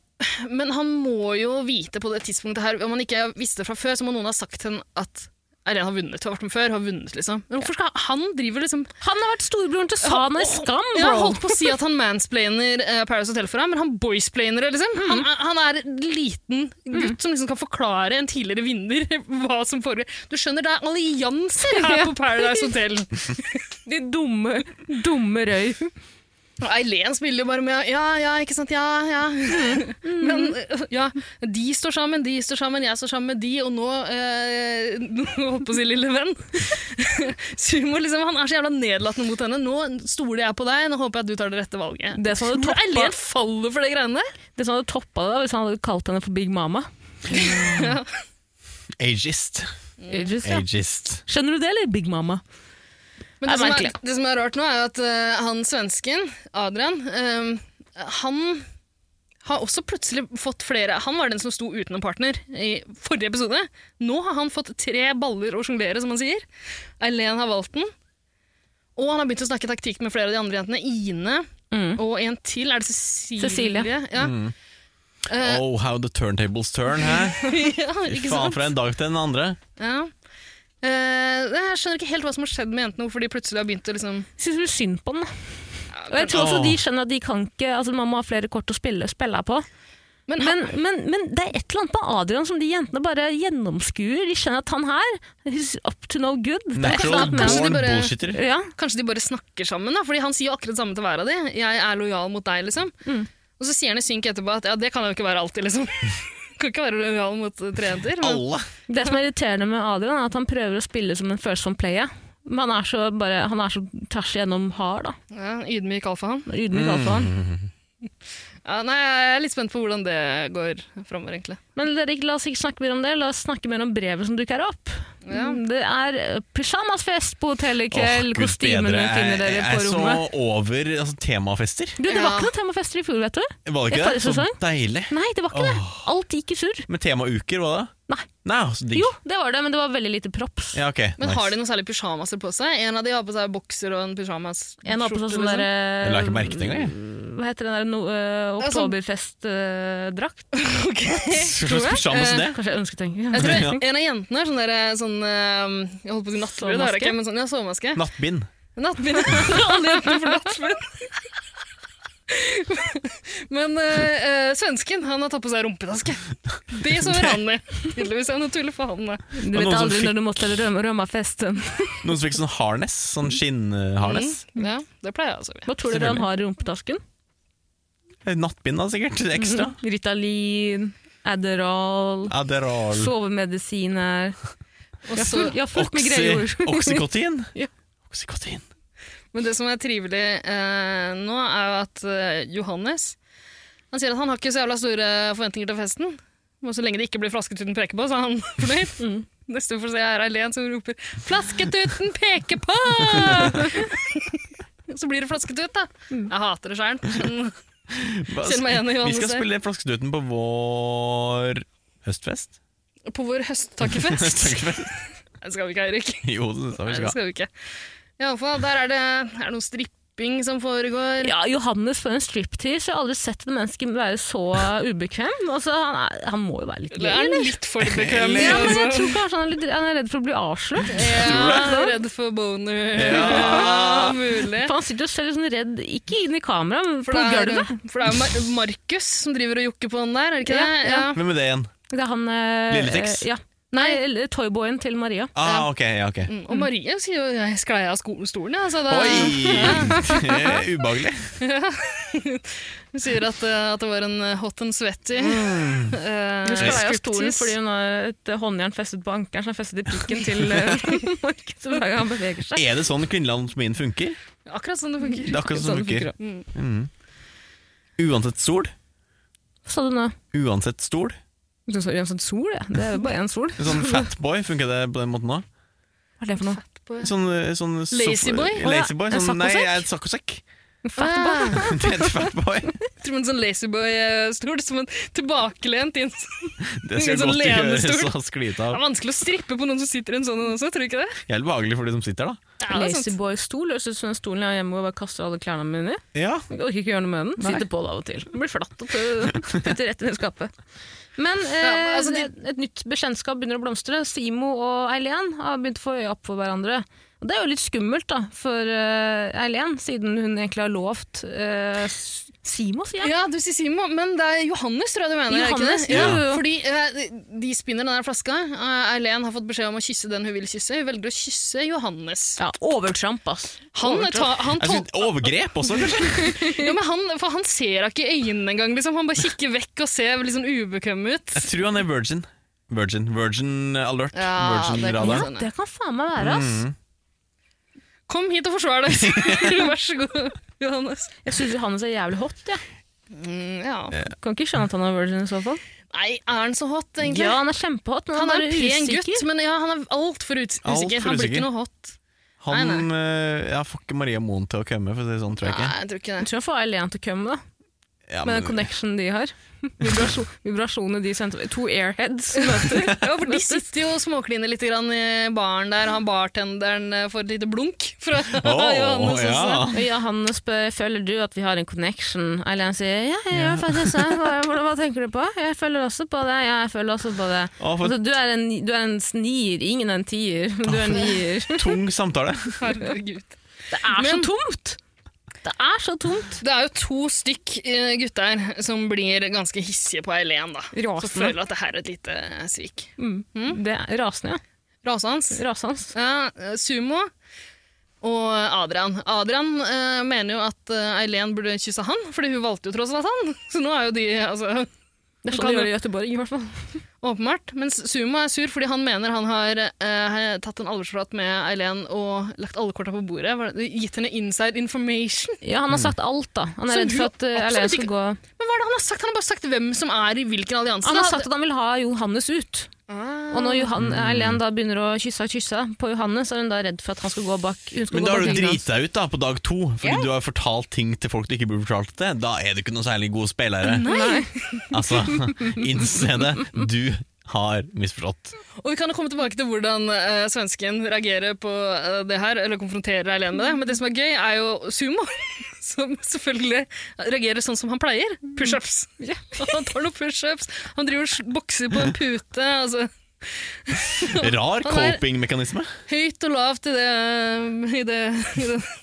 men han må jo vite på det tidspunktet her Om han ikke visste det fra før, så må noen ha sagt til ham at Eileen har vunnet. Hun har vært med før, hun har vunnet, liksom. Men hvorfor skal han driver liksom
Han har vært storebroren til Sana i Skam,
Jeg har
bro!
holdt på å si at han mansplainer eh, Paradise Hotel for deg, men han boysplainer det, liksom. Han, er- han er en liten gutt som liksom kan forklare en tidligere vinner hva som foregår. Du skjønner, det er allianser her på Paradise Hotel.
De dumme, dumme røy.
Og Eileen spiller jo bare med ja, ja, ikke sant, ja, ja. Men eh, ja, de står sammen, de står sammen, jeg står sammen med de, og nå eh, nå Holdt på å si lille venn. Sumo liksom, han er så jævla nedlatende mot henne. Nå stoler jeg på deg, nå håper jeg at du tar det rette valget.
Det som hadde
Tror du
toppa-
Eileen faller for de greiene der?
Det som hadde toppa det, var hvis han hadde kalt henne for Big Mama.
Ageist.
Aegis, ja.
Ageist.
Skjønner du det, eller Big Mama?
Men det,
Det er
som er,
merkelig.
det som er rart nå, er jo at eh, han svensken, Adrian, eh, han har også plutselig fått flere Han var den som sto uten en partner i forrige episode. Nå har han fått tre baller å sjonglere, som han sier. Eileen har valgt den. Og han har begynt å snakke taktikk med flere av de andre jentene. Ine
Mm.
og en til. Er det Cecilie?
Cecilie.
Ja.
Mm.
Eh,
Oh, how the turntables turn, hæ?
ja, ikke
Faen,
sant?
fra en dag til den andre.
Ja. Eh, jeg skjønner ikke helt hva som har skjedd med jentene, hvorfor de plutselig har begynt å liksom
Syns du synd på den? da. Og jeg tror også
Åh.
de skjønner at de kan ikke Altså Man må ha flere kort å spille, spille på.
Men
Men, men, men det er et eller annet med Adrian som de jentene bare gjennomskuer. De skjønner at han her He's up to no good. Det er et eller
Natural
annet med-
Kanskje de
born
bare-
bullshitter.
Ja,
Kanskje de bare snakker sammen, da, fordi han sier jo akkurat samme til hver av de. 'Jeg er lojal mot deg', liksom.
Mm.
Og så sier han i synk etterpå at 'ja, det kan jeg jo ikke være alltid', liksom. kan ikke være lojal mot eh, tre jenter. Men,
Alle.
Det som er irriterende med Adrian, er at han prøver å spille som en følsom player. Men han er så, bare, han er så tvers igjennom hard, da.
ja, ydmyk alfahann.
Mm.
Ydmyk alfa han.
Ja, nei, jeg er litt spent på hvordan det går framover, egentlig.
Men Erik, la oss ikke snakke mer om det. La oss snakke mer om brevet som dukker opp.
Ja.
Det er eh, pyjamasfest på hotellet i
Åh,
kveld.
Gud bedre.
Kostymene finner
Jeg-
dere på
Jeg
rommet.
er så over altså, temafester.
Du, det var
Ja.
ikke noen temafester i fjor, vet du.
Var
I
det ikke det?
forrige
Så
sesong?
deilig.
Nei, det var ikke det. Alt gikk i surr.
Med temauker, var det?
Nei.
Nei, så digg.
Jo, det var det, men det var veldig lite props.
Ja, ok.
Men
nice.
har de noen særlig pysjamaser på seg? En av de har på seg bokser og en pysjamas.
En har på seg
skjorte,
sånn der
liksom.
Jeg la ikke
eh,
merke til engang. jeg.
Hva heter den der no, eh,
Ja, sånn-
oktoberfest-drakt?
Hva slags pysjamas er det?
Kanskje jeg ønsket tenke.
Jeg tror en av jentene har sånn der sånn eh, Jeg holdt på å si nattbrud, det har jeg ikke, men sånn, ja, sovemaske.
Nattbind.
Nattbind. Alle jentene får nattbind. Men eh, eh, svensken han har tatt på seg rumpetaske. Det sover han i. Tydeligvis er det noe tull for han. eh. det.
Du
Og
vet
noen som
aldri
fikk-
når du må til røm rømmafesten.
Noen som fikk sånn harness. Sånn skinnharness.
Ja, det pleier jeg å sove i.
Hva tror dere han
Selvfølgelig.
har i rumpetasken?
Nattbind, da, sikkert. Ekstra.
Ritalin, Adderall,
Adderall.
sovemedisiner
Og
Jeg har
så-
fullt- jeg har fullt med
Oxy,
greie ord.
oxycotin.
Ja.
Oxycotin.
Men det som er trivelig eh, nå, er jo at eh, Johannes Han sier at han har ikke så jævla store forventninger til festen. Men så lenge det ikke blir flasket uten peke på, så er han fornøyd.
Mm.
Neste vi får se, er Eileen som roper 'Flasket uten peke på!' så blir det flasket ut, da.
Mm.
Jeg hater det sjæl. Kjenn meg igjen
Altså, Vi skal
i Johannes her.
spille Flaskeduten på vår høstfest.
På vår høsttakkefest.
Høsttakkefest.
det skal vi ikke, Eirik.
Jo, det synes jeg
Nei,
vi
det
skal.
skal vi ikke. Iallfall, der er det, er det noe stripping som foregår.
Ja, Johannes for en striptease. Jeg har aldri sett et menneske være så ubekvem. Altså, han, er, han må jo være litt
Det
gøy,
er
eller?
litt for bekvemmelig.
Ja, men jeg tror kanskje han er, litt, han er redd for å bli avslørt.
Ja, redd for boner. Ja, mulig.
For han sitter jo selv sånn redd, ikke inn i kamera, men
For
på
det er,
gulvet.
for det er jo Mar- Markus som driver og jokker på den der, er det ikke
Ja,
det?
ja.
Hvem er det igjen?
Det er han eh,
Lille Tex?
eh, Ja. Nei, eller toyboyen til Maria.
Ah, ok, ja, ok.
Mm, Og Marie sier jo 'jeg sklei av sko- stolen', jeg. så det-
Oi! Det er Ubehagelig.
Hun sier at, eh, at det var en eh, hot and sweaty.
Mm.
eh,
Hun sklei av
striptease.
stolen fordi hun har et håndjern festet på ankelen, som er festet i pikken til eh, Markus hver gang han beveger seg.
Er det sånn kvinnelig anatomien funker?
Akkurat sånn det
Det
funker.
er akkurat sånn det funker.
Mm.
Uansett stol.
Hva sa du nå?
Uansett stol.
Du sa uansett sånn sol, ja. Det er jo bare én sol.
Sånn fatboy, funker det på den måten òg?
Hva er det for noe?
Sånn, sånn
Lazyboy?
sofa- Lazyboy?
En
Sånn, nei,
saccosekk?
jeg er et saccosekk.
Fatboy.
Ah,
Det heter fatboy.
jeg tror en sånn lazyboy-stol som en tilbakelent i en sånn
Det skal
Sånn
godt gjøres
lenestol.
å skli
Det er
av.
vanskelig å strippe på noen som sitter i en sånn en også, tror du ikke det?
Jævlig behagelig for de som sitter, da.
Ja, det er sant.
Lazyboy-stol høres ut som den stolen jeg har hjemme hvor jeg bare kaster alle klærne mine i.
Ja,
Jeg orker ikke gjøre noe med den. Sitter på det av og til. Den Blir flatt og tø- putter rett inn i skapet. Men eh,
Ja, altså, de-
et, et nytt bekjentskap begynner å blomstre. Simo og Eileen har begynt å få øya opp for hverandre. Og Det er jo litt skummelt da, for eh, Eileen, siden hun egentlig har lovt eh, S- Simo, sier jeg.
Ja, du sier Simo, men det er Johannes, tror jeg du mener. er det
Johannes,
ikke det?
jo,
Ja.
jo, jo.
Fordi eh, de- de spinner den der flaska. Eh, Eileen har fått beskjed om å kysse den hun vil kysse. Hun velger å kysse Johannes.
Ja, overtramp, ass.
Han, ta, han,
jeg
tol
synes, Overgrep også, kanskje?
ja, men han, for han ser henne ikke i øynene engang. Liksom. Han bare kikker vekk og ser litt sånn ubekvem ut.
Jeg tror han er virgin. Virgin virgin alert.
Ja, det kan
Virgin-radaren.
sånn, ja.
Det kan faen meg være, ass.
Kom hit og forsvar deg! Vær så god, Johannes.
Jeg syns Johannes er jævlig hot, jeg.
Mm, ja.
Kan ikke skjønne at han er virgin i så fall.
Nei, er han så hot, egentlig?
Ja, han er kjempehot, men
han, er
bare
en pen
usikker.
gutt, men ja, han er altfor ut usikker.
Alt for
han blir
usikker.
ikke noe hot.
Han
Nei,
eh, ja, får ikke Maria Moen til å komme, for å si det sånn, tror jeg
Nei,
ikke.
jeg tror ikke
Jeg
det.
tror han får Eileen til å komme, da.
Ja,
Med den connectionen de har. Vibrasjon, vibrasjonene de sendte To airheads som møter.
Ja, for De sitter jo og småkliner litt grann i baren der. Han bartenderen eh, får et lite blunk fra
Åh,
Johannes også.
ja.
Og ja, han spør føler du at vi har en connection. Eileen sier ja, jeg gjør faktisk det. Hva, hva, hva tenker du på? Jeg føler også på det. Ja, jeg føler også på det.
Å, for-
Altså, du, er en, du er en snier, ingen er en tier. Men du er en nier.
Tung samtale.
Herregud.
Det er så
Men-
tomt! Det er så tomt.
Det er jo to stykk eh, gutter som blir ganske hissige på Eileen, da.
Rasende.
Som føler at det her er et lite eh, svik.
Det er rasende, ja.
Rasans.
Rasans.
Ja, eh, Sumo og Adrian. Adrian eh, mener jo at eh, Eileen burde kysse han, fordi hun valgte jo tross alt han. Så nå er jo de altså,
Det er
Kan
sånn de
du-
gjør det i Göteborg, i hvert fall.
åpenbart. Mens Sumo er sur fordi han mener han har eh, tatt en alvorsprat med Eileen og lagt alle korta på bordet. Var det- Gitt henne inside information.
Ja, han har sagt alt, da. Han
Så
er redd
hun
for at eh,
absolutt
Eileen
ikke-
skal gå
Men hva er det han har sagt? Han har bare sagt hvem som er i hvilken allianse.
Han har sagt at han vil ha Johannes ut. Og når Johan, Eileen da begynner å kysse og kysse på Johannes, er hun da redd for at han skal gå bak hun skal
Men
gå
da
bak
har du
ryggen
driti
hans.
deg ut da på dag to, fordi du har fortalt ting til folk du ikke burde fortalt til. Da er du ikke noen særlig god spillere.
Nei.
Altså, innse det. Du har misforstått.
Og Vi kan jo komme tilbake til hvordan eh, svensken reagerer på eh, det her, eller konfronterer Eileen med det. Men det som er gøy, er jo Sumo, som selvfølgelig reagerer sånn som han pleier. Pushups.
Mm.
Ja. Han tar noen pushups, han driver og sl- bokser på en pute. altså
Rar
Han er-
coping-mekanisme.
Høyt og lavt i det, i det,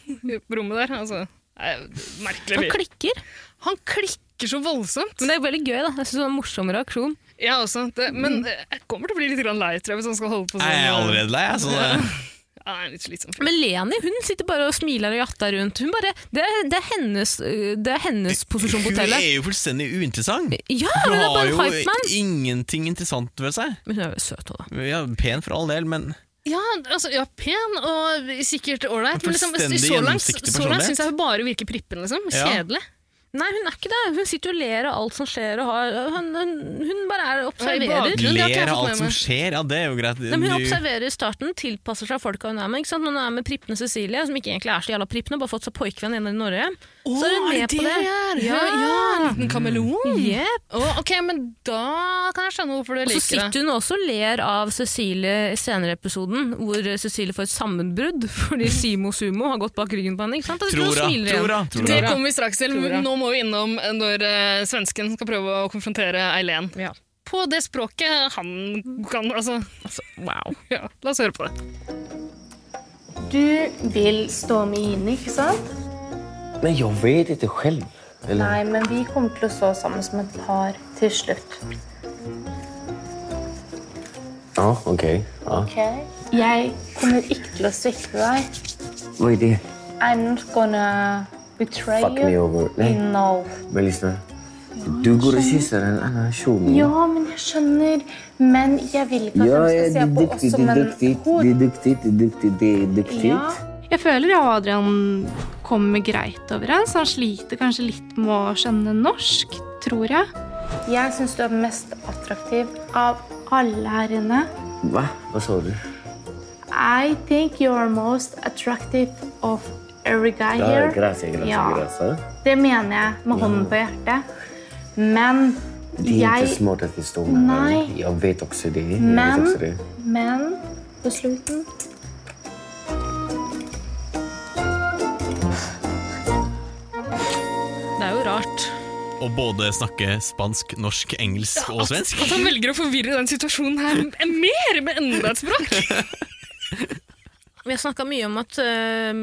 i det rommet der. altså. Nei,
Han
merkelig fyr.
klikker.
Han klikker så voldsomt.
Men det er veldig gøy, da. Jeg synes det var en morsom reaksjon.
Jeg også. Det, men eh, jeg kommer til å bli litt grann lei, tror jeg, hvis han skal holde på sånn.
Mm. Jeg er allerede lei, altså. jeg, så det
Ja, han er litt slitsom.
Men Leni hun sitter bare og smiler og jatter rundt. Hun bare, det, er, det, er hennes, øh, det er hennes posisjon på
Hun er
hotellet.
jo fullstendig uinteressant.
Ja,
Hun
hun er
har
bare en
jo
hypeman!
ingenting interessant ved seg.
Men hun er jo søt òg, da.
Ja, pen for all del, men
Ja, altså, ja, pen og sikkert ålreit, men liksom,
Fullstendig
så langt,
gjennomsiktig
så langt
personlighet.
syns jeg hun bare virker prippen. liksom.
Ja.
Kjedelig.
Nei, hun er ikke det. Hun sitter jo og ler av alt som skjer, og har, hun, hun, hun bare er og
Hun
observerer.
er i bakgrunnen, det har ikke jeg
ler av
fått
alt
med
som
meg.
skjer. Ja, det er jo greit.
Nei, men hun
Du-
observerer i starten, tilpasser seg folka hun er med. Ikke sant? Når hun er med prippene Cecilie, som ikke egentlig er så jævla prippene, bare fått seg pojkvenn inne i Norge. så er hun med på det.
Ja, ja, en liten kameleon.
Yep.
Å, ok, men da kan jeg skjønne hvorfor du
Og så
liker det.
sitter hun også og ler av Cecilie i senere episoden, hvor Cecilie får et sammenbrudd fordi Simo Sumo har gått bak ryggen på henne. Ikke sant? Og hun
Tror hun,
smiler
tror
igjen.
hun, tror
Det
hun.
kommer vi straks til.
Tror jeg.
Nå må vi innom når eh, svensken skal prøve å konfrontere Eileen.
Ja.
På det språket han kan, altså.
Altså, wow.
Ja, la oss høre på det.
Du vil stå med Jini, ikke sant?
Men jag vet inte själv. Eller?
Nei, men vi kommer til å stå sammen som et par til slutt.
Ja, okej. Ja.
ok? Jeg kommer ikke til å svikte deg.
Vad är det?
I'm not gonna betray
Fuck me
you.
over. Nej,
No.
men lyssna. Du går och kysser en annan tjej.
Ja, men jeg skjønner. Men jeg vil ikke at de
Ja, ja,
skal
det
se
är
på oss
duktigt, det
som
är
en
duktigt, det är
hor.
duktigt, det är duktigt, det är duktigt.
Ja. Jeg føler jeg og Adrian kommer greit overens. Han sliter kanskje litt med å skjønne norsk, tror jeg. Jeg syns du er mest attraktiv av alle her inne.
Va? Vad sa du?
I think you're most attractive of every guy
Ja,
here.
grazie, grazie,
Ja.
grazie.
Det mener jeg med hånden på hjertet. Men
Det är
jeg
inte smart att vi står med varandra.
Nej.
Jag vet också det. Jag
Men-
vet också det.
Men på slutten
Det er jo rart.
Og både snakke spansk, norsk, engelsk og svensk.
At han velger å forvirre den situasjonen her mer med enda et språk!
Vi har snakka mye om at øhm,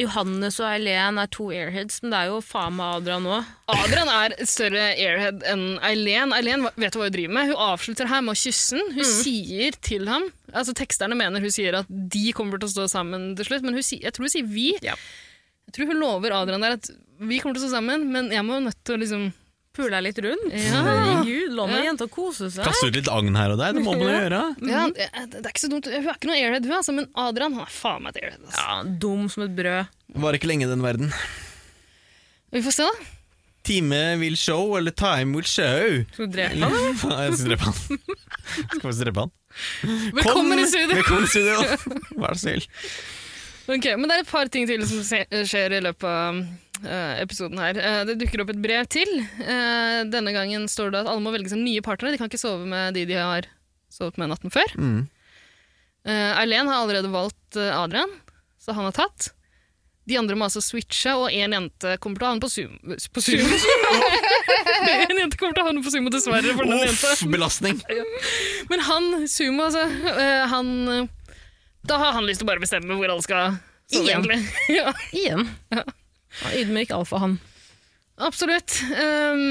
Johannes og Eileen er to airheads, men det er jo faen meg Adrian nå.
Adrian er et større airhead enn Eileen. Eileen vet hva hun driver med. Hun avslutter her med å kysse han. Hun sier til ham altså Teksterne mener hun sier at de kommer til å stå sammen til slutt, men hun, sier- jeg tror hun sier vi. Jeg tror hun lover Adrian der at vi kommer til å stå sammen, men jeg må jo nødt til å liksom
Pula litt rundt.
Ja.
Herregud, la
Ja.
meg jenta kose seg.
Kaste ut litt agn her og der, det må man jo gjøre.
ja, det, det er ikke så dumt. Hun er ikke noe airhead, hun, altså, men Adrian han er faen meg et airhead. Altså.
Ja, dum som et brød.
Var ikke lenge i den verden.
Vi får se, da.
Time will show, eller time will show.
Skal du drepe han, eller?
Ja, jeg skal drepe han. Jeg skal faktisk drepe han.
Velkommen i studio!
Velkommen i studio! Vær så snill.
Ok, men det er et par ting til som se- eh, skjer i løpet av eh, episoden her. Eh, det dukker opp et brev til. Eh, denne gangen står det at alle må velge seg nye partnere. De kan ikke sove med de de har sovet med natten før.
Mm.
Eh, Eileen har allerede valgt eh, Adrian, så han er tatt. De andre må altså switche, og én jente kommer til å havne på Zoom. På Zoom. en jente kommer til å havne på Sumo, dessverre. For den jenta.
Uff, belastning!
Men han, Sumo, altså eh, Han eh, Da har han lyst til å bare bestemme hvor alle skal sove,
Igjen.
egentlig. ja,
Igjen.
Ja.
Ydmyk alfahann.
absolutt. Ehm,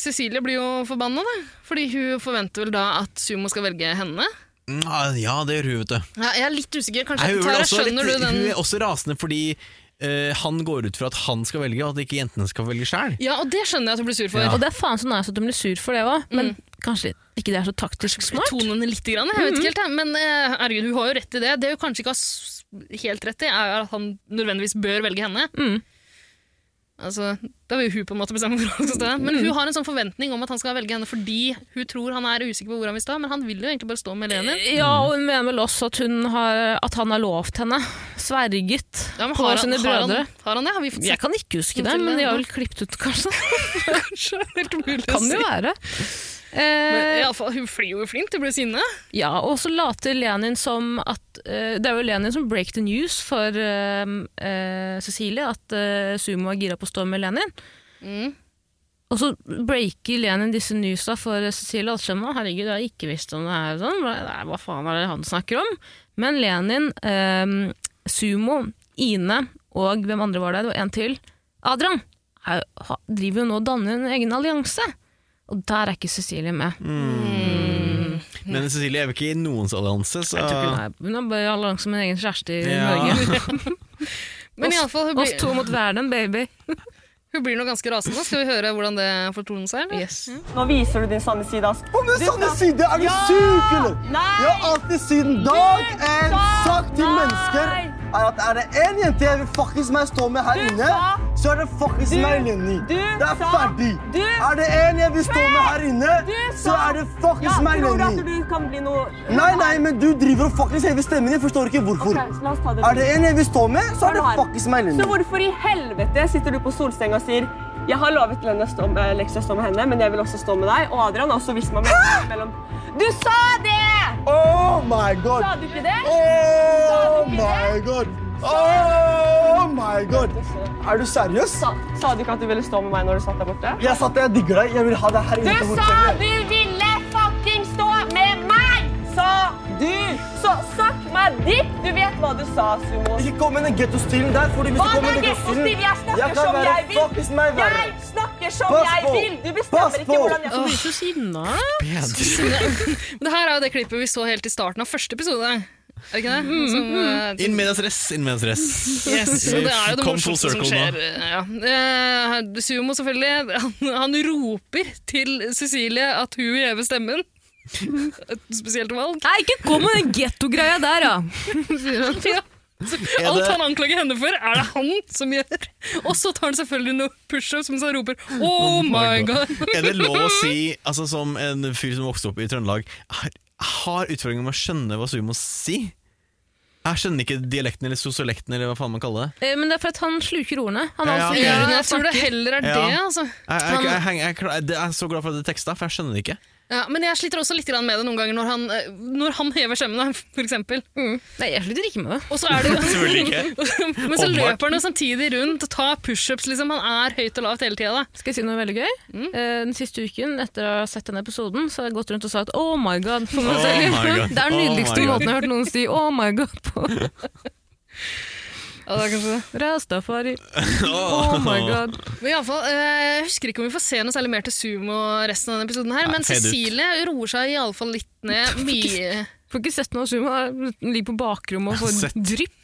Cecilie blir jo forbanna, da. Fordi hun forventer vel da at Sumo skal velge henne.
Mm, Ja, det gjør hun, vet du.
Ja, jeg er litt
Nei,
usikker. Kanskje
hun, er også
Tara,
litt,
skjønner du den
hun er også rasende fordi eh, han går ut fra at han skal velge, og at ikke jentene skal velge sjøl.
Ja, og det skjønner jeg at hun blir sur for.
Ja.
Og det er faen så nice at hun blir sur for det
Mm.
òg, men kanskje ikke det er så taktisk smart?
Tonene litt, grann, jeg vet ikke helt, jeg. men eh, herregud, hun har jo rett i det. Det hun kanskje ikke har s- helt rett i, er at han nødvendigvis bør velge henne.
Mm.
Altså, da vil jo hun på en måte bestemme hvor han skal stå. Men hun har en sånn forventning om at han skal velge henne fordi hun tror han er usikker på hvor han vil stå, men han vil jo egentlig bare stå med Lenin.
Ja, og hun mener vel også at, hun har, at han har lovt henne, sverget,
Ja, men
på
har, han,
sine
har,
brødre.
han, har han det? Har vi fått
Jeg
sett
kan ikke huske det,
Til og med
men de har
nå.
vel klippet ut, kanskje.
kanskje? Helt umulig å
Kan det
si.
jo være.
Men
Eh,
i alle fall, hun flyr jo i flint, hun blir sinne.
ja, og så later Lenin som at eh, Det er jo Lenin som break the news for eh, eh, Cecilie, at eh, Sumo er gira på å stå med Lenin.
Mm.
Og så breaker Lenin disse newsa for eh, Cecilie og alt skjønner, «Å, Herregud, jeg har ikke visst om det her. og Sånn. Hva- Nei, hva faen er det han snakker om? Men Lenin, eh, Sumo, Ine og hvem andre var det? Det var en til. Adrian er, ha, driver jo nå og danner en egen allianse. Og der er ikke Cecilie med.
Men Cecilie er jo ikke i noens allianse, så
Jeg tror ikke hun er- Hun er bare i allianse med en egen kjæreste i
Ja.
Norge.
Men i alle fall, hun
Oss to
blir,
mot verden, baby.
hun blir nå ganske rasende. Skal vi høre hvordan det fortoner seg? eller?
Nå viser du din sanne side, Ask.
Om det er sanne side, er du syk, eller? Jeg har alltid siden dag én sagt til mennesker er at er det én jente jeg vil fuckings meg stå med her inne, så er det fuckings meg Lenny. Det er ferdig. Er det én jeg vil stå med her inne, så er det fuckings meg Lenny.
kan bli noe
Nei, nei, men du driver og fuckings hever stemmen din. Forstår ikke hvorfor.
La oss ta det
Er det én jeg vil stå med, så er
Hva er
det
det her?
fuckings meg
Så
Lenny.
hvorfor i helvete sitter du på solsenga og sier jeg har lovet Lenny å stå med, Lexi å stå med henne, men jeg vil også stå med deg. Og Adrian har også vist meg mellom- mellom Du sa det!
Oh my god.
Sa du ikke det?
Oh my god. Oh my god. Er du seriøs?
Sa, sa du ikke at du ville stå med meg når du satt der borte?
Jeg satt der, jeg digger deg. Jeg vil ha deg her inne. på hotellet.
du ville fucking stå med meg! Sa du! Så sakk meg ditt! Du vet hva du sa, Sumo.
Ikke kom med den gettostilen der. fordi hvis
Hva
du kommer
er
med den
det for stil? Jeg
gettostilen
snakker som jeg vil!
fuckings meg verre.
Jeg snakker som
Pass
jeg
på!
vil! Du bestemmer
Pass
ikke
på!
hvordan jeg
blir så sinna.
bedre.
Men det her er jo det klippet vi så helt i starten av første episode. Er det ikke det?
Mhm.
Som, eh,
Inn med deg stress, inn med deg stress.
Yes, og det er jo det
Come full
morsomste som
circle
skjer.
nå.
Ja. Eh, Sumo selvfølgelig, han, han roper til Cecilie at hun hever stemmen. Et spesielt valg.
Nei, ikke kom med den gettogreia der, ja!
Ja. Så Alt han anklager henne for, er det han som gjør. Og så tar han selvfølgelig noe pushups mens han roper 'oh my god'.
Er det lov å si, altså som en fyr som vokste opp i Trøndelag, har, har utfordringer med å skjønne hva sumo sier? Jeg skjønner ikke dialekten eller sosiolekten eller hva faen man kaller det.
Eh, Men det er for at han sluker ordene. Han er
Ja, ok.
altså
Ja,
ja,
jeg tror det heller er det,
Ja.
altså.
Jeg, jeg, jeg, jeg, jeg, klar- jeg er så glad for at det er teksta, for jeg skjønner det ikke.
Ja, men jeg sliter også litt grann med det noen ganger når han, eh, når han hever stemmen, for eksempel.
Nei, jeg slutter ikke med det.
Og så er det jo
Selvfølgelig ikke.
Men så
Åpenbart.
løper han jo samtidig rundt og tar pushups. Liksom. Han er høyt og lavt hele tida.
Skal jeg si noe veldig gøy?
Mm.
Eh, Den siste uken etter å ha sett denne episoden, så har jeg gått rundt og sagt 'oh my god' for meg
Oh
selv.
my God.
Det er den
Oh my
nydeligste
God.
måten jeg har hørt noen si 'oh my god' på.
Ja, det er kanskje det.
Rastafari. Oh my god.
Men i alle fall, eh, jeg husker ikke om vi får se noe særlig mer til sumo resten av denne episoden, her,
Nei,
men
fade ut.
Cecilie roer seg iallfall litt ned. Mye
Får ikke sett noe sumo. Den ligger på bakrommet og
Sett.
får drypp.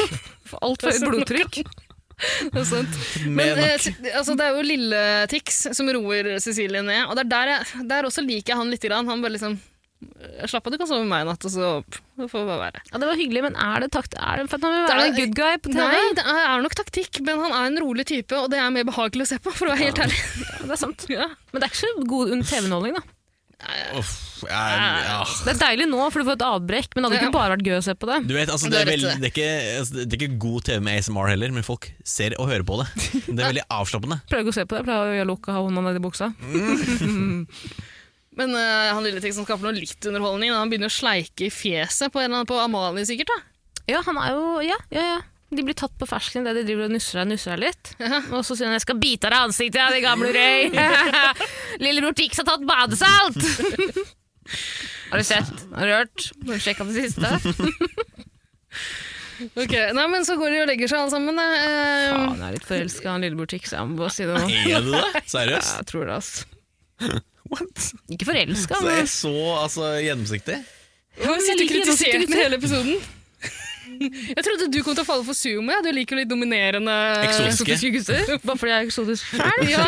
Får Altfor høyt blodtrykk.
det er sant. Men
Men,
eh, se- altså, det er jo lille Tix som roer Cecilie ned, og det er der, jeg, der også liker jeg han lite grann. Han bare liksom eh, Slapp av, du kan sove med meg i natt, og så Det får bare være.
Ja, det var hyggelig, men er det takt... Er det for at han vil være en good guy på TV?
Nei, det er, er nok taktikk, men han er en rolig type, og det er mer behagelig å se på, for å være helt ærlig.
Det er sant. Men det er ikke så god un- TV-underholdning, da.
Uff, jeg, ja.
Det er deilig nå, for du får et avbrekk, men det hadde ikke bare vært gøy å se på det.
Du vet, altså, det, er veldig, det, er ikke, altså, det er ikke god TV med ASMR heller, men folk ser og hører på det. Det er veldig avslappende.
Prøver ikke å se på det, jeg pleier å gjøre lukka og ha hånda nedi buksa.
Men eh, han lille teksten skaper noe litt underholdning. da. Han begynner å sleike i fjeset på, en eller annen, på Amalie, sikkert. da.
Ja, han er jo Ja, ja, ja. De blir tatt på fersken idet de driver og nusser deg nusser deg litt. Og så sier han 'jeg skal bite av deg ansiktet, ja, din gamle røy'. 'Lillebror Tix har tatt badesalt'. har du sett? Har du hørt? Har du sjekka det siste?
Ok, nei, men Så går de og legger seg alle sammen. da. Eh,
Faen, jeg er litt forelska i han lillebror Tix, jeg må bare si det nå.
Er du det? Seriøst?
Ja, jeg tror det, ass.
What?
Ikke forelska,
Så
men
jeg så altså, gjennomsiktig.
Han
men jeg
sitter og
liker det
kritiserer
rotete.
den hele episoden. Jeg trodde du kom til å falle for sumo. Ja. Du liker jo litt dominerende
Eksotiske.
eksotiske gutter.
Bare fordi jeg er eksotisk sjæl?
Ja.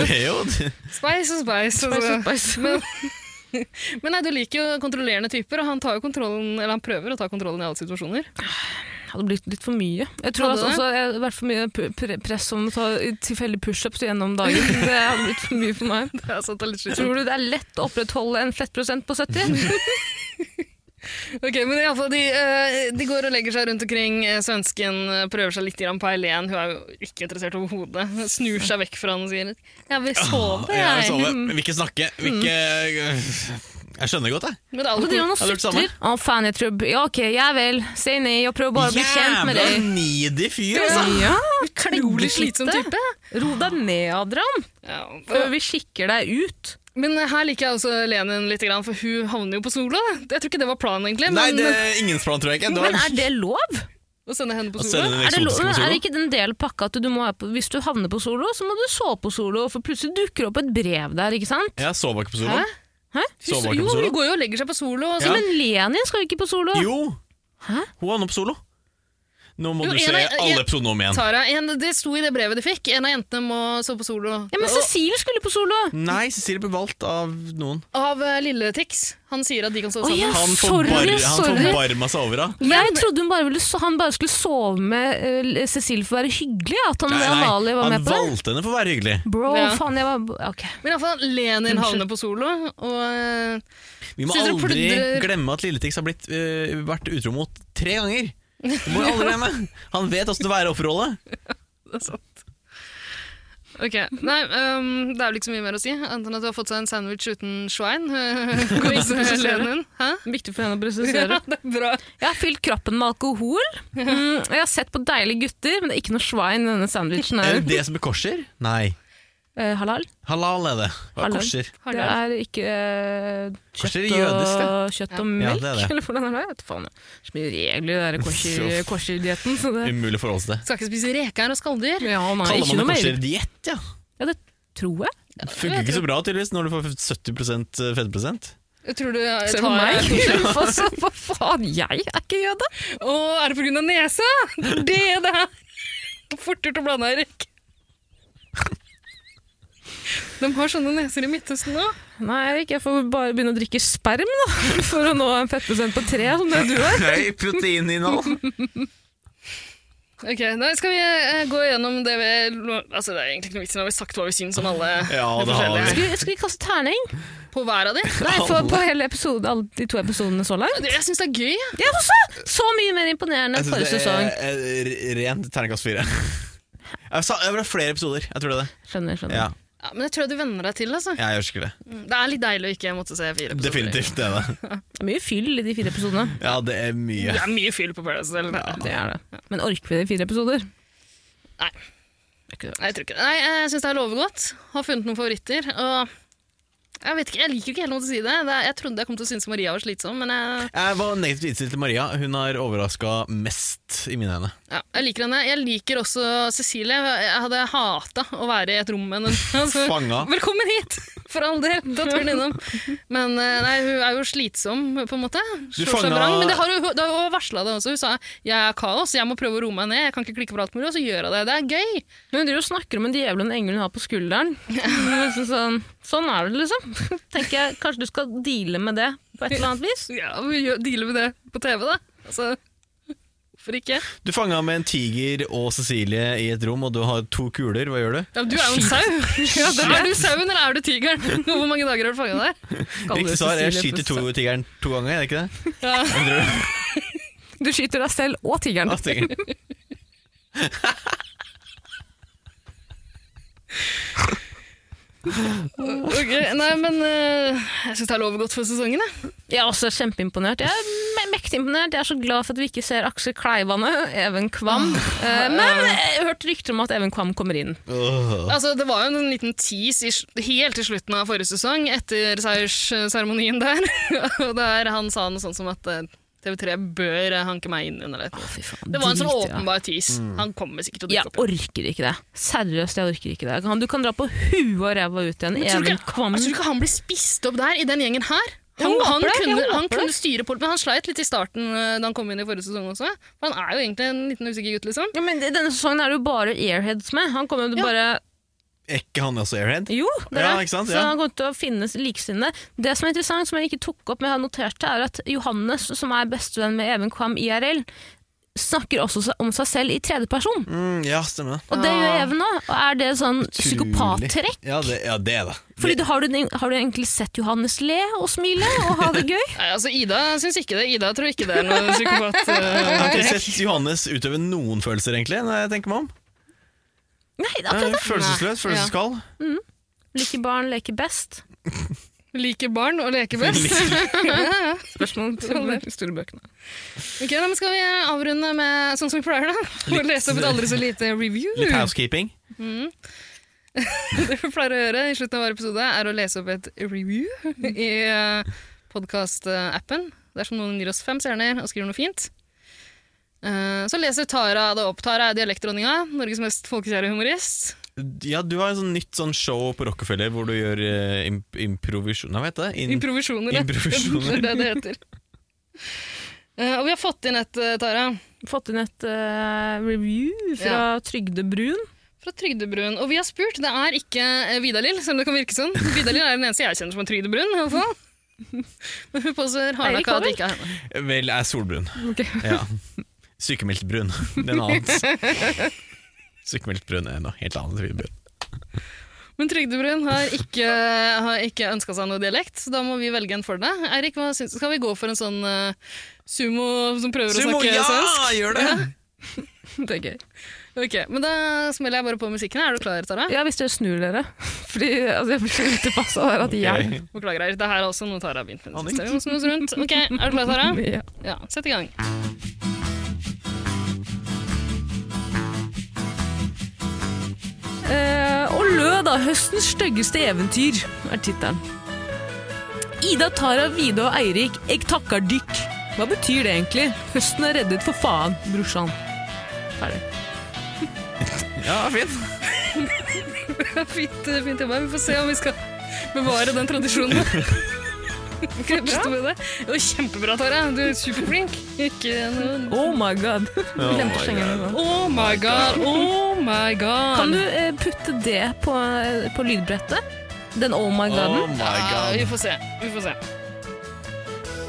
Det er jo det.
Spice og spice.
Spice
altså.
og spice.
Men, men nei, du liker jo kontrollerende typer, og han, tar jo kontrollen, eller han prøver å ta kontrollen i alle situasjoner.
Det hadde blitt litt for mye. Jeg tror altså,
Hadde det?
også, jeg har vært for mye p- pre- press om å ta tilfeldige pushups gjennom dagen. Det hadde blitt for mye for meg.
Det er sant, det er litt slitsomt.
Tror du det er lett å opprettholde en fettprosent på 70?
Ok, men i alle fall, de, eh, de går og legger seg rundt omkring. Eh, Svensken eh, prøver seg litt grann på Eileen. Hun er jo ikke interessert overhodet. Hun Snur seg vekk fra han og sier 'jeg vil sove,
Ja, jeg så det.
jeg'.
Men Vil ikke snakke. Vil ikke Jeg skjønner godt, jeg.
Men det er
Og
alltid
driver han og
Hadde du gjort det samme?
sutrer. Å, faen, jeg tror Ja, ok, jeg vel. Si nei, og prøv bare å bli kjent med deg.
Jævla needy fyr, altså.
Ja,
utrolig slitsom
kløglete.
type.
Ro deg ned, Adrian,
Ja,
før vi skikker deg ut.
Men her liker jeg også Lenin litt, grann, for hun havner jo på Sola. Jeg tror ikke det var planen, egentlig. Men
Nei, det er ingens plan, tror jeg ikke. Det
Men
var
er det lov?
å sende henne på
å
Sola.
sende den
Er det, lov?
eksotiske
Men
på
er
solo.
det ikke den delen av pakka at du må være på, hvis du havner på solo, så må du sove på solo, for plutselig dukker det opp et brev der, ikke sant?
Ja, sova ikke på solo.
Hæ?
Hæ?
Hun,
Sova ikke
jo,
på
hun
solo.
går jo og legger seg på Solo. Og
Ja.
så,
Men Lenin skal jo ikke på solo.
Jo,
Hæ?
hun var nå på solo. Nå må
Jo,
du
en
se
av- en-
alle episodene om igjen.
Tara, en, det sto i det brevet de fikk. En av jentene må sove på Solo.
Ja, men Cecilie skulle på solo!
Nei, Cecilie ble valgt av noen.
Og Av eh, lille Tix. Han sier at de kan sove
Å,
sammen.
ja.
Han
Sorry,
forbar- han
sorry.
forbarma seg over henne.
Jeg trodde hun bare ville, so- han bare skulle sove med eh, Cecilie for å være hyggelig, ja, at han Amalie var
han
med på det.
valgte henne for å være hyggelig.
Bro,
Ja.
faen, jeg var Ok.
Men iallfall Lenin
Unnskyld.
havner på Solo, og eh,
Vi må
Sitter og
aldri
pludrer.
glemme at Lilletix har blitt, øh, vært utro mot tre ganger. Det må vi aldri glemme. Han vet åssen det er å være offerrolle.
Det er sant. Ok, Nei, ehm, det er vel ikke så mye mer å si, annet enn at du har fått seg en sandwich uten svein. Godeste Lenin. Hæ?
Viktig for henne å
Ja,
presisere.
det er bra.
Jeg har fylt kroppen med alkohol. Mm, og jeg har sett på deilige gutter, men det er ikke noe svein i denne sandwichen.
Er
Her.
det det som er korser? Nei.
Eh, halal?
Halal er det. Hva er
Halal.
korser?
Det er ikke eh, kjøtt,
Korser er jødisk,
og,
det.
kjøtt og melk,
Ja, det er det.
eller hvordan er det? Jeg vet faen. Det er så mye regler i den
Jo.
korser- korser-dietten. så det-
Umulig å forholde seg til.
Skal ikke spise reker og skalldyr.
Ja, nei, ikke
Kaller man
noe
det
mer.
korserdiett, ja?
Ja, det tror jeg.
Funker ikke så bra tydeligvis når du får eh, 70 fettprosent.
Tror du eh,
Se
tar
på meg! Hva så- Hva faen, jeg er ikke jøde!
Å, er det på grunn av nesa? Det er det det er! Fort gjort å blande, Erik. De har sånne neser i Midtøsten nå.
Nei, Erik, jeg får bare begynne å drikke sperm da, for å nå en fettprosent på tre, som det du er.
Høy proteininnhold.
Ok, da Skal vi eh, gå gjennom det vi Altså, Det er egentlig ikke noe vits i, nå har vi sagt hva vi syns om alle
Ja,
de
det har
forskjellige.
vi.
Skal vi, skal vi kaste terning?
på hver av de.
Nei, for, på hele episode, alle de to episodene så langt?
Jeg syns det er gøy. jeg.
Ja, også! Så mye mer imponerende enn forrige sesong.
er eh, rent terningkast fire. Jeg sa- Det ble flere episoder, jeg tror det. er det.
Skjønner, skjønner.
Ja,
Ja, men jeg tror du venner deg til. altså.
jeg gjør sikkert det.
Det er litt deilig å ikke måtte se fire episoder.
Definitivt det er det.
Det er mye fyll i de fire episodene.
Ja, det er mye.
Det er mye fyll på Paradise Hotel.
Det er det. Men orker vi det i fire episoder?
Nei.
Det er ikke det.
Nei, jeg tror ikke det. Nei, jeg syns det er lovegodt. Har funnet noen favoritter. Og jeg vet ikke, jeg liker ikke helt noe til å si det. det er, jeg trodde jeg kom til å synes Maria var slitsom, men jeg,
Jeg var negativt innstilt til Maria. Hun har overraska mest i mine øyne.
ja, jeg liker henne. Jeg liker også Cecilie. Jeg hadde hata å være i et rom med henne. Altså,
Fanga.
Velkommen hit! For all del, da turen innom. Men eh, nei, hun er jo slitsom, på en måte.
Du
Slår seg
fanga-
vrang. Men det har hun, det har hun varsla det også. Hun sa jeg er kaos, jeg må prøve å roe meg ned. Jeg kan ikke klikke på alt mulig, og så gjør hun det. Det er gøy!
Men hun driver og snakker om en djevel og en engel hun har på skulderen. Liksom Sånn, sånn er det, liksom. Tenker jeg, Kanskje du skal deale med det på et eller annet vis.
Ja, vi gjør- dealer med det på TV, da. Altså, hvorfor ikke?
Du fanga med en tiger og Cecilie i et rom, og du har to kuler. Hva gjør du?
Ja, men du er jo en sau. Ja, da er du sauen, eller er du tigeren? Og Hvor mange dager har du fanget der? Kaller
Riktig svar er
Cecilie
skyter
for sau.
to tigeren to ganger, er det ikke det?
Ja.
Du skyter deg selv og tigeren.
Og tigeren.
Ok, Nei, men eh, jeg syns det er lovet godt for sesongen. Jeg.
Jeg er også kjempeimponert. Jeg er me- mektig imponert. Jeg er så glad for at vi ikke ser Aksel Kleivane, Even
Ah.
Kvam. Eh, Men jeg har hørt rykter om at Even Kvam kommer inn.
Altså, det var jo en liten tease i, sl- helt til slutten av forrige sesong, etter seiersseremonien der. Og der han sa noe sånt som at eh, TV3 bør eh, hanke meg inn under det. det var en sånn
drit, ja.
åpenbar tease.
Mm.
Han kommer sikkert til å
Jeg
dukke opp.
orker ikke det. Seriøst, jeg orker ikke det. Han- Du kan dra på huet og ræva ut igjen.
Men tror du
Even
ikke-
Kvam.
Tror du ikke han blir spist opp der, i den gjengen her?
Jeg
Han, han,
håper det, jeg
kunne,
håper
han
det.
kunne styre på men han sleit litt i starten eh, da han kom inn i forrige sesong også. For han er jo egentlig en liten usikker gutt, liksom.
Ja, men i Denne sesongen er det jo bare airheads med. Han kommer jo til bare
Er ikke han også airhead?
Jo, det er
Ja,
det.
ikke sant?
Så
Ja.
han kommer til å finnes likesinnede. Det som er interessant, som jeg ikke tok opp, men jeg har notert det, er at Johannes, som er bestevenn med Even Kvam IRL, snakker også se- om seg selv i tredjeperson.
Mm, Ah. ja, stemmer det.
Og det gjør Even òg. Og er det sånn psykopattrekk?
Ja, det, ja, det er det.
Fordi du, har, du, har du egentlig sett Johannes le og smile og ha det gøy?
Nei, altså, Ida syns ikke det. Ida tror ikke det er noen psykopat.
Jeg har ikke
eh,
sett Johannes utøve noen følelser, egentlig. når jeg tenker meg om.
Nei, akkurat
Eh,
det.
Følelsesløs, følelseskald.
Mm. Liker barn, leker best.
Liker barn og leker best.
Spørsmål
til storebøkene. Ok, da men Skal vi avrunde med sånn som vi pleier, da? Og
Litt- eh,
lese opp et aldri så lite review?
Litt housekeeping.
Mm. det vi pleier å gjøre i slutten av hver episode, er å lese opp et review i eh, podkast-appen. Dersom noen gir oss fem stjerner og skriver noe fint. Eh, Så leser Tara det opp. Tara er dialektdronninga, Norges mest folkekjære humorist.
Ja, du har et sånn nytt sånn show på Rockefeller hvor du gjør eh, imp improvisjon... Hva heter det? In-
Improvisjoner. ja.
Improvisjoner.
det er det det heter. Eh, Og vi har fått inn et, eh, Tara.
Fått inn et eh, review fra Trygde Brun.
Fra Trygdebrun. Og vi har spurt. Det er ikke eh, Vidalil, selv om det kan virke sånn. Vidalil er den eneste jeg kjenner som er Trygdebrun. i alle fall. Men hun påstår
Eirik
hardnakka
var
at det ikke er henne.
Vel, jeg er solbrun.
Ok.
Ja. Sykemeldt brun. Det er noe annet. Sykemeldt brun er noe helt annet. enn brun.
Men Trygdebrun har ikke, har ikke ønska seg noe dialekt, så da må vi velge en for deg. Eirik, hva syns- skal vi gå for en sånn eh, sumo som prøver
Sumo,
å snakke
ja,
svensk?
gjør det!
Ja, det er gøy. Ok, Men da smeller jeg bare på musikken. Er du klar, Tara?
Ja, hvis dere snur dere. Fordi altså, jeg blir så utilpassa der at jeg
Beklager, Eirik. Det her er også noe Tara har begynt med.
Aning.
det siste. Vi må snus rundt. Ok, Er du klar, Tara?
Ja.
ja sett i gang.
Eh, og lød av høstens styggeste eventyr, er tittelen. Ida, Tara, Vida og Eirik, jeg takker dykk. Hva betyr det egentlig? Høsten er reddet for faen, brorsan. Ferdig.
Ja, fint.
fint, fint jobba. Vi får se om vi skal bevare den tradisjonen. Kanskje stå i det. Det var kjempebra, Tara. Du er superflink. Ikke noe
Oh my god.
Oh
Glemte å
my
slenge den
god.
på.
Oh my god. Oh my god.
Kan du eh, putte det på, eh, på lydbrettet? Den oh my
Ah.
Oh
god-en?
my god. Ja, vi får se. Vi får se.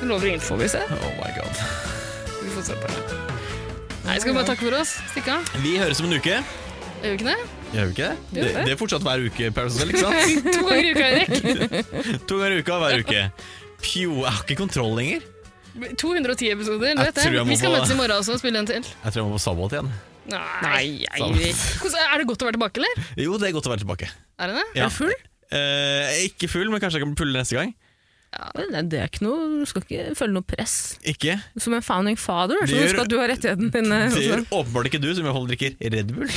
Du lover ingenting. Får vi se?
Oh my god.
Vi får se på det. Nei, skal vi bare takke for oss? Stikke av?
Vi høres om en uke.
Gjør vi ikke det?
Gjør vi ikke det?
Jo,
Det,
det.
det er fortsatt hver uke, Paris Hotel, ikke sant?
to ganger i uka, Eirik.
To ganger i uka hver uke. Pjo, jeg har ikke kontroll lenger.
210 episoder, du
Jeg
vet
tror
det.
jeg må
Vi skal
få-
møtes i morgen også og spille en til.
Jeg tror jeg må på sabbat igjen.
Nei,
Sånn.
Eirik. Hvordan- Er det godt å være tilbake, eller?
Jo, det er godt å være tilbake.
Er det det?
Ja.
Er du full?
Eh, ikke full, men kanskje jeg kan pulle neste gang.
Nei, det er ikke noe, du skal ikke føle noe press.
Ikke?
Som en founding father,
Det
så
gjør-
husk at du har rettigheten din. eh,
Det
også.
gjør åpenbart ikke du, som i hvert fall drikker Red Bull.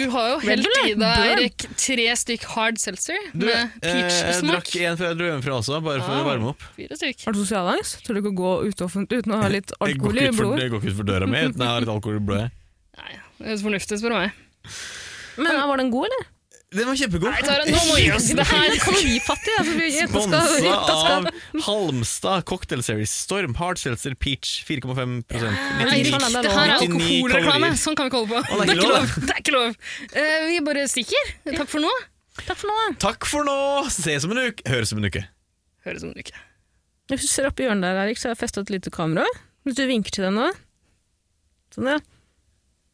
Du har jo
Red
helt
Bull,
i
ja.
deg,
Burn.
Eirik, tre stykk hard seltzer
Du,
med peach
eh, jeg
smak.
drakk en fra jeg dro hjemmefra også, bare for
Ah.
å varme opp.
Fire stykk.
Har du sosialangst? Tør du ikke å gå ut offentlig uten å ha litt
Jeg går
alkohol i
ikke ut for,
blodet?
jeg går ikke ut for døra mi uten jeg har litt alkohol i blodet.
Det høres fornuftig ut, spør du meg.
Men eh, var den god, eller?
Den var kjempegod.
Nei, Tara, nå må vi gi oss. Det her-
er kalorifattig. Altså, vi- jenta skal-
Sponsa
jenta skal-
av Halmstad Cocktail Series Storm Hard Seltzer Peach 4,5
Eirik, det her
99
er alkoholreklame!
kalorier.
Sånn kan vi ikke holde på.
Å, det er ikke lov.
Det er ikke lov. Eh, vi bare stikker. Takk for nå.
Takk for nå.
Takk for nå! Ses om en uke. Høres om en uke.
Høres om en uke.
Hvis du ser opp i hjørnet der, Erik, så har jeg festa et lite kamera. Hvis du vinker til deg nå Sånn, ja.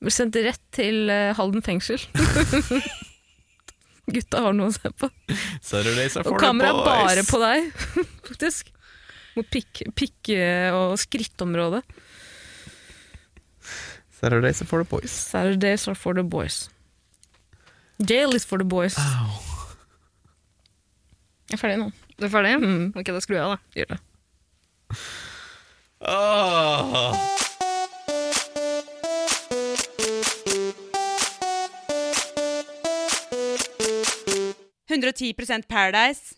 Blir sendt rett til eh, Halden fengsel. Gutta har noe å se på. Og kamera er bare på deg, faktisk. Mot pikk, pikk- og skrittområdet.
Saturdays are for the boys.
Saturdays are for the boys. Jail is for the boys. Jeg er ferdig nå.
Du er ferdig? Ok, da skrur jeg av, da.
Gjør det.
Åh.
Paradise.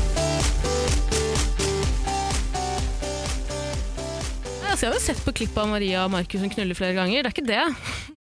Nei, Altså, jeg har jo sett på klipp av Maria og Markus som knuller flere ganger. Det er ikke det.